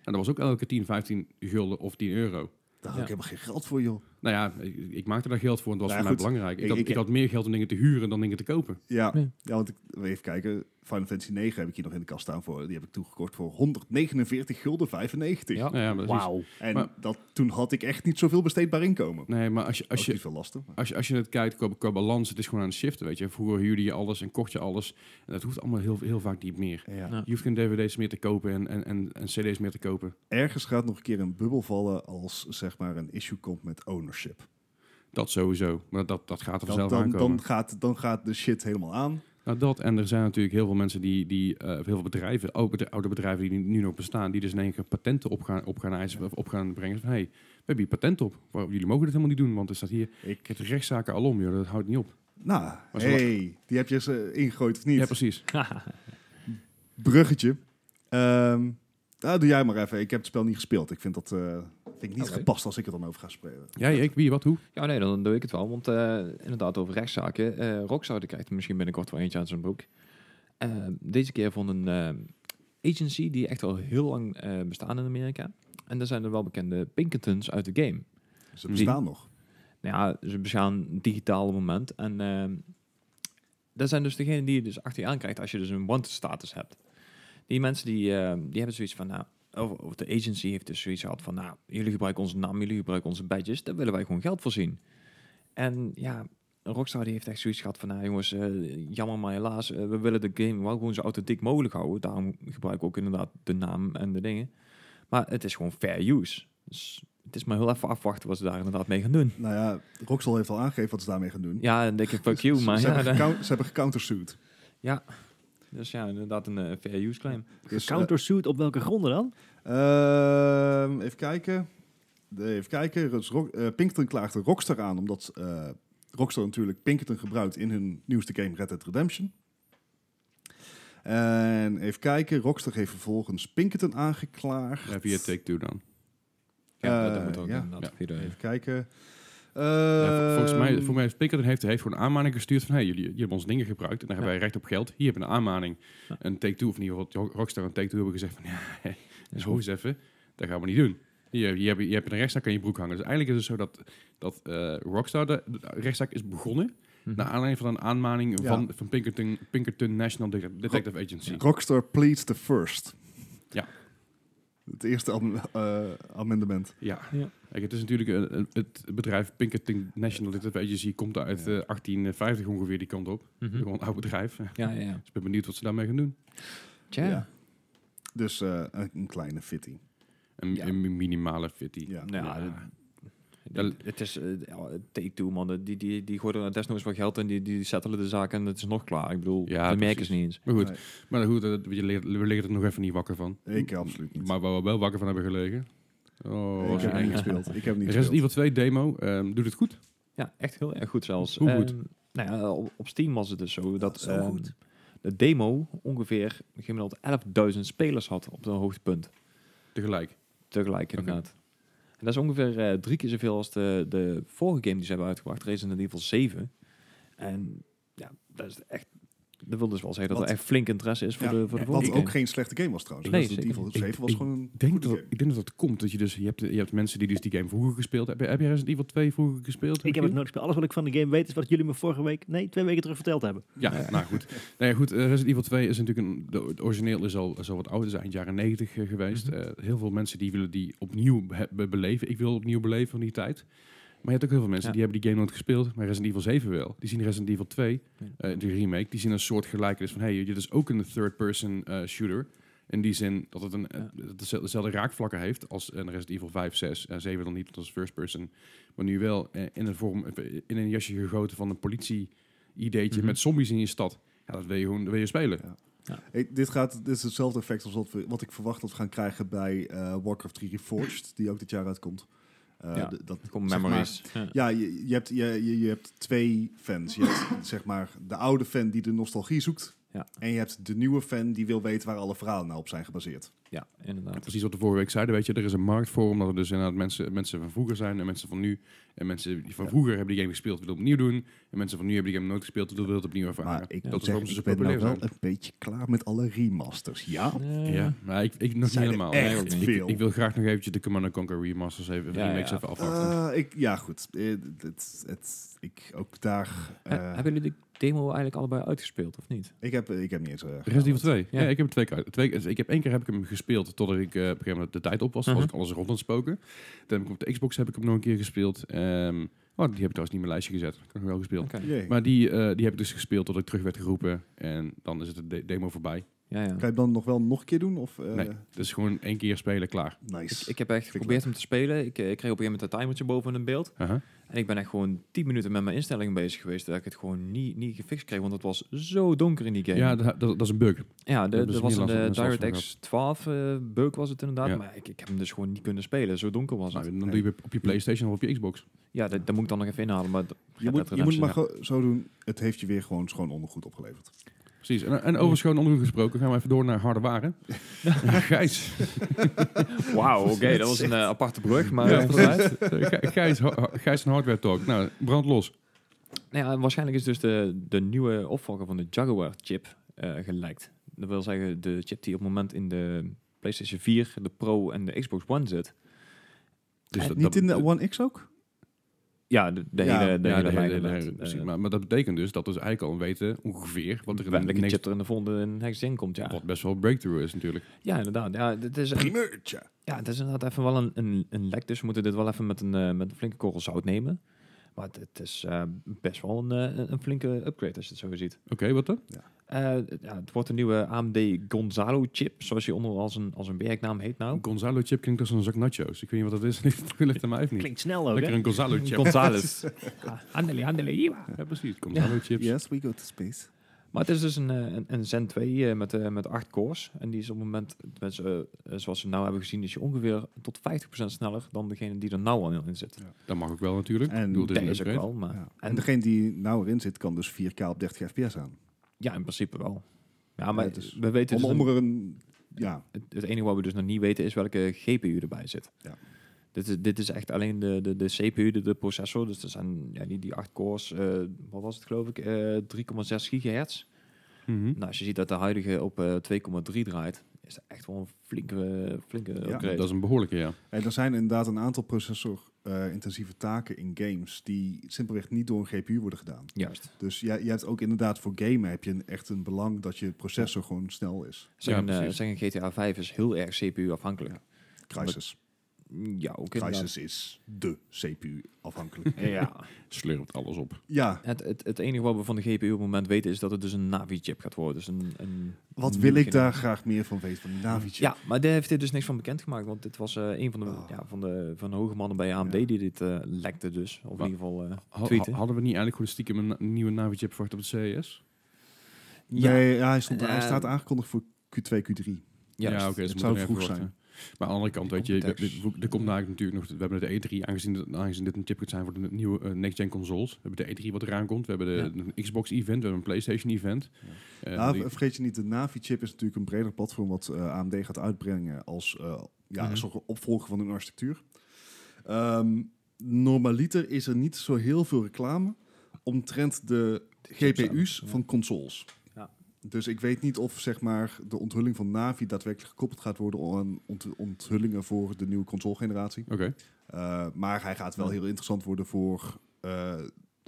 Speaker 3: En dat was ook elke 10, 15 gulden of 10 euro.
Speaker 2: Daar had
Speaker 1: Ja.
Speaker 2: ik helemaal geen geld voor, joh.
Speaker 3: Nou ja, ik, ik maakte daar geld voor en dat was
Speaker 2: Nou ja,
Speaker 3: voor mij
Speaker 2: goed.
Speaker 3: belangrijk. Ik,
Speaker 2: Ik- Oh,
Speaker 3: had,
Speaker 2: ik-
Speaker 3: ik had meer geld om dingen te huren dan dingen te kopen.
Speaker 2: Ja,
Speaker 1: Nee.
Speaker 2: ja want ik, even kijken. Final Fantasy 9 heb ik hier nog in de kast staan voor. Die heb ik toegekocht voor 149 gulden 95.
Speaker 1: Ja.
Speaker 3: Nou ja, maar dat is-
Speaker 4: Wauw.
Speaker 2: En
Speaker 3: Maar-
Speaker 2: dat, toen had ik echt niet zoveel besteedbaar inkomen.
Speaker 3: Nee, maar als je,
Speaker 2: Als
Speaker 3: als je,
Speaker 2: niet veel lasten. maar-
Speaker 3: Als je, als je het kijkt qua, qua balans, het is gewoon aan het shiften, weet je. Vroeger huurde je alles en kocht je alles. En dat hoeft allemaal heel, heel vaak niet meer.
Speaker 2: Ja.
Speaker 1: Nou.
Speaker 3: Je hoeft geen dvd's meer te kopen en, en, en, en cd's meer te kopen.
Speaker 2: Ergens gaat nog een keer een bubbel vallen als zeg maar een issue komt met ownership.
Speaker 3: Dat sowieso. Maar dat, dat gaat
Speaker 2: Dan,
Speaker 3: er vanzelf
Speaker 2: dan,
Speaker 3: aankomen.
Speaker 2: dan, gaat, dan gaat de shit helemaal aan.
Speaker 3: Nou, dat. En er zijn natuurlijk heel veel mensen die, die eh, heel veel bedrijven, ook de oude bedrijven die nu- nu nog bestaan, die dus in één keer patenten op gaan, op gaan eisen of op gaan brengen. Van, hey, we hebben hier patent op. Waarom- Jullie mogen dit helemaal niet doen, want er staat hier
Speaker 2: Ik,
Speaker 3: het rechtszaken alom, joh. Dat houdt niet op.
Speaker 2: nou,
Speaker 3: zo-
Speaker 2: hey, die heb je eens eh, ingegooid of niet?
Speaker 3: Ja, precies.
Speaker 2: Bruggetje. Ehm nou, doe jij maar even. Ik heb het spel niet gespeeld. Ik vind dat eh, vind ik niet
Speaker 1: Oké.
Speaker 2: gepast als ik er dan over ga spreken.
Speaker 3: Jij, ik, wie, wat, hoe?
Speaker 1: Ja, nee, dan doe ik het wel. Want eh, inderdaad, over rechtszaken. eh Rockstar krijgt er misschien binnenkort wel eentje aan zijn broek. Eh, deze keer van een eh, agency die echt al heel lang eh, bestaan in Amerika. En daar zijn er wel bekende Pinkertons uit de game.
Speaker 2: Ze bestaan nog.
Speaker 1: Nou ja, ze bestaan digitaal op het moment. En ehm dat zijn dus degenen die je dus achter je aankrijgt als je dus een wanted status hebt. Die mensen die, ehm, die hebben zoiets van, nou, of, of de agency heeft dus zoiets gehad van, nou, jullie gebruiken onze naam, jullie gebruiken onze badges, daar willen wij gewoon geld voor zien. En ja, Rockstar die heeft echt zoiets gehad van, nou jongens, eh, jammer maar helaas, eh, we willen de game wel gewoon zo authentiek mogelijk houden. Daarom gebruiken we ook inderdaad de naam en de dingen. Maar het is gewoon fair use. Dus het is maar heel even afwachten wat ze daar inderdaad mee gaan doen.
Speaker 2: Nou ja, Roxel heeft al aangegeven wat ze daarmee gaan doen.
Speaker 1: Ja, dan denk ik fuck
Speaker 2: Ze-
Speaker 1: you, maar
Speaker 2: ze,
Speaker 1: ja,
Speaker 2: hebben
Speaker 1: dan-
Speaker 2: gecou- ze hebben gecountersued.
Speaker 1: dus ja, inderdaad een eh, fair use claim.
Speaker 2: Dus, eh,
Speaker 4: Countersuit op welke gronden dan?
Speaker 2: ehm, even kijken. De- even kijken. Dus Rock- eh, Pinkerton klaagde Rockstar aan, omdat eh, Rockstar natuurlijk Pinkerton gebruikt in hun nieuwste game Red Dead Redemption. En even kijken. Rockstar heeft vervolgens Pinkerton aangeklaagd.
Speaker 3: Ja, via Take-Two dan.
Speaker 1: Ja,
Speaker 2: Eh,
Speaker 1: dat moet ook
Speaker 2: ja.
Speaker 1: inderdaad.
Speaker 3: Ja.
Speaker 1: Via de-
Speaker 2: Even kijken.
Speaker 3: Ja, vol- volgens mij,
Speaker 2: Ehm,
Speaker 3: voor mij heeft Pinkerton heeft, heeft gewoon een aanmaning gestuurd van hey, jullie, jullie hebben ons dingen gebruikt en daar hebben
Speaker 1: Ja.
Speaker 3: wij recht op geld. Hier hebben we een aanmaning.
Speaker 1: Ja.
Speaker 3: En Take-Two, of in ieder geval Rockstar en Take-Two hebben gezegd van ja, hè,
Speaker 1: is
Speaker 3: zo eens even, dat gaan we niet doen. Hier, hier heb je, je hebt een rechtszaak aan je broek hangen. Dus eigenlijk is het zo dat, dat eh, Rockstar, de, de rechtszaak is begonnen
Speaker 1: Mhm.
Speaker 3: naar aanleiding van een aanmaning
Speaker 2: Ja.
Speaker 3: van, van Pinkerton, Pinkerton National Det- Detective Agency.
Speaker 2: Rockstar pleads the first.
Speaker 3: Ja.
Speaker 2: Het eerste am- eh, amendement.
Speaker 3: Ja,
Speaker 1: Ja.
Speaker 3: Kijk, het is natuurlijk een, een- het bedrijf Pinkerton National Detective Agency komt uit
Speaker 2: Ja.
Speaker 3: eh, 1850 ongeveer die kant op.
Speaker 1: Mhm.
Speaker 3: Gewoon een oud bedrijf. Dus
Speaker 1: Ja, ja, ja.
Speaker 3: ik ben benieuwd wat ze daarmee gaan doen.
Speaker 1: Tja.
Speaker 2: Ja. Dus eh, een, een kleine fitting.
Speaker 3: Een,
Speaker 1: Ja.
Speaker 3: een minimale fitty.
Speaker 2: Ja.
Speaker 1: Nou, ja,
Speaker 3: Ja.
Speaker 1: dat- dat- Het is eh, ja, Take-Two, man. Die, die, die, die gooien er desnoods wat geld en die, die settelen de zaak en het is nog klaar. Ik bedoel,
Speaker 3: Ja,
Speaker 1: dat merken
Speaker 3: precies.
Speaker 1: ze niet eens.
Speaker 3: Maar goed,
Speaker 2: Nee.
Speaker 3: maar goed eh, we, liggen, we liggen er nog even niet wakker van.
Speaker 2: Ik absoluut niet.
Speaker 3: Maar waar we wel wakker van hebben gelegen. Oh,
Speaker 2: ik
Speaker 3: was
Speaker 2: heb
Speaker 3: het
Speaker 2: hem niet
Speaker 3: eng.
Speaker 2: gespeeld. Ik heb hem niet
Speaker 3: Resident
Speaker 2: gespeeld.
Speaker 3: Evil 2 demo ehm, doet het goed.
Speaker 1: Ja, echt heel erg goed zelfs.
Speaker 3: Hoe goed?
Speaker 1: Ehm, nou ja, op, op Steam was het dus zo dat
Speaker 2: zo
Speaker 1: ehm,
Speaker 2: goed.
Speaker 1: de demo ongeveer gemiddeld 11.000 spelers had op een hoogtepunt.
Speaker 3: Tegelijk.
Speaker 1: Tegelijk inderdaad. En dat is ongeveer eh, drie keer zoveel als de, de vorige game die ze hebben uitgebracht, Resident Evil 7. En ja, dat is echt... Dat wil dus wel zeggen dat
Speaker 2: Wat-
Speaker 1: er echt flink interesse is voor
Speaker 2: Ja,
Speaker 1: de, voor de
Speaker 2: Wat
Speaker 1: volgende
Speaker 2: ook
Speaker 1: game.
Speaker 2: geen slechte game was trouwens.
Speaker 1: Nee,
Speaker 2: Resident
Speaker 1: zeker
Speaker 2: Evil
Speaker 1: niet.
Speaker 2: 7 was
Speaker 3: ik
Speaker 2: gewoon een
Speaker 3: Ik denk,
Speaker 2: goede
Speaker 3: dat,
Speaker 2: game.
Speaker 3: ik denk dat dat komt. Dat je, dus, je, hebt, je hebt mensen die dus die game vroeger gespeeld hebben. Heb je Resident Evil 2 vroeger gespeeld?
Speaker 4: Ik heb
Speaker 3: Michiel?
Speaker 4: het nooit gespeeld. Alles wat ik van de game weet is wat jullie me vorige week, nee, twee weken terug verteld hebben.
Speaker 3: Ja, nou goed. Nou ja, goed eh, Resident Evil 2 is natuurlijk een. de- Het origineel is al, is al wat ouder, is eind jaren 90 eh, geweest.
Speaker 1: Mhm.
Speaker 3: Eh, heel veel mensen die willen die opnieuw be- be- beleven. Ik wil opnieuw beleven van die tijd. Maar je hebt ook heel veel mensen
Speaker 1: Ja.
Speaker 3: die hebben die game nooit gespeeld, maar Resident Evil 7 wel. Die zien Resident Evil 2,
Speaker 1: Ja.
Speaker 3: eh, de remake, die zien een soort gelijkenis van hey, dit is ook een third-person eh, shooter. In die zin dat het, een, eh,
Speaker 1: Ja.
Speaker 3: dat het dezelfde- dezelfde raakvlakken heeft als een Resident Evil 5, 6 en 7 dan niet, want dat is first-person. Maar nu wel eh, in een vorm, in een jasje gegoten van een politie-ideetje
Speaker 1: Mhm.
Speaker 3: met zombies in je stad. Ja, dat wil je gewoon dat wil je spelen.
Speaker 2: Ja. Ik- dit, gaat, dit is hetzelfde effect als wat, we, wat ik verwacht dat we gaan krijgen bij eh, Warcraft 3 Reforged, die ook dit jaar uitkomt. Eh,
Speaker 1: Ja.
Speaker 2: d- dat,
Speaker 1: Er komen
Speaker 2: zeg maar,
Speaker 1: memories. Ja.
Speaker 2: Ja, je, je, hebt, je, je, je hebt twee fans. Je hebt zeg maar de oude fan die de nostalgie zoekt.
Speaker 1: Ja.
Speaker 2: En je hebt de nieuwe fan die wil weten waar alle verhalen nou op zijn gebaseerd.
Speaker 1: Ja, inderdaad.
Speaker 3: Precies wat we vorige week zeiden, weet je, er is een markt voor, omdat er dus inderdaad mensen, mensen van vroeger zijn en mensen van nu. En mensen die van
Speaker 2: Ja.
Speaker 3: vroeger hebben die game gespeeld, willen het opnieuw doen. En mensen van nu hebben die game nooit gespeeld, willen het opnieuw ervaren.
Speaker 2: Maar ik,
Speaker 1: dat
Speaker 2: moet zeggen,
Speaker 3: is waarom ze
Speaker 2: ik
Speaker 3: zo
Speaker 2: ben nou
Speaker 3: populair
Speaker 2: wel een beetje klaar met alle remasters. Ja,
Speaker 1: Eh,
Speaker 3: Ja, maar ik, ik nog niet
Speaker 2: zijn er
Speaker 3: helemaal.
Speaker 2: echt
Speaker 3: Nee, ook niet.
Speaker 2: veel.
Speaker 3: Ik, ik wil graag nog eventjes de Command Conquer remasters even,
Speaker 1: Ja,
Speaker 3: remakes
Speaker 1: ja.
Speaker 3: even afwachten.
Speaker 2: Eh, ik, ja goed. Eh, Het, het, het- ik, ook daar...
Speaker 1: He-
Speaker 2: eh,
Speaker 1: Hebben jullie de demo eigenlijk allebei uitgespeeld, of niet?
Speaker 2: ik, heb, ik heb niet eens... eh,
Speaker 3: Resident Evil
Speaker 2: gehaald.
Speaker 3: 2. Ja,
Speaker 1: Ja.
Speaker 3: ik heb hem twee keer. Twee, keer- ik heb één keer heb ik hem gespeeld totdat ik eh, op een gegeven moment de tijd op was. Toen
Speaker 1: Mhm.
Speaker 3: was ik alles rond aan het spoken. Toen heb ik op de Xbox heb ik hem nog een keer gespeeld. Ehm, oh, die heb ik trouwens niet in mijn lijstje gezet. Ik heb hem wel gespeeld.
Speaker 1: Oké.
Speaker 2: Jee.
Speaker 3: Maar die, eh, die heb ik dus gespeeld tot ik terug werd geroepen. En dan is het de de- demo voorbij.
Speaker 1: Ja, ja.
Speaker 2: Kan je het dan nog wel nog een keer doen? Of, eh,
Speaker 3: Nee. Dus gewoon één keer spelen, klaar.
Speaker 1: Ik,
Speaker 2: Nice.
Speaker 1: ik heb echt geprobeerd hem te spelen. Ik, eh, ik kreeg op een gegeven moment een timertje boven een beeld.
Speaker 3: Aha.
Speaker 1: En ik ben echt gewoon 10 minuten met mijn instellingen bezig geweest. Dat ik het gewoon niet, niet gefixt kreeg. Want het was zo donker in die game.
Speaker 3: Ja, dat, dat, dat is een bug.
Speaker 1: Ja, de-
Speaker 3: hebben ze
Speaker 1: dat was
Speaker 3: niet
Speaker 1: een
Speaker 3: last-
Speaker 1: eh,
Speaker 3: mensen last van
Speaker 1: DirectX 12 eh bug was het inderdaad.
Speaker 3: Ja.
Speaker 1: Maar ik, ik heb hem dus gewoon niet kunnen spelen. Zo donker was het.
Speaker 3: Nou, dan doe je op je PlayStation of op je Xbox.
Speaker 1: Ja, dat, dat moet ik dan nog even inhalen. Maar d-
Speaker 2: je, moet, je moet
Speaker 1: Redemption,
Speaker 2: maar
Speaker 1: ja.
Speaker 2: gewoon zo doen. Het heeft je weer gewoon schoon ondergoed opgeleverd.
Speaker 3: Precies. En, en over schoon onderhoud gesproken gaan we even door naar harde waren. Gijs.
Speaker 1: wauw, oké. dat was een eh, aparte brug. Maar
Speaker 3: Ja,
Speaker 1: eh,
Speaker 3: precies. Gij- Gijs, ho- Gijs en Hardware Talk. Nou, brand los.
Speaker 1: Nou ja, waarschijnlijk is dus de, de nieuwe opvolger van de Jaguar-chip eh gelekt. Dat wil zeggen, de chip die op het moment in de PlayStation 4, de Pro en de Xbox One zit.
Speaker 3: Dus dat-
Speaker 2: Eh, niet
Speaker 3: dat-
Speaker 2: in de One X ook?
Speaker 1: Ja, de, de
Speaker 2: Ja,
Speaker 1: hele, de
Speaker 3: ja,
Speaker 1: hele
Speaker 3: de
Speaker 1: lijn
Speaker 3: hele- de
Speaker 1: inderdaad.
Speaker 3: hele- precies.
Speaker 1: Eh,
Speaker 3: maar, maar dat betekent dus dat we dus eigenlijk al weten ongeveer wat er in de
Speaker 1: welke
Speaker 3: next-
Speaker 1: chip er in de volgende heks in komt, ja.
Speaker 3: wat best wel een breakthrough is natuurlijk.
Speaker 1: Ja, inderdaad. Ja, dit is,
Speaker 2: Primeurtje.
Speaker 1: ja, het is inderdaad even wel een, een, een lek, dus we moeten dit wel even met een, eh, met een flinke korrel zout nemen. Maar het, het is eh, best wel een, eh, een- een flinke upgrade als je het zo ziet.
Speaker 3: Oké, wat dan?
Speaker 1: Eh, ja, het wordt een nieuwe AMD Gonzalo-chip, zoals hij onder als een, als een werknaam heet nou.
Speaker 3: Gonzalo chip klinkt als een zak nachos. Ik weet niet wat dat is. Ik wil het aan mij of niet.
Speaker 4: Klinkt snel ook,
Speaker 3: Lekker
Speaker 4: hè?
Speaker 3: een Gonzalo chip.
Speaker 1: Gonzales. Handele, handele, iwa.
Speaker 3: ja, precies. Gonzalo chips.
Speaker 2: Yes, we go to space.
Speaker 1: Maar het is dus een, eh, een, een Zen 2 eh, met, eh, met 8 cores. En die is op het moment, tenminste, eh, zoals we nou hebben gezien, is je ongeveer tot 50% sneller dan degene die er nou al in zit.
Speaker 3: Dat mag ook wel natuurlijk.
Speaker 2: En
Speaker 3: Ik bedoel, dit
Speaker 1: Dat
Speaker 3: een
Speaker 1: is ook
Speaker 3: upgrade.
Speaker 1: wel, maar...
Speaker 2: Ja. En
Speaker 1: Ah. En,
Speaker 2: degene die nou erin zit, kan dus 4K op 30 fps aan.
Speaker 1: ja, in principe wel. Ja, maar
Speaker 2: Ja, het is
Speaker 1: we weten
Speaker 2: Om,
Speaker 1: dus
Speaker 2: om
Speaker 1: nog-
Speaker 2: er een... Ja,
Speaker 1: het, het enige wat we dus nog niet weten is welke GPU erbij zit.
Speaker 2: Ja.
Speaker 1: Dit, is, dit is echt alleen de, de, de CPU, de, de processor. Dus er zijn ja, die, die 8 cores, eh, wat was het geloof ik, eh, 3,6 gigahertz.
Speaker 3: Mhm.
Speaker 1: Nou, als je ziet dat de huidige op eh, 2,3 draait, is dat echt wel een flinke, eh, flinke upgrade.
Speaker 3: Dat is een behoorlijke, ja.
Speaker 2: en Eh, er zijn inderdaad een aantal processor-intensieve taken in games... die simpelweg niet door een GPU worden gedaan.
Speaker 1: Juist.
Speaker 2: Dus jij, jij hebt ook inderdaad voor gamen heb je een, echt een belang dat je processor gewoon snel is.
Speaker 1: Zijn, eh,
Speaker 3: precies.
Speaker 1: zijn GTA 5 is heel erg CPU-afhankelijk.
Speaker 2: Crisis.
Speaker 1: Ja, ook inderdaad.
Speaker 2: Crisis is de CPU afhankelijk.
Speaker 1: Ja.
Speaker 3: Slurpt alles op.
Speaker 2: ja,
Speaker 1: Het, het, het enige wat we van de GPU op het moment weten is dat het dus een Navi-chip gaat worden. Dus een, een
Speaker 2: wat
Speaker 1: nieuwe
Speaker 2: wil ik
Speaker 1: generatie.
Speaker 2: daar graag meer van weten van die Navi-chip?
Speaker 1: Ja, maar daar heeft hij dus niks van bekendgemaakt. Want dit was eh, een van de,
Speaker 2: Oh.
Speaker 1: ja, van, de, van de hoge mannen bij AMD
Speaker 2: Ja.
Speaker 1: die dit eh, lekte dus. Of
Speaker 3: Maar-
Speaker 1: in ieder geval eh,
Speaker 3: Ha-
Speaker 1: tweeten.
Speaker 3: ha- hadden we niet eigenlijk gewoon stiekem een na- nieuwe Navi chip verwacht op het CES?
Speaker 2: Nee, ja, hij, stond, hij
Speaker 1: Eh,
Speaker 2: staat aangekondigd voor Q2, Q3.
Speaker 1: Juist.
Speaker 3: Ja, oké.
Speaker 2: Het
Speaker 3: ze
Speaker 2: zou
Speaker 3: moeten
Speaker 2: vroeg
Speaker 3: nog even
Speaker 2: zijn.
Speaker 3: wachten. Maar aan de andere kant,
Speaker 1: Die
Speaker 3: weet je, we-
Speaker 1: context.
Speaker 3: we- er komt eigenlijk natuurlijk nog... We hebben de E3, aangezien, dit- aangezien dit een chip gaat zijn voor de nieuwe eh, next-gen consoles. We hebben de E3 wat eraan komt. We hebben de, een Xbox-event, we hebben een PlayStation-event. Eh,
Speaker 2: Nou,
Speaker 3: die-
Speaker 2: ver- vergeet je niet, de Navi-chip is natuurlijk een breder platform wat eh, AMD gaat uitbrengen als eh ja,
Speaker 1: Mhm.
Speaker 2: een soort opvolger van hun architectuur. Ehm, normaliter is er niet zo heel veel reclame omtrent de GPU's
Speaker 1: ja.
Speaker 2: van consoles.
Speaker 1: Ja.
Speaker 2: Dus ik weet niet of zeg maar, de onthulling van Navi daadwerkelijk gekoppeld gaat worden aan ont- onthullingen voor de nieuwe console-generatie.
Speaker 3: Oké.
Speaker 2: Eh, maar hij gaat wel heel interessant worden voor eh,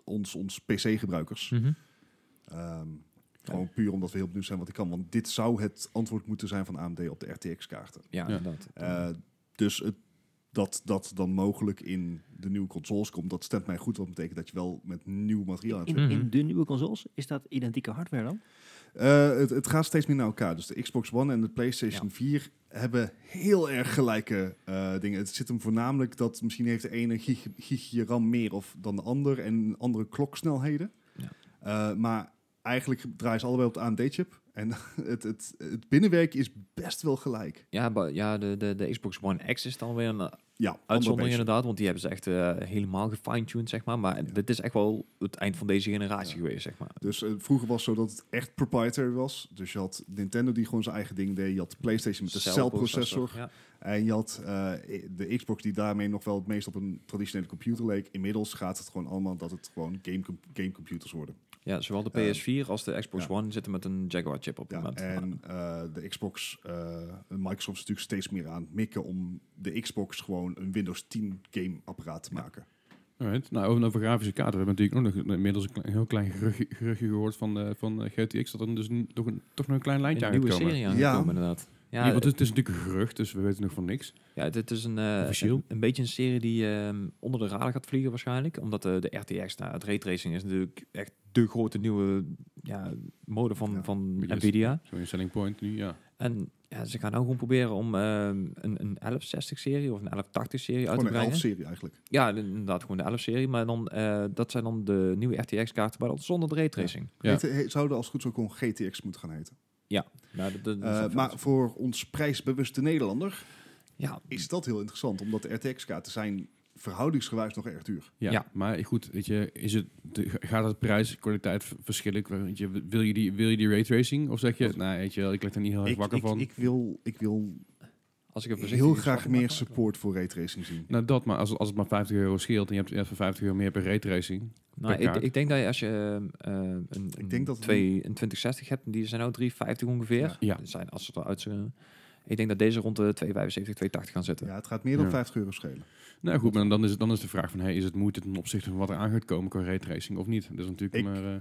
Speaker 2: ons, ons PC-gebruikers.
Speaker 1: Mhm.
Speaker 2: Ehm, Gewoon puur omdat we heel benieuwd zijn wat hij kan. Want dit zou het antwoord moeten zijn van AMD op de RTX-kaarten.
Speaker 1: Ja,
Speaker 3: Ja.
Speaker 1: inderdaad.
Speaker 2: Eh, dus het, dat dat dan mogelijk in de nieuwe consoles komt, dat stemt mij goed. Wat betekent dat je wel met nieuw materiaal aan het
Speaker 4: In,
Speaker 1: Mhm.
Speaker 4: in de nieuwe consoles is dat identieke hardware dan?
Speaker 2: werken- Eh, het, het gaat steeds meer naar elkaar. Dus de Xbox One en de PlayStation 4 hebben heel erg gelijke eh, dingen. Het zit hem voornamelijk dat misschien heeft de ene gig, gigje RAM meer of dan de ander en andere kloksnelheden.
Speaker 1: Ja.
Speaker 2: Eh, maar eigenlijk draaien ze allebei op de AMD-chip. En het, het, het binnenwerk is best wel gelijk.
Speaker 1: Ja, ba- ja de, de, de Xbox One X is dan weer een
Speaker 2: Ja, ander
Speaker 1: Uitzondering
Speaker 2: beestje.
Speaker 1: inderdaad, want die hebben ze echt eh, helemaal gefine-tuned, zeg maar. Maar dit is echt wel het eind van deze generatie
Speaker 2: Ja.
Speaker 1: geweest, zeg maar.
Speaker 2: Dus eh, vroeger was het zo dat het echt proprietary was. Dus je had Nintendo die gewoon zijn eigen ding deed. Je had de PlayStation met de celprocessor.
Speaker 1: Ja.
Speaker 2: En je had eh, de Xbox die daarmee nog wel het meest op een traditionele computer leek. Inmiddels gaat het gewoon allemaal dat het gewoon game, gamecomputers worden.
Speaker 1: ja, zowel de
Speaker 2: Eh,
Speaker 1: PS4 als de Xbox
Speaker 2: ja.
Speaker 1: One zitten met een Jaguar-chip op het
Speaker 2: Ja,
Speaker 1: moment.
Speaker 2: en eh, de Xbox, eh, Microsoft is natuurlijk steeds meer aan het mikken om de Xbox gewoon een Windows 10 game apparaat te maken.
Speaker 3: Alright. Nou, en over grafische kaarten. We hebben natuurlijk ook nog een- inmiddels een klein- heel klein geruchtje, geruchtje gehoord van, eh, van eh, GTX. Dat er dus n- toch, een, toch nog een klein lijntje
Speaker 1: een
Speaker 3: aan
Speaker 1: nieuwe
Speaker 3: gaat komen.
Speaker 1: serie
Speaker 2: Ja.
Speaker 1: aangekomen, inderdaad.
Speaker 3: Ja,
Speaker 1: Ja,
Speaker 3: want het is natuurlijk een gerucht, dus we weten nog van niks.
Speaker 1: ja, dit is een, eh,
Speaker 3: Officieel.
Speaker 1: een, een beetje een serie die ehm, onder de radar gaat vliegen waarschijnlijk. Omdat de, de RTX, nou, het raytracing is natuurlijk echt de grote nieuwe ja, mode van,
Speaker 2: Ja.
Speaker 1: van
Speaker 3: Yes.
Speaker 1: Nvidia.
Speaker 3: Zo'n selling point nu, ja.
Speaker 1: En ja, ze gaan nou gewoon proberen om ehm, een, een 1160-serie of een 1180-serie uit
Speaker 2: Gewoon
Speaker 1: te
Speaker 2: een
Speaker 1: brengen.
Speaker 2: 11-serie eigenlijk.
Speaker 1: Ja, inderdaad, gewoon de 11-serie. Maar dan, eh, dat zijn dan de nieuwe RTX-kaarten, maar dan zonder de raytracing.
Speaker 3: Ja.
Speaker 2: Heet- he- zouden als het goed zo gewoon GTX moeten gaan heten.
Speaker 1: Nou, dat- dat- dat
Speaker 2: Eh,
Speaker 1: is een-
Speaker 2: maar voor ons prijsbewuste Nederlander
Speaker 1: ja,
Speaker 2: is dat heel interessant. Omdat de RTX-kaarten zijn verhoudingsgewijs nog erg duur.
Speaker 3: Ja,
Speaker 1: Ja.
Speaker 3: maar goed, weet je, is het, de- gaat het prijs-kwaliteit v- verschillen? Ik weet- Weet je, wil, je die, wil je die raytracing? Of zeg je, nou, weet je, wel, ik leg er niet heel erg
Speaker 2: Ik,
Speaker 3: wakker
Speaker 2: ik,
Speaker 3: van.
Speaker 2: ik wil, ik wil
Speaker 1: als Hm. ik er voorzichtig
Speaker 2: heel
Speaker 1: in
Speaker 2: graag
Speaker 1: schat,
Speaker 2: meer
Speaker 1: maar-
Speaker 2: support voor raytracing zien.
Speaker 3: Nou, dat, maar als, als het maar 50 euro scheelt en je hebt ja, voor 50 euro meer per raytracing.
Speaker 1: Nou,
Speaker 3: per
Speaker 1: ik,
Speaker 3: kaart.
Speaker 1: ik denk dat je als je ehm, eh, een, een,
Speaker 2: denk dat het
Speaker 1: twee, een 2060 hebt, die zijn nou 350 ongeveer.
Speaker 3: Ja.
Speaker 1: Dat zijn als ze eruit zullen. Ik denk dat deze rond de 275, 280 gaan zitten.
Speaker 2: Ja, het gaat meer dan
Speaker 3: Ja.
Speaker 2: 50 euro schelen.
Speaker 3: Nou goed, maar dan is, het, dan is de vraag van, hey, is het moeite ten opzichte van wat er aan gaat komen qua raytracing of niet? Dat is natuurlijk
Speaker 2: Ik-
Speaker 3: maar, eh,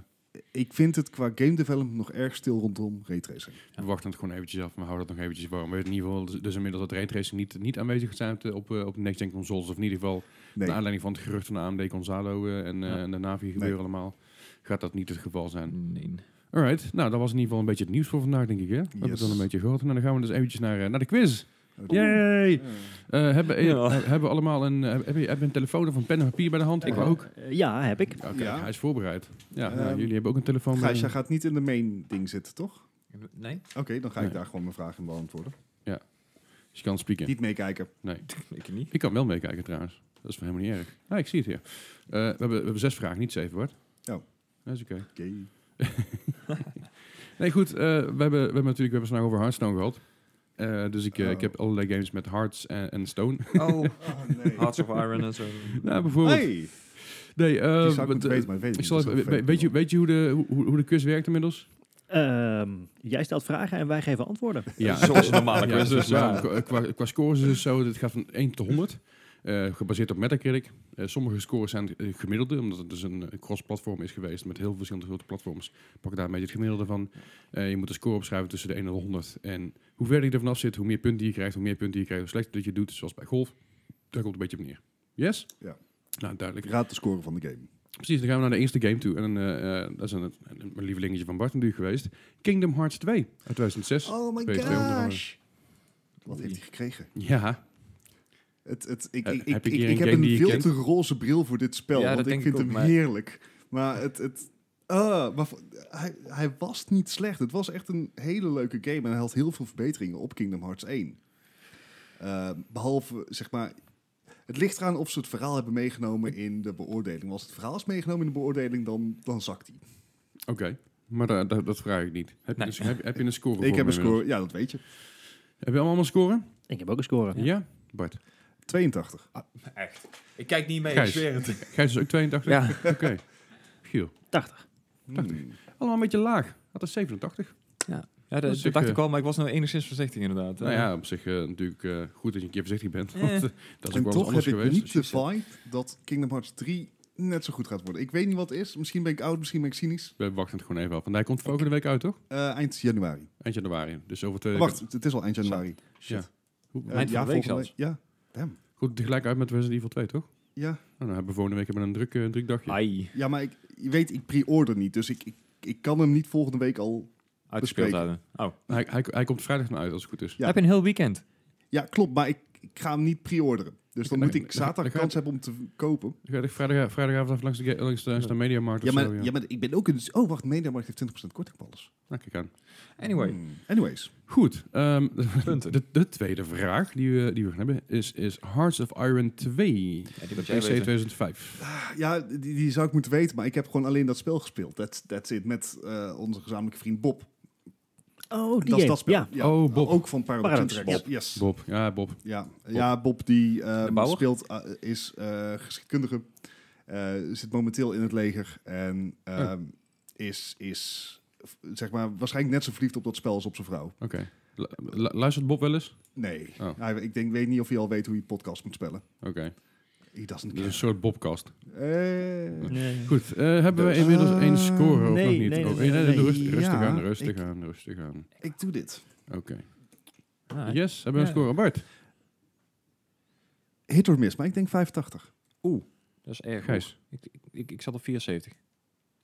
Speaker 2: Ik vind het qua game development nog erg stil rondom raytracing.
Speaker 3: we wachten het gewoon eventjes af, maar houden dat nog eventjes warm. We weten in ieder geval dus- dus inmiddels dat raytracing niet, niet aanwezig gaat zijn op de, op, eh, op de next-gen consoles. Of in ieder geval,
Speaker 2: Nee,
Speaker 3: naar aanleiding van het gerucht van de AMD Gonzalo eh, en, eh,
Speaker 1: Ja.
Speaker 3: en de Navi gebeuren allemaal, gaat dat niet het geval zijn.
Speaker 1: Nee.
Speaker 3: Alright, nou dat was in ieder geval een beetje het nieuws voor vandaag, denk ik. Hè? We hebben het
Speaker 2: Yes.
Speaker 3: al een beetje gehoord. Nou, dan gaan we dus eventjes naar, eh, naar de quiz.
Speaker 2: Nou, dat-
Speaker 3: Yay!
Speaker 2: Eh,
Speaker 3: Eh, hebben, eh,
Speaker 1: Ja.
Speaker 3: hebben we allemaal een, eh, heb je, heb je een telefoon of een pen en papier bij de hand? Ik
Speaker 4: Eh,
Speaker 3: ook.
Speaker 4: eh, ja, heb ik.
Speaker 3: Oké,
Speaker 2: Ja.
Speaker 3: hij is voorbereid. Ja,
Speaker 2: Ehm,
Speaker 3: nou, jullie hebben ook een telefoon bij
Speaker 2: Gijs, jij gaat niet in de main ding zitten, toch?
Speaker 1: Nee?
Speaker 2: Oké, dan ga ik
Speaker 3: Nee.
Speaker 2: daar gewoon mijn vraag in beantwoorden.
Speaker 3: Dus je kan spieken.
Speaker 2: Niet meekijken.
Speaker 1: Ik niet.
Speaker 3: Ik kan wel meekijken trouwens. Dat is wel helemaal niet erg. Ah, ik zie het hier. Eh, we, hebben, we hebben zes vragen, niet zeven, hoor.
Speaker 2: Oh.
Speaker 3: Dat is oké.
Speaker 2: Oké.
Speaker 3: Nee, goed. eh, we, hebben, we hebben natuurlijk we hebben het vandaag over Hearthstone gehad. Eh, dus ik, eh, ik
Speaker 2: Oh.
Speaker 3: heb allerlei games met hearts en, en stone.
Speaker 1: Oh,
Speaker 2: Oh, nee.
Speaker 1: Hearts of Iron en zo.
Speaker 3: nou, bijvoorbeeld.
Speaker 2: Hey,
Speaker 3: Nee, eh,
Speaker 2: die zou ik
Speaker 3: want,
Speaker 2: moeten
Speaker 3: eh,
Speaker 2: weten, maar dat weet ik
Speaker 3: Ik
Speaker 2: niet.
Speaker 3: zal
Speaker 2: Dat is
Speaker 3: even,
Speaker 2: wel
Speaker 3: we- we-
Speaker 2: vervelend
Speaker 3: weet, je,
Speaker 2: dan.
Speaker 3: weet je hoe de, hoe, hoe de quiz werkt inmiddels?
Speaker 4: Ehm, jij stelt vragen en wij geven antwoorden.
Speaker 3: Ja,
Speaker 1: Zoals een normale
Speaker 3: Ja,
Speaker 1: quiz
Speaker 3: dus,
Speaker 1: is,
Speaker 3: ja,
Speaker 1: ja.
Speaker 3: qua- Qua, qua scores is het zo, dit gaat van 1 tot 100. eh, gebaseerd op Metacritic. Eh, sommige scores zijn eh, gemiddelde, omdat het dus een eh, cross-platform is geweest met heel veel verschillende grote platforms. Pak ik daar een beetje het gemiddelde van. Eh, je moet een score opschrijven tussen de 1 en de 100. En hoe verder je er vanaf zit, hoe meer punten je krijgt, hoe meer punten je krijgt, hoe slechter dat je doet, zoals bij golf. Daar komt het een beetje op neer. Yes?
Speaker 2: Ja.
Speaker 3: Nou, duidelijk.
Speaker 2: Raad de score van de game.
Speaker 3: Precies, dan gaan we naar de eerste game toe. En eh, eh, dat is een, een, een lievelingetje van Bart natuurlijk geweest. Kingdom Hearts 2 uit 2006.
Speaker 2: Oh my
Speaker 3: Twee- 200 euro.
Speaker 2: gosh. Wat heeft hij gekregen?
Speaker 3: Ja,
Speaker 2: Het, het, ik,
Speaker 3: Heb-
Speaker 2: ik,
Speaker 3: heb
Speaker 2: ik, ik,
Speaker 3: je hier een
Speaker 2: ik heb
Speaker 3: game
Speaker 2: een
Speaker 3: die je
Speaker 2: veel
Speaker 3: kent?
Speaker 2: te roze bril voor dit spel,
Speaker 1: Ja, dat
Speaker 2: want ik
Speaker 1: denk
Speaker 2: vind
Speaker 1: ik ook,
Speaker 2: hem
Speaker 1: maar-
Speaker 2: heerlijk. Maar het... het ah, maar vo- hij, hij was niet slecht. Het was echt een hele leuke game en hij had heel veel verbeteringen op Kingdom Hearts 1. Eh, behalve, zeg maar... Het ligt eraan of ze het verhaal hebben meegenomen in de beoordeling. Want Als het verhaal is meegenomen in de beoordeling, dan, dan zakt hij.
Speaker 3: oké. Maar da- da- dat vraag ik niet. Heb,
Speaker 1: Nee.
Speaker 3: je, een, heb, heb je een score voor
Speaker 2: Ik heb
Speaker 3: me
Speaker 2: een
Speaker 3: inmiddels?
Speaker 2: score, ja, dat weet je.
Speaker 3: Heb je allemaal een score?
Speaker 4: Ik heb ook een score.
Speaker 3: Ja. Bart.
Speaker 2: 82.
Speaker 1: Echt. Ik kijk niet mee,
Speaker 3: Gijs.
Speaker 1: ik zweer het.
Speaker 3: Gijs is ook 82?
Speaker 1: Ja.
Speaker 3: Oké. Giel.
Speaker 4: 80.
Speaker 2: Hmm.
Speaker 3: Allemaal een beetje laag. Had een 87.
Speaker 1: Ja,
Speaker 3: Dat
Speaker 1: dat,
Speaker 3: is
Speaker 1: dat dacht
Speaker 3: echt,
Speaker 1: ik al, maar ik was nou enigszins voorzichtig inderdaad.
Speaker 3: Nou ja, op zich eh, natuurlijk eh, goed dat je een keer voorzichtig bent. Want eh, dat is ook
Speaker 2: en
Speaker 3: wel eens
Speaker 2: toch heb
Speaker 3: anders
Speaker 2: ik
Speaker 3: geweest.
Speaker 2: niet de vibe dat Kingdom Hearts 3 net zo goed gaat worden. Ik weet niet wat het is. Misschien ben ik oud, misschien ben ik cynisch.
Speaker 3: We wachten het gewoon even af. Want hij komt volgende week uit, toch?
Speaker 2: Eh, eind januari.
Speaker 3: Eind januari. Dus over twee
Speaker 2: Wacht, het is al eind januari.
Speaker 3: Ja.
Speaker 2: Shit.
Speaker 3: Hoe-
Speaker 2: Eh,
Speaker 1: Eind van de week
Speaker 2: volgende
Speaker 1: zelfs.
Speaker 2: Ja, damn.
Speaker 3: Goed, tegelijk uit met Resident Evil 2, toch?
Speaker 2: Ja,
Speaker 3: Nou, dan hebben we volgende week hebben we een druk, eh, druk dagje.
Speaker 1: Ai,
Speaker 2: ja maar ik, je weet, ik pre-order niet. Dus ik, ik, ik kan hem niet volgende week al...
Speaker 1: uitgespeeld
Speaker 2: Bespreken.
Speaker 1: hadden. Oh.
Speaker 3: Hij, hij, hij komt vrijdag naar uit, als het goed is.
Speaker 2: Ja.
Speaker 1: Heb je een heel weekend?
Speaker 2: Ja, klopt, maar ik, ik ga hem niet pre-orderen. Dus dan
Speaker 3: Nee,
Speaker 2: moet ik
Speaker 3: nee,
Speaker 2: zaterdag
Speaker 3: dan ga-
Speaker 2: kans hebben om te kopen.
Speaker 3: Ik ga echt vrijdag, vrijdagavond even langs de, ga- langs de, langs de mediamarkt
Speaker 2: Ja
Speaker 3: of
Speaker 2: maar,
Speaker 3: zo. Ja.
Speaker 2: ja, maar ik ben ook in... Oh, wacht, Mediamarkt heeft 20% korting op alles.
Speaker 3: Nou, kijk aan.
Speaker 1: Anyway,
Speaker 2: Hmm. Anyways.
Speaker 3: Goed, ehm,
Speaker 1: Punten.
Speaker 3: de, de tweede vraag die we, die we gaan hebben is, is Hearts of Iron 2.
Speaker 1: ja, die
Speaker 3: De
Speaker 1: moet
Speaker 3: PC
Speaker 1: jij weten.
Speaker 3: 2005.
Speaker 2: Ja, die, die zou ik moeten weten, maar ik heb gewoon alleen dat spel gespeeld. That's, that's it, met eh, onze gezamenlijke vriend Bob.
Speaker 4: Oh,
Speaker 2: dat
Speaker 4: die
Speaker 2: is
Speaker 4: game.
Speaker 2: dat spel.
Speaker 4: Ja,
Speaker 2: Ja, nou,
Speaker 3: Oh, Bob.
Speaker 2: Ook van Paradox,
Speaker 4: Paradox,
Speaker 2: Interactive. Yes.
Speaker 3: Bob, ja Bob.
Speaker 2: Ja, ja Bob die ehm,
Speaker 1: De bouwer?
Speaker 2: speelt, eh, is eh, geschiedkundige, eh, zit momenteel in het leger en
Speaker 3: Oh.
Speaker 2: ehm, is, is f- zeg maar, waarschijnlijk net zo verliefd op dat spel als op zijn vrouw.
Speaker 3: Oké. Lu- lu- luistert Bob wel eens?
Speaker 2: Nee,
Speaker 3: Oh.
Speaker 2: Hij- ik denk, weet niet of hij al weet hoe je podcast moet spellen.
Speaker 3: Oké.
Speaker 2: He doesn't
Speaker 3: Dus
Speaker 2: care.
Speaker 3: een soort Bobcast.
Speaker 2: Eh,
Speaker 4: Nee.
Speaker 3: Goed, eh, hebben we
Speaker 2: Dus-
Speaker 3: inmiddels
Speaker 2: Ah,
Speaker 3: één score of
Speaker 4: nee,
Speaker 3: nog niet?
Speaker 4: nee,
Speaker 3: Oh,
Speaker 4: nee, nee,
Speaker 3: doe
Speaker 4: nee.
Speaker 3: Rustig, rustig
Speaker 2: Ja,
Speaker 3: aan, rustig
Speaker 2: ik-
Speaker 3: aan, rustig aan.
Speaker 2: ik doe dit.
Speaker 3: Oké.
Speaker 1: Ah,
Speaker 3: Yes, hebben we een
Speaker 1: Ja.
Speaker 3: score. Bart,
Speaker 2: Hit or miss, maar ik denk 85.
Speaker 1: Dat is erg
Speaker 3: Gijs.
Speaker 1: hoog. Ik, ik- ik, ik zat op 74.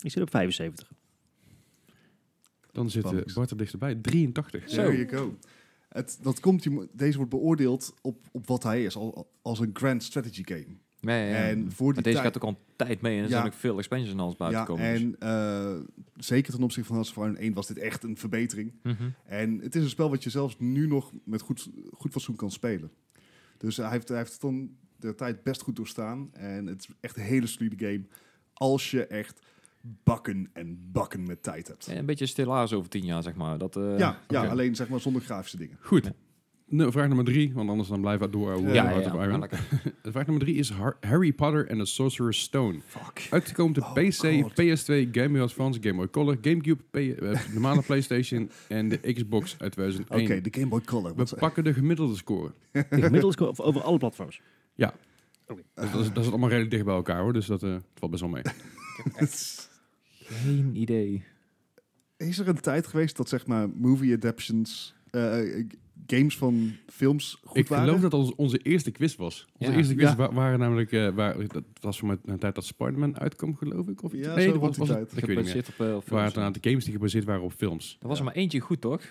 Speaker 4: Ik zit op 75.
Speaker 3: dan zit eh,
Speaker 2: Spannend.
Speaker 3: Bart er dichterbij. 83.
Speaker 1: Zo.
Speaker 2: There you go. Het, dat komt, je mo- deze wordt beoordeeld op, op wat hij is, al- al- als een grand strategy game.
Speaker 1: Nee, ja.
Speaker 2: En voor die
Speaker 1: maar deze
Speaker 2: tijd-
Speaker 1: gaat ook al een tijd mee en er
Speaker 2: Ja.
Speaker 1: zijn ook veel expansions en alles buiten
Speaker 2: Ja,
Speaker 1: komen. dus-
Speaker 2: en eh, zeker ten opzichte van Hearts of Iron 1 was dit echt een verbetering.
Speaker 1: Mhm.
Speaker 2: En het is een spel wat je zelfs nu nog met goed, goed fatsoen kan spelen. Dus hij heeft, hij heeft dan de tijd best goed doorstaan. En het is echt een hele solide game. Als je echt bakken en bakken met tijd hebt.
Speaker 1: En een beetje stilaas over tien jaar, zeg maar. Dat, eh,
Speaker 2: ja, ja
Speaker 3: oké.
Speaker 2: alleen zeg maar zonder grafische dingen.
Speaker 3: Goed.
Speaker 1: Ja.
Speaker 3: Nou, vraag nummer drie, want anders dan blijven we door.
Speaker 2: Ja,
Speaker 3: over
Speaker 1: ja, ja,
Speaker 3: Hearts of
Speaker 1: ja,
Speaker 3: Iron.
Speaker 1: lekker.
Speaker 3: Vraag nummer drie is Har- Harry Potter and the Sorcerer's Stone.
Speaker 2: Fuck.
Speaker 3: Uitgekomen op
Speaker 2: Oh,
Speaker 3: de PC,
Speaker 2: God.
Speaker 3: PS2, Game Boy Advance, Game Boy Color, Gamecube, P- eh, normale PlayStation en de Xbox uit 2001.
Speaker 2: Oké, de Game Boy Color.
Speaker 3: We
Speaker 2: Wat-
Speaker 3: pakken de gemiddelde score.
Speaker 4: Gemiddeld score over- over alle platforms. Nou,
Speaker 2: Eh.
Speaker 3: Dus dat, is, dat is allemaal redelijk dicht bij elkaar hoor, dus dat eh, het valt best wel mee.
Speaker 1: Geen idee.
Speaker 2: Is er een tijd geweest dat zeg maar movie adaptions, eh, games van films goed
Speaker 3: ik
Speaker 2: waren?
Speaker 3: geloof dat ons, onze eerste quiz was. Onze
Speaker 1: Ja.
Speaker 3: eerste quiz
Speaker 2: Ja.
Speaker 3: wa- waren namelijk, eh, waar, dat was voor mij een tijd dat Spider-Man uitkwam geloof ik. Of iets.
Speaker 2: Ja,
Speaker 3: nee,
Speaker 2: zo
Speaker 3: dat
Speaker 2: rond die
Speaker 3: was
Speaker 2: tijd.
Speaker 3: Ik weet niet meer.
Speaker 1: Gebaseerd op, eh, op
Speaker 3: Er waren
Speaker 1: films.
Speaker 3: het een aantal games die gebaseerd waren op films.
Speaker 1: Er was er maar eentje goed, toch?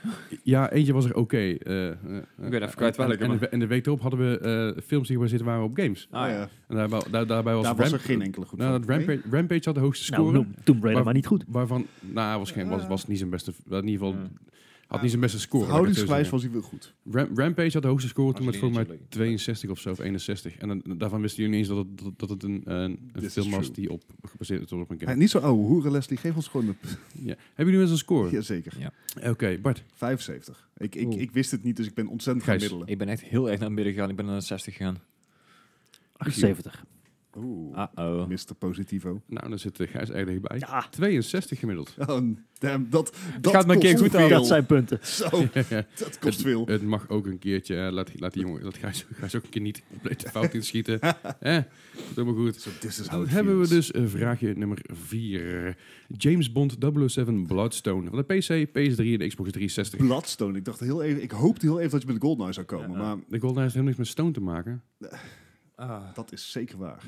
Speaker 3: Ja, eentje was er oké. eh, eh, eh,
Speaker 1: weet even kwijt
Speaker 3: en-
Speaker 1: welke,
Speaker 3: En, de
Speaker 1: maar-
Speaker 3: we- en de week erop hadden we eh, films die gebaseerd waren op games.
Speaker 2: Ah, ja.
Speaker 3: En daarbij, daar- daarbij was,
Speaker 2: Daar was er
Speaker 3: Ramp-
Speaker 2: geen enkele goed
Speaker 3: Nou,
Speaker 2: van.
Speaker 3: dat Rampage, Rampage had de hoogste
Speaker 4: Nou,
Speaker 3: score.
Speaker 4: noem Tomb Raider,
Speaker 3: Maar-
Speaker 4: maar niet goed.
Speaker 3: waarvan, nou, was, geen,
Speaker 2: Ah.
Speaker 3: was, was niet zijn beste. In ieder geval, had niet zijn beste score. laat ik het zo
Speaker 2: Houdingsgewijs
Speaker 3: zeggen.
Speaker 2: was hij wel goed.
Speaker 3: Ram- Rampage had de hoogste score toen met
Speaker 1: Angelina
Speaker 3: volgens mij
Speaker 1: Jolie.
Speaker 3: 62 of zo, of 61. En dan- daarvan wisten jullie niet eens dat het, dat, dat het een, eh, een,
Speaker 2: This
Speaker 3: een
Speaker 2: is
Speaker 3: film was
Speaker 2: true.
Speaker 3: die op, gebaseerd is op een
Speaker 2: Hey,
Speaker 3: game.
Speaker 2: niet zo ouwe hoeren, Leslie. Geef ons gewoon een...
Speaker 3: Ja. Hebben jullie wel eens een score?
Speaker 2: Jazeker.
Speaker 3: Oké, Bart.
Speaker 2: 75. Ik, ik,
Speaker 1: Oeh.
Speaker 2: ik wist het niet, dus ik ben ontzettend gaan
Speaker 3: Gijs.
Speaker 2: middelen.
Speaker 1: Ik ben echt heel erg naar midden gegaan. Ik ben naar 60 gegaan.
Speaker 4: 78.
Speaker 2: Oeh.
Speaker 1: Uh-oh.
Speaker 2: Mr. Positivo.
Speaker 3: Nou, dan zit eh, Gijs erg dichtbij.
Speaker 4: Ja,
Speaker 3: 62 gemiddeld.
Speaker 2: Oh, damn, dat, dat
Speaker 1: gaat maar een keer
Speaker 2: kost
Speaker 1: goed
Speaker 2: veel.
Speaker 4: dat zijn punten.
Speaker 2: Zo, dat kost veel.
Speaker 3: Het mag ook een keertje. eh, laat, laat die jongen, laat Gijs, Gijs ook een keer niet compleet de fout inschieten. eh, komt helemaal goed.
Speaker 2: So this is how
Speaker 3: Dan
Speaker 2: it
Speaker 3: hebben we
Speaker 2: feels.
Speaker 3: dus eh, vraagje nummer 4. James Bond 007 Bloodstone. Van de PC, PS3 en de Xbox 360.
Speaker 2: dus Bloodstone. Ik dacht heel even... Ik hoopte heel even dat je met Goldeneye zou komen,
Speaker 1: Ja.
Speaker 2: maar
Speaker 3: De Goldeneye heeft helemaal niks met Stone te maken.
Speaker 1: Ah.
Speaker 2: dat is zeker waar.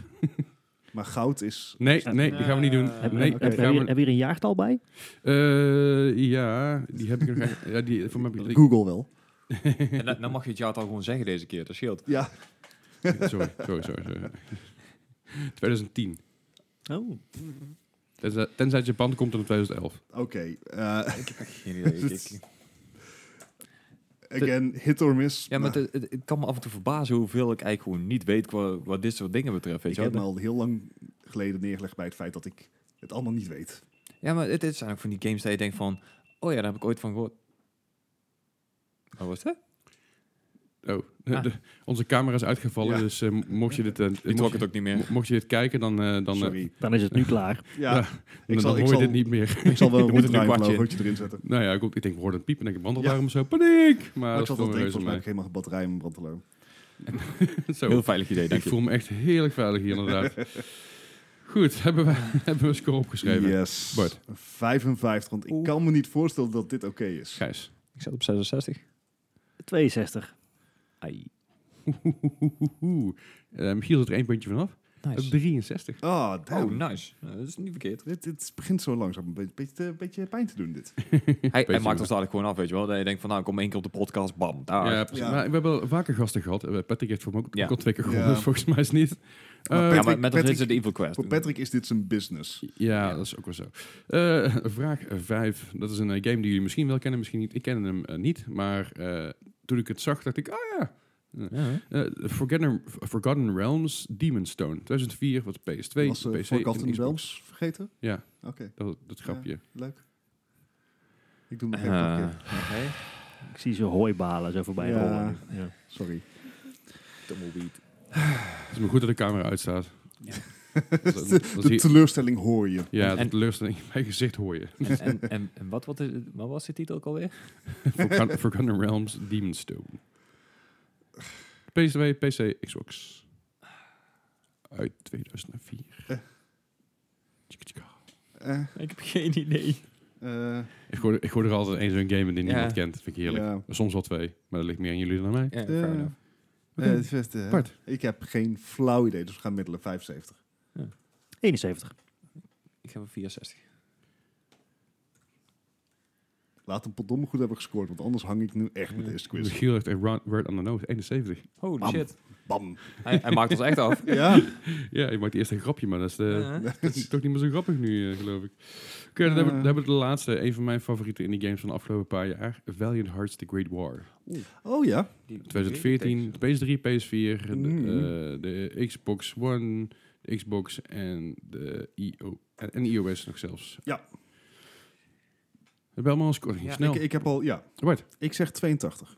Speaker 2: maar goud is...
Speaker 3: Nee, nee, die gaan we niet doen.
Speaker 4: Heb,
Speaker 3: Nee,
Speaker 4: heb,
Speaker 3: die
Speaker 4: heb, je
Speaker 3: gaan
Speaker 4: hier,
Speaker 3: we...
Speaker 4: heb je hier een jaartal bij?
Speaker 3: Eh, ja, die heb ik nog eigenlijk- ja, die, voor mij heb ik-
Speaker 2: Google wel.
Speaker 1: En dan, dan mag je het jaartal gewoon zeggen deze keer. Dat scheelt.
Speaker 2: Ja.
Speaker 3: Sorry, sorry, sorry. sorry. 2010.
Speaker 4: Oh.
Speaker 3: Tenzij, tenzij Japan komt in 2011.
Speaker 2: Oké. eh,
Speaker 1: Ik heb echt geen idee. Ik- ik-
Speaker 2: again, hit or miss.
Speaker 1: Ja, maar het, het- het kan me af en toe verbazen hoeveel ik eigenlijk gewoon niet weet qua, wat dit soort dingen betreft. Weet
Speaker 2: ik
Speaker 1: je wel.
Speaker 2: heb me al heel lang geleden neergelegd bij het feit dat ik het allemaal niet weet.
Speaker 1: Ja, maar het, het zijn ook van die games dat je denkt van... Oh ja, daar heb ik ooit van gehoord. Wat was dat?
Speaker 3: Oh, de-
Speaker 1: Ah.
Speaker 3: de- onze camera is uitgevallen,
Speaker 2: Ja.
Speaker 3: dus eh, mo- mocht je dit... eh,
Speaker 1: Die
Speaker 3: mocht
Speaker 1: trok
Speaker 3: je-
Speaker 1: het ook niet
Speaker 3: Mo-
Speaker 1: meer.
Speaker 3: Mocht je dit kijken, dan, eh, dan, eh,
Speaker 2: Sorry.
Speaker 4: Dan is het nu klaar.
Speaker 2: Ja,
Speaker 3: Ja. dan,
Speaker 2: zal-
Speaker 3: dan
Speaker 2: ik
Speaker 3: hoor je
Speaker 2: zal-
Speaker 3: dit niet meer.
Speaker 2: ik zal wel
Speaker 1: moet er nu
Speaker 2: een
Speaker 1: kwartje in.
Speaker 2: logootje erin zetten.
Speaker 3: nou ja, ik, ik denk, we hoorden een piep en ik wandel
Speaker 2: Ja.
Speaker 3: daarom zo, paniek! Maar
Speaker 2: Maar
Speaker 3: dat
Speaker 2: ik
Speaker 3: is
Speaker 2: zat al te
Speaker 3: wel
Speaker 2: denken,
Speaker 3: reuze
Speaker 2: volgens mij heb ik
Speaker 3: mij.
Speaker 2: helemaal geen batterij in mijn brandalarm.
Speaker 3: Zo,
Speaker 1: Heel veilig idee,
Speaker 3: ik
Speaker 1: denk ik.
Speaker 3: voel me echt heerlijk veilig hier inderdaad. Goed, hebben we, hebben we een score opgeschreven.
Speaker 2: Yes.
Speaker 3: Bart.
Speaker 2: 55, want ik
Speaker 1: Oeh.
Speaker 2: kan me niet voorstellen dat dit oké is.
Speaker 3: Gijs.
Speaker 1: Ik zat op 66.
Speaker 4: 62.
Speaker 1: Ai.
Speaker 3: Eh, Michiel zit er één puntje vanaf. Op
Speaker 1: Nice.
Speaker 3: 63.
Speaker 2: Oh, damn.
Speaker 1: Oh, nice. Nou, dat is niet verkeerd.
Speaker 2: dit, dit begint zo langzaam een beetje, beetje, te- beetje pijn te doen, dit.
Speaker 1: Hij, hij
Speaker 3: Beetje
Speaker 1: maakt ons dadelijk gewoon af, weet je wel. Dat je denkt van, nou, kom één keer op de podcast, bam. Daar.
Speaker 3: Ja, precies.
Speaker 2: Ja.
Speaker 3: Maar we hebben al vaker gasten gehad. Eh, Patrick heeft voor me ook,
Speaker 1: Ja.
Speaker 3: ook al twee keer gewonnen.
Speaker 2: Ja.
Speaker 3: dus volgens mij is het niet.
Speaker 2: Maar
Speaker 3: Eh,
Speaker 2: Patrick-
Speaker 1: ja, maar met ons
Speaker 2: Patrick-
Speaker 1: is het de Evil Quest.
Speaker 2: Voor Patrick is dit zijn business.
Speaker 3: ja, dat is ook wel zo. Eh, vraag 5. Dat is een eh, game die jullie misschien wel kennen, misschien niet. Ik ken hem eh, niet, maar eh, toen ik het zag, dacht ik, ah ja.
Speaker 1: Ja.
Speaker 3: Eh, Forgotten, Forgotten Realms, Demon Stone. 2004 was PS2,
Speaker 2: Was uh,
Speaker 3: PC
Speaker 2: Forgotten
Speaker 3: en Xbox.
Speaker 2: Realms vergeten?
Speaker 3: Ja,
Speaker 2: Oké,
Speaker 3: dat, dat grapje.
Speaker 2: leuk. Ik doe hem even
Speaker 1: Eh,
Speaker 3: Ah.
Speaker 2: een keer.
Speaker 1: Oké.
Speaker 4: Ik zie ze hooibalen zo voorbij
Speaker 2: Ja.
Speaker 4: rollen. Ja.
Speaker 2: Sorry.
Speaker 3: Het is maar goed dat de camera uitstaat.
Speaker 1: Ja.
Speaker 3: Dat is- dat is
Speaker 2: De
Speaker 3: hier-
Speaker 2: teleurstelling hoor je.
Speaker 3: ja, de
Speaker 1: En-
Speaker 3: teleurstelling in mijn gezicht hoor je.
Speaker 1: En, en, en, en wat, wat, is- wat was de titel ook alweer?
Speaker 3: Forgotten, Forgotten Realms, Demon Stone. PS2, PC, Xbox. Uit 2004.
Speaker 2: Eh.
Speaker 3: Tjik, tjik.
Speaker 2: Eh,
Speaker 1: Ik heb geen idee.
Speaker 2: eh,
Speaker 3: Ik gooi, ik gooi er altijd één zo'n game in die
Speaker 1: Ja.
Speaker 3: niemand kent. Dat vind ik heerlijk.
Speaker 2: ja.
Speaker 3: Soms wel twee, maar dat ligt meer aan jullie dan aan mij.
Speaker 1: Ja,
Speaker 2: Eh,
Speaker 1: fair enough.
Speaker 2: eh,
Speaker 3: Oké.
Speaker 2: het is best, eh,
Speaker 3: Bart.
Speaker 2: Ik heb geen flauw idee, dus we gaan middelen 75.
Speaker 4: 71.
Speaker 1: Ik heb een 64.
Speaker 2: Laat hem potdomme goed hebben gescoord, want anders hang ik nu echt met deze quiz.
Speaker 3: Michiel heeft echt round- word on the nose, 71.
Speaker 1: Holy
Speaker 2: Bam.
Speaker 1: shit. Eh,
Speaker 2: Bam.
Speaker 1: Hij, hij maakt ons echt af.
Speaker 2: Ja.
Speaker 3: Ja, je maakt eerst een grapje, maar dat is, de,
Speaker 1: Ja.
Speaker 3: dat is toch niet meer zo grappig nu, eh, geloof ik. Oké, dan, hebben, we- dan hebben we de laatste, een van mijn favoriete indie games van de afgelopen paar jaar. Valiant Hearts The Great War.
Speaker 2: Oh ja.
Speaker 1: Die- die
Speaker 3: 2014, de PS3, PS4, de,
Speaker 2: Mm.
Speaker 3: eh, de Xbox One, de Xbox en de IO, en, en iOS nog zelfs.
Speaker 2: Ja.
Speaker 3: We hebben allemaal een scoring.
Speaker 1: Ja,
Speaker 3: Snel.
Speaker 2: Ik, ik heb al, ja.
Speaker 3: Nou. Bart,
Speaker 2: Ik zeg 82.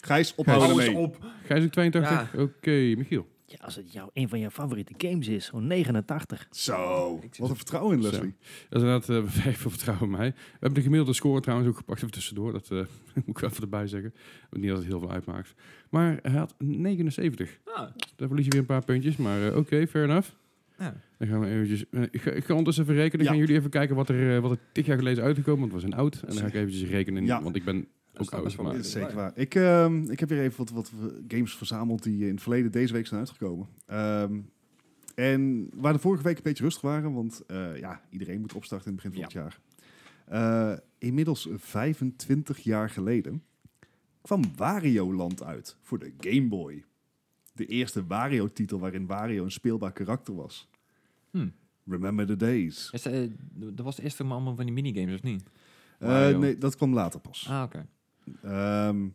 Speaker 2: Gijs,
Speaker 1: Hou
Speaker 2: ophouden
Speaker 1: eens
Speaker 2: ermee.
Speaker 1: Oh, op.
Speaker 3: Gijs ook 82? Oké, Michiel.
Speaker 4: Ja, als het jou een van jouw favoriete games is, zo'n 89.
Speaker 2: Zo.
Speaker 1: Ik zit-
Speaker 2: Wat een vertrouwen in
Speaker 3: Zo.
Speaker 2: Leslie.
Speaker 3: Dat is inderdaad eh, vrij veel vertrouwen in mij. We hebben de gemiddelde score trouwens ook gepakt even tussendoor. Dat eh, moet ik wel even erbij zeggen. Niet dat het heel veel uitmaakt. Maar hij had 79.
Speaker 1: Ah,
Speaker 3: Daar verlies je weer een paar puntjes. Maar eh, oké, fair enough.
Speaker 1: ja.
Speaker 3: Dan gaan we eventjes... eh, ik, ga, ik ga ondertussen even rekenen. Dan
Speaker 2: Ja.
Speaker 3: gaan jullie even kijken wat er, eh, wat er tig jaar geleden is uitgekomen. Want we zijn oud. En dan ga ik eventjes rekenen.
Speaker 2: Ja.
Speaker 3: Want ik ben
Speaker 1: is
Speaker 3: ook
Speaker 1: toch
Speaker 3: oud.
Speaker 1: best wel
Speaker 3: Maar,
Speaker 2: Dat
Speaker 1: leuk.
Speaker 2: is zeker waar. Ik, ehm, ik heb weer even wat, wat games verzameld die eh, in het verleden deze week zijn uitgekomen. Ehm, en waar de vorige week een beetje rustig waren, want eh, ja, iedereen moet opstarten in het begin van het jaar. Eh, inmiddels 25 jaar geleden kwam Wario Land uit voor de Game Boy. De eerste Wario-titel waarin Wario een speelbaar karakter was.
Speaker 1: Hm.
Speaker 2: Remember the days.
Speaker 1: Is, eh, d- dat was eerst maar allemaal van die minigames, of niet?
Speaker 2: Eh,
Speaker 3: Wario.
Speaker 2: nee, dat kwam later pas.
Speaker 1: Ah, oké.
Speaker 2: Ehm,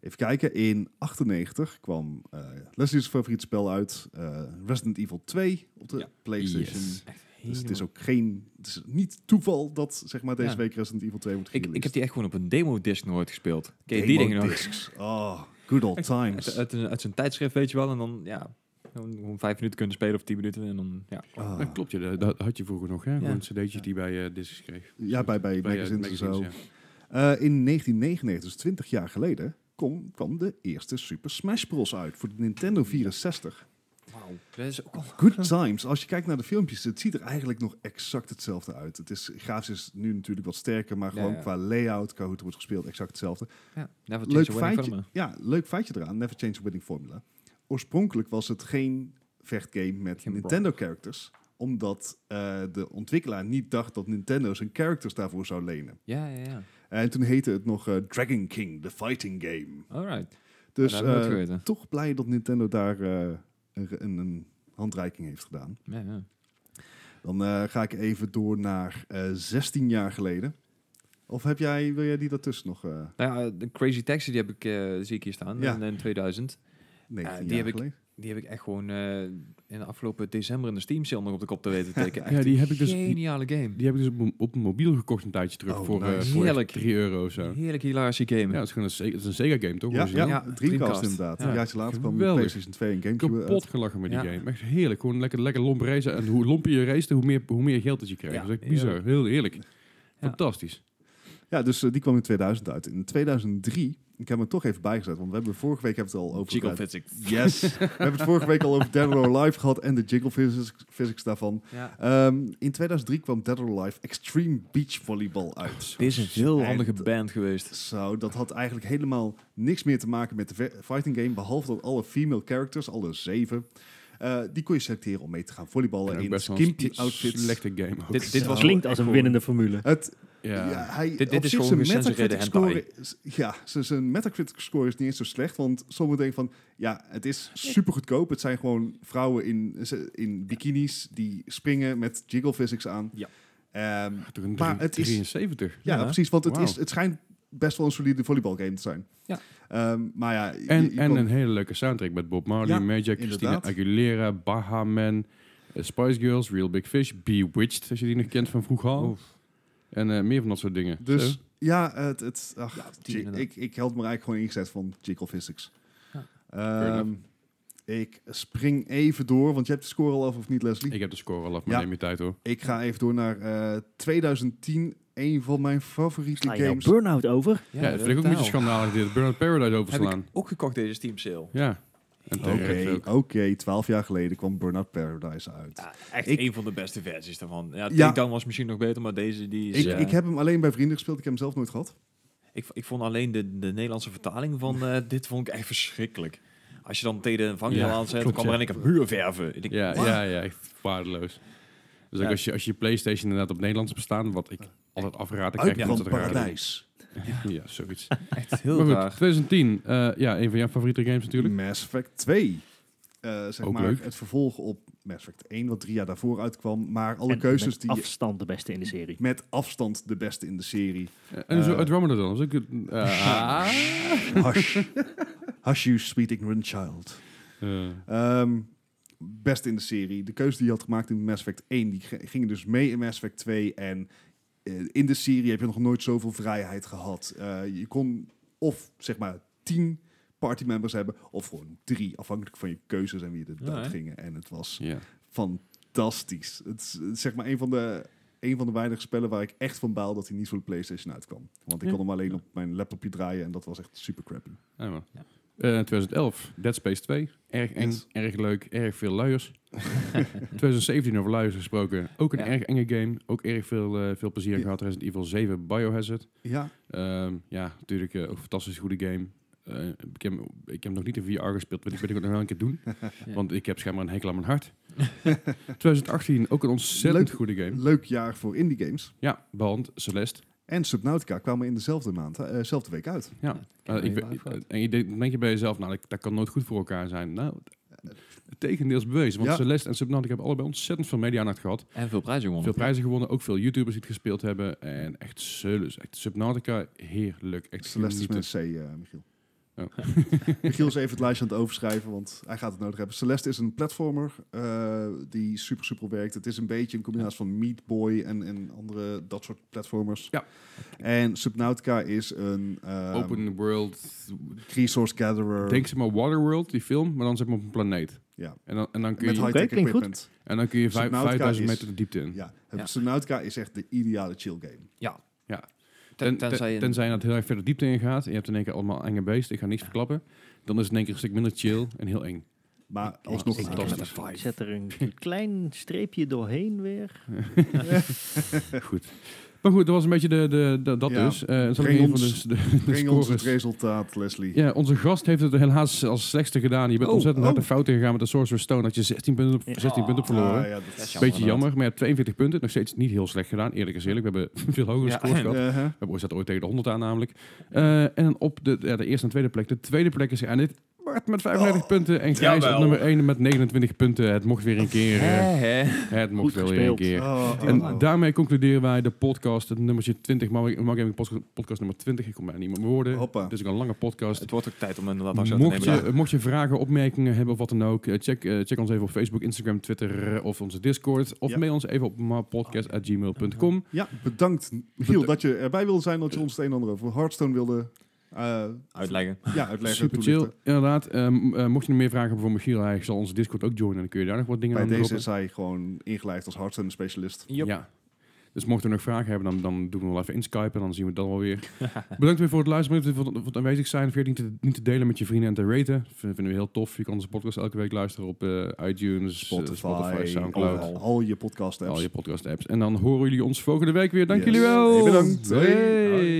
Speaker 2: even kijken. In 98 kwam eh Leslie's favoriete spel uit. eh, Resident Evil 2 op de
Speaker 1: Ja.
Speaker 2: PlayStation.
Speaker 3: Yes.
Speaker 1: Echt
Speaker 2: Dus het is
Speaker 1: helemaal-
Speaker 2: ook geen... Het is niet toeval dat zeg maar, deze
Speaker 1: Ja.
Speaker 2: week Resident Evil 2 wordt
Speaker 1: ik,
Speaker 2: gereleased.
Speaker 1: ik heb die echt gewoon op een demo-disc nooit gespeeld. Ken je die dingen nog?
Speaker 2: Discs. Oh, good old
Speaker 1: Uit,
Speaker 2: times.
Speaker 1: uit, een- uit zijn tijdschrift, weet je wel. En dan, ja, gewoon gewoon vijf minuten kunnen spelen of tien minuten. En dan, ja.
Speaker 2: Ah.
Speaker 3: dat klopt, je, dat, dat had je vroeger nog. Hè? Gewoon cd'tjes
Speaker 1: Ja.
Speaker 3: die bij eh, discs kreeg.
Speaker 2: Ja, bij, bij,
Speaker 3: Bij, eh,
Speaker 2: magazines en zo.
Speaker 3: magazines, ja.
Speaker 2: Eh, in 1999, dus 20 jaar geleden, kom, kwam de eerste Super Smash Bros. uit voor de Nintendo 64.
Speaker 1: Wauw. Dat is ook al...
Speaker 2: Good times. Als je kijkt naar de filmpjes, het ziet er eigenlijk nog exact hetzelfde uit. Het is grafisch is nu natuurlijk wat sterker, maar
Speaker 1: Ja,
Speaker 2: gewoon
Speaker 1: ja.
Speaker 2: qua layout, qua hoe het wordt gespeeld, exact hetzelfde.
Speaker 1: Ja,
Speaker 2: Leuk
Speaker 1: never change a winning
Speaker 2: feitje.
Speaker 1: formula.
Speaker 2: Ja, leuk feitje eraan. Never change the winning formula. Oorspronkelijk was het geen vechtgame met
Speaker 1: Geen
Speaker 2: Nintendo characters, omdat eh, de ontwikkelaar niet dacht dat Nintendo zijn characters daarvoor zou lenen.
Speaker 1: Ja, ja, ja.
Speaker 2: En toen heette het nog eh, Dragon King, The Fighting Game.
Speaker 1: Alright.
Speaker 2: Dus
Speaker 1: dat heb ik nooit
Speaker 2: eh,
Speaker 1: geweten.
Speaker 2: toch blij dat Nintendo daar eh, een, een handreiking heeft gedaan.
Speaker 1: Ja, ja.
Speaker 2: Dan eh, ga ik even door naar eh 16 jaar geleden. Of heb jij, wil jij die daartussen nog? eh
Speaker 1: Nou ja, de Crazy Taxi die heb ik, eh, zie ik hier staan.
Speaker 2: Ja.
Speaker 1: In, in 2000.
Speaker 2: 19
Speaker 1: Ja, die
Speaker 2: jaar
Speaker 1: heb ik-
Speaker 2: geleden?
Speaker 1: Die heb ik echt gewoon eh, in de afgelopen december in de Steam sale nog op de kop te weten te tikken. Echt
Speaker 3: Ja, die
Speaker 1: een
Speaker 3: heb ik dus-
Speaker 1: geniale game.
Speaker 3: Die heb ik dus op, m'n- op mijn mobiel gekocht een tijdje terug.
Speaker 2: Oh,
Speaker 3: voor eh,
Speaker 2: nice.
Speaker 3: voor echt
Speaker 1: Heerlijk.
Speaker 3: 3 euro of zo.
Speaker 1: Heerlijk hilarische game.
Speaker 3: Ja, het is gewoon een, Sega- het is een Sega game, toch?
Speaker 2: Ja, ja,
Speaker 3: origineel?
Speaker 1: Ja,
Speaker 2: Dreamcast,
Speaker 1: Dreamcast.
Speaker 2: inderdaad.
Speaker 1: Ja.
Speaker 2: Een jaartje later kwam de
Speaker 3: Geweldig.
Speaker 2: PlayStation 2 en Gamecube eh, uit.
Speaker 3: Kapot gelachen met die
Speaker 1: Ja.
Speaker 3: game. Echt heerlijk. Gewoon lekker, lekker lomp racen. En hoe lomper je race, hoe meer, hoe meer geld dat je krijgt.
Speaker 1: Ja,
Speaker 3: Dat is echt bizar.
Speaker 1: heerlijk.
Speaker 3: Heel heerlijk. Fantastisch.
Speaker 2: Ja, dus eh, die kwam in 2000 uit. In 2003, ik heb hem toch even bijgezet, want we hebben vorige week hebben we het al over...
Speaker 1: Jiggle
Speaker 2: het-
Speaker 1: Physics.
Speaker 2: Yes. we hebben het vorige week al over Dead or Alive gehad en de jiggle physics, physics daarvan.
Speaker 1: Ja.
Speaker 2: Ehm, in 2003 kwam Dead or Alive Extreme Beach Volleyball uit.
Speaker 1: Dit is een heel
Speaker 2: En
Speaker 1: handige
Speaker 2: dat-
Speaker 1: band geweest.
Speaker 2: Zo, dat had eigenlijk helemaal niks meer te maken met de ve- fighting game, behalve dat alle female characters, alle zeven, Eh, die kon je selecteren om mee te gaan volleyballen
Speaker 3: ook
Speaker 2: in
Speaker 3: best wel
Speaker 2: skimpy
Speaker 3: een
Speaker 2: outfits.
Speaker 3: slechte game ook.
Speaker 1: Dit, dit was
Speaker 4: Klinkt als een winnende formule.
Speaker 2: Het, ja.
Speaker 3: ja.
Speaker 2: hij,
Speaker 1: dit
Speaker 2: op
Speaker 1: is
Speaker 2: zich
Speaker 1: gewoon
Speaker 2: zijn
Speaker 1: gecensureerde
Speaker 2: Metacritic score.
Speaker 1: hentai.
Speaker 2: is- Ja, z- zijn Metacritic score is niet eens zo slecht, want sommigen denken van, ja, het is super goedkoop. Het zijn gewoon vrouwen in, ze- in bikinis die springen met jiggle physics aan.
Speaker 1: Ja.
Speaker 2: Ehm,
Speaker 3: Toch een
Speaker 2: Maar het is-
Speaker 3: 73.
Speaker 2: ja,
Speaker 1: Ja.
Speaker 2: precies, want het,
Speaker 3: Wauw.
Speaker 2: is, het schijnt best wel een solide volleybalgame te zijn.
Speaker 1: Ja.
Speaker 2: Ehm, maar ja, je-
Speaker 3: En,
Speaker 2: je
Speaker 3: en
Speaker 2: kon-
Speaker 3: een hele leuke soundtrack met Bob Marley,
Speaker 2: Ja,
Speaker 3: Magic, Christina
Speaker 2: inderdaad.
Speaker 3: Aguilera, Baha Man, eh, Spice Girls, Real Big Fish, Bewitched, als je die nog kent van vroeger al. En eh, meer van dat soort dingen.
Speaker 2: Dus
Speaker 3: Zo.
Speaker 2: ja, het, het, ach,
Speaker 1: die
Speaker 2: jig-
Speaker 1: inderdaad.
Speaker 2: ik, ik had me eigenlijk gewoon ingezet van jiggle physics.
Speaker 1: Ja.
Speaker 2: Ehm,
Speaker 3: enough.
Speaker 2: ik spring even door, want je hebt de score al af of niet, Leslie?
Speaker 3: Ik heb de score al af, maar
Speaker 2: Ja.
Speaker 3: neem je tijd hoor.
Speaker 2: Ik ga even door naar eh, 2010. Een van mijn favoriete
Speaker 4: Sla je nou
Speaker 2: games.
Speaker 4: Burnout over?
Speaker 3: Ja, dat vind ik ook een beetje schandalig dit. Burnout Paradise
Speaker 1: Heb ik
Speaker 3: overslaan.
Speaker 1: ook gekocht deze Steam sale.
Speaker 3: Ja. En
Speaker 2: Oké,
Speaker 3: terecht ook.
Speaker 2: oké. Twaalf jaar geleden kwam Burnout Paradise uit.
Speaker 1: Ja, echt
Speaker 2: Ik-
Speaker 1: een van de beste versies daarvan. Ja,
Speaker 2: Ja.
Speaker 1: Takedown was misschien nog beter, maar deze die is...
Speaker 2: ik,
Speaker 1: eh,
Speaker 2: ik heb hem alleen bij vrienden gespeeld. Ik heb hem zelf nooit gehad.
Speaker 1: ik, ik vond alleen de, de Nederlandse vertaling van eh, dit vond ik echt verschrikkelijk. Als je dan tegen een vangrail
Speaker 3: Ja,
Speaker 1: aan zet, dan
Speaker 3: klopt,
Speaker 1: kwam er
Speaker 3: ja.
Speaker 1: en ik heb huurverven. Ik denk,
Speaker 3: Ja,
Speaker 1: "Wat?"
Speaker 3: ja, ja, echt waardeloos. Dus ook
Speaker 1: Ja.
Speaker 3: als, je, als je PlayStation inderdaad op Nederlands bestaan, wat ik altijd afraad, dan krijg je
Speaker 2: Uitbrand
Speaker 3: altijd rare
Speaker 2: Paradijs.
Speaker 3: dingen. Ja, zoiets.
Speaker 1: Echt
Speaker 3: Maar
Speaker 1: heel
Speaker 3: goed,
Speaker 1: raar.
Speaker 3: 2010. eh, ja, een van jouw favoriete games natuurlijk.
Speaker 2: Mass Effect 2. Eh, zeg
Speaker 3: Ook
Speaker 2: maar
Speaker 3: leuk.
Speaker 2: het vervolg op Mass Effect 1, wat drie jaar daarvoor uitkwam. Maar alle
Speaker 4: En
Speaker 2: keuzes
Speaker 4: met
Speaker 2: die
Speaker 4: afstand de beste in de serie.
Speaker 2: met afstand de beste in de serie.
Speaker 3: Eh, en zo
Speaker 2: Eh.
Speaker 3: Andromeda dan. Dat is ook een- eh,
Speaker 2: Hush. Hush you sweet ignorant child.
Speaker 3: eh,
Speaker 2: Ehm, best in de serie. De keuze die je had gemaakt in Mass Effect 1, die g- ging dus mee in Mass Effect 2. En eh, in de serie heb je nog nooit zoveel vrijheid gehad. Eh, je kon of zeg maar tien partymembers hebben, of gewoon drie, afhankelijk van je keuzes en wie er
Speaker 1: Ja,
Speaker 2: dood
Speaker 1: hè?
Speaker 2: gingen. En het was
Speaker 3: ja.
Speaker 2: fantastisch. Het is, het is zeg maar een van de een van de weinige spellen waar ik echt van baal dat hij niet voor de PlayStation uitkwam. Want ik
Speaker 3: Ja.
Speaker 2: kon hem alleen op mijn laptopje draaien en dat was echt super crappy.
Speaker 3: Ah, maar.
Speaker 1: Ja.
Speaker 3: Eh, 2011, Dead Space 2. Erg eng,
Speaker 2: Yes.
Speaker 3: erg leuk, erg veel luiers. 2017 over luiers gesproken. Ook een
Speaker 1: Ja.
Speaker 3: erg enge game. Ook erg veel, eh, veel plezier
Speaker 2: Ja.
Speaker 3: gehad. Resident Evil 7, Biohazard.
Speaker 2: Ja,
Speaker 3: Ehm, ja, natuurlijk eh, ook een fantastisch goede game. Eh, ik, heb, ik heb nog niet in VR gespeeld, maar ik ben ik ook nog wel een keer doen.
Speaker 1: Ja.
Speaker 3: Want ik heb schijnbaar een hekel aan mijn hart. 2018, ook een ontzettend
Speaker 2: Leuk.
Speaker 3: goede game.
Speaker 2: leuk jaar voor indie games.
Speaker 3: Ja, want Celeste.
Speaker 2: En Subnautica kwamen in dezelfde maand, eh, dezelfde week uit.
Speaker 3: Ja. Eh, ik,
Speaker 1: ben-
Speaker 3: ben- en je denkt, denk je bij jezelf, nou, dat, dat kan nooit goed voor elkaar zijn. Nou, het tegendeels bewezen. Want
Speaker 2: Ja.
Speaker 3: Celeste en Subnautica hebben allebei ontzettend veel media-aandacht gehad.
Speaker 1: En veel prijzen gewonnen.
Speaker 3: Veel prijzen gewonnen, ook veel YouTubers die het gespeeld hebben. En echt zulus. Echt Subnautica, heerlijk. Echt
Speaker 2: Celeste is
Speaker 3: genieten.
Speaker 2: met een C, eh, Michiel.
Speaker 3: dus- Oh.
Speaker 2: Michiel is even het lijstje aan het overschrijven, want hij gaat het nodig hebben. Celeste is een platformer eh, die super, super werkt. Het is een beetje een combinatie van Meat Boy en, en andere dat soort platformers.
Speaker 3: Ja.
Speaker 2: En Subnautica is een ehm,
Speaker 3: Open world,
Speaker 2: resource gatherer
Speaker 3: Denk ze maar Waterworld, die film, maar dan zeg maar op een planeet.
Speaker 2: Ja.
Speaker 3: En dan, en dan, kun,
Speaker 2: met
Speaker 3: je,
Speaker 2: high-tech
Speaker 4: Oké, klinkt goed.
Speaker 2: equipment.
Speaker 3: en dan kun je vijf-
Speaker 2: Subnautica
Speaker 3: 5000
Speaker 2: is-
Speaker 3: meter de diepte in.
Speaker 2: Ja. Het
Speaker 1: Ja.
Speaker 2: Subnautica is echt de ideale chill game.
Speaker 3: Ten-
Speaker 1: Ten-
Speaker 3: ten-
Speaker 1: tenzij je-
Speaker 3: tenzij je dat heel erg verder diepte in gaat. En je hebt in één keer allemaal enge beesten. Ik ga niks verklappen. Dan is het in één keer een stuk minder chill en heel eng.
Speaker 2: Maar
Speaker 4: Ja,
Speaker 2: alsnog
Speaker 4: ik
Speaker 2: een
Speaker 1: denk
Speaker 2: aanrader.
Speaker 1: dat het
Speaker 4: Ik zet er een klein streepje doorheen weer.
Speaker 3: goed. Maar goed, dat was een beetje de, de, de- dat
Speaker 2: Ja.
Speaker 3: dus. Eh, dat is ook
Speaker 2: Breng
Speaker 3: een van
Speaker 2: ons-
Speaker 3: de, de, de
Speaker 2: Breng ons het
Speaker 3: scores.
Speaker 2: resultaat, Leslie.
Speaker 3: Ja, onze gast heeft het helaas als slechtste gedaan. Je bent
Speaker 1: Oh,
Speaker 3: ontzettend hard
Speaker 2: oh.
Speaker 3: de fout ingegaan met de Sorcerer's Stone. Dat je 16 punten op,
Speaker 4: Ja.
Speaker 3: 16 punten op verloren.
Speaker 2: Ah, ja, dat is
Speaker 1: Ja,
Speaker 3: Beetje
Speaker 1: inderdaad.
Speaker 3: jammer, maar je hebt 42 punten. Nog steeds niet heel slecht gedaan. Eerlijk is eerlijk, we hebben veel hogere
Speaker 1: Ja.
Speaker 3: scores gehad.
Speaker 2: Eh, hè?
Speaker 3: We zaten ooit tegen de 100 aan namelijk. Eh, en op de, ja, de eerste en tweede plek. De tweede plek is aan dit. Bart met 35
Speaker 2: Oh,
Speaker 3: punten. En Grijs
Speaker 1: jawel.
Speaker 3: op nummer 1 met 29 punten. Het mocht weer een keer. eh,
Speaker 1: Hè, hè.
Speaker 3: het mocht
Speaker 4: Goed
Speaker 3: wel weer een
Speaker 4: gespeeld.
Speaker 3: keer.
Speaker 2: Oh,
Speaker 3: En
Speaker 2: oh, oh.
Speaker 3: daarmee concluderen wij de podcast, het nummertje 20, Mark Mark Gaming podcast, podcast nummer 20. Ik kom bijna niet meer op mijn woorden.
Speaker 2: Hoppa.
Speaker 3: Het is ook een lange podcast.
Speaker 1: Dus Het wordt ook tijd om inderdaad afscheid te
Speaker 3: Mocht
Speaker 1: nemen.
Speaker 3: je, mocht je vragen, opmerkingen hebben of wat dan ook, eh, check, eh, check ons even op Facebook, Instagram, Twitter eh, of onze Discord. Of
Speaker 2: Ja.
Speaker 3: mail ons even op podcast.gmail.com.
Speaker 2: Ja, bedankt Michiel dat je erbij wilde zijn, dat je ons het een en ander over Hearthstone wilde eh,
Speaker 1: Uitleggen.
Speaker 2: ja, uitleggen.
Speaker 3: Super chill,
Speaker 2: toelichten.
Speaker 3: inderdaad. Ehm, eh, mocht je nog meer vragen hebben voor Michiel, hij zal onze Discord ook joinen. Dan kun je daar nog wat dingen
Speaker 2: Bij
Speaker 3: aan
Speaker 2: deze
Speaker 3: droppen.
Speaker 2: is hij gewoon ingelijfd als Hearthstone specialist.
Speaker 1: Yep.
Speaker 3: Ja. Dus mochten we nog vragen hebben, dan, dan doen we wel even inskypen en dan zien we dat wel weer. Bedankt weer voor het luisteren, bedankt voor het, voor het aanwezig zijn. Vergeet niet te, niet te delen met je vrienden en te raten. V- Vinden we heel tof. Je kan onze podcast elke week luisteren op eh, iTunes, eh,
Speaker 2: Spotify,
Speaker 3: Soundcloud.
Speaker 2: al, al je podcast apps.
Speaker 3: Al je podcast apps. En dan horen jullie ons volgende week weer. Dank
Speaker 2: Yes.
Speaker 3: jullie wel.
Speaker 2: Hey, bedankt. Hey.
Speaker 3: Hey.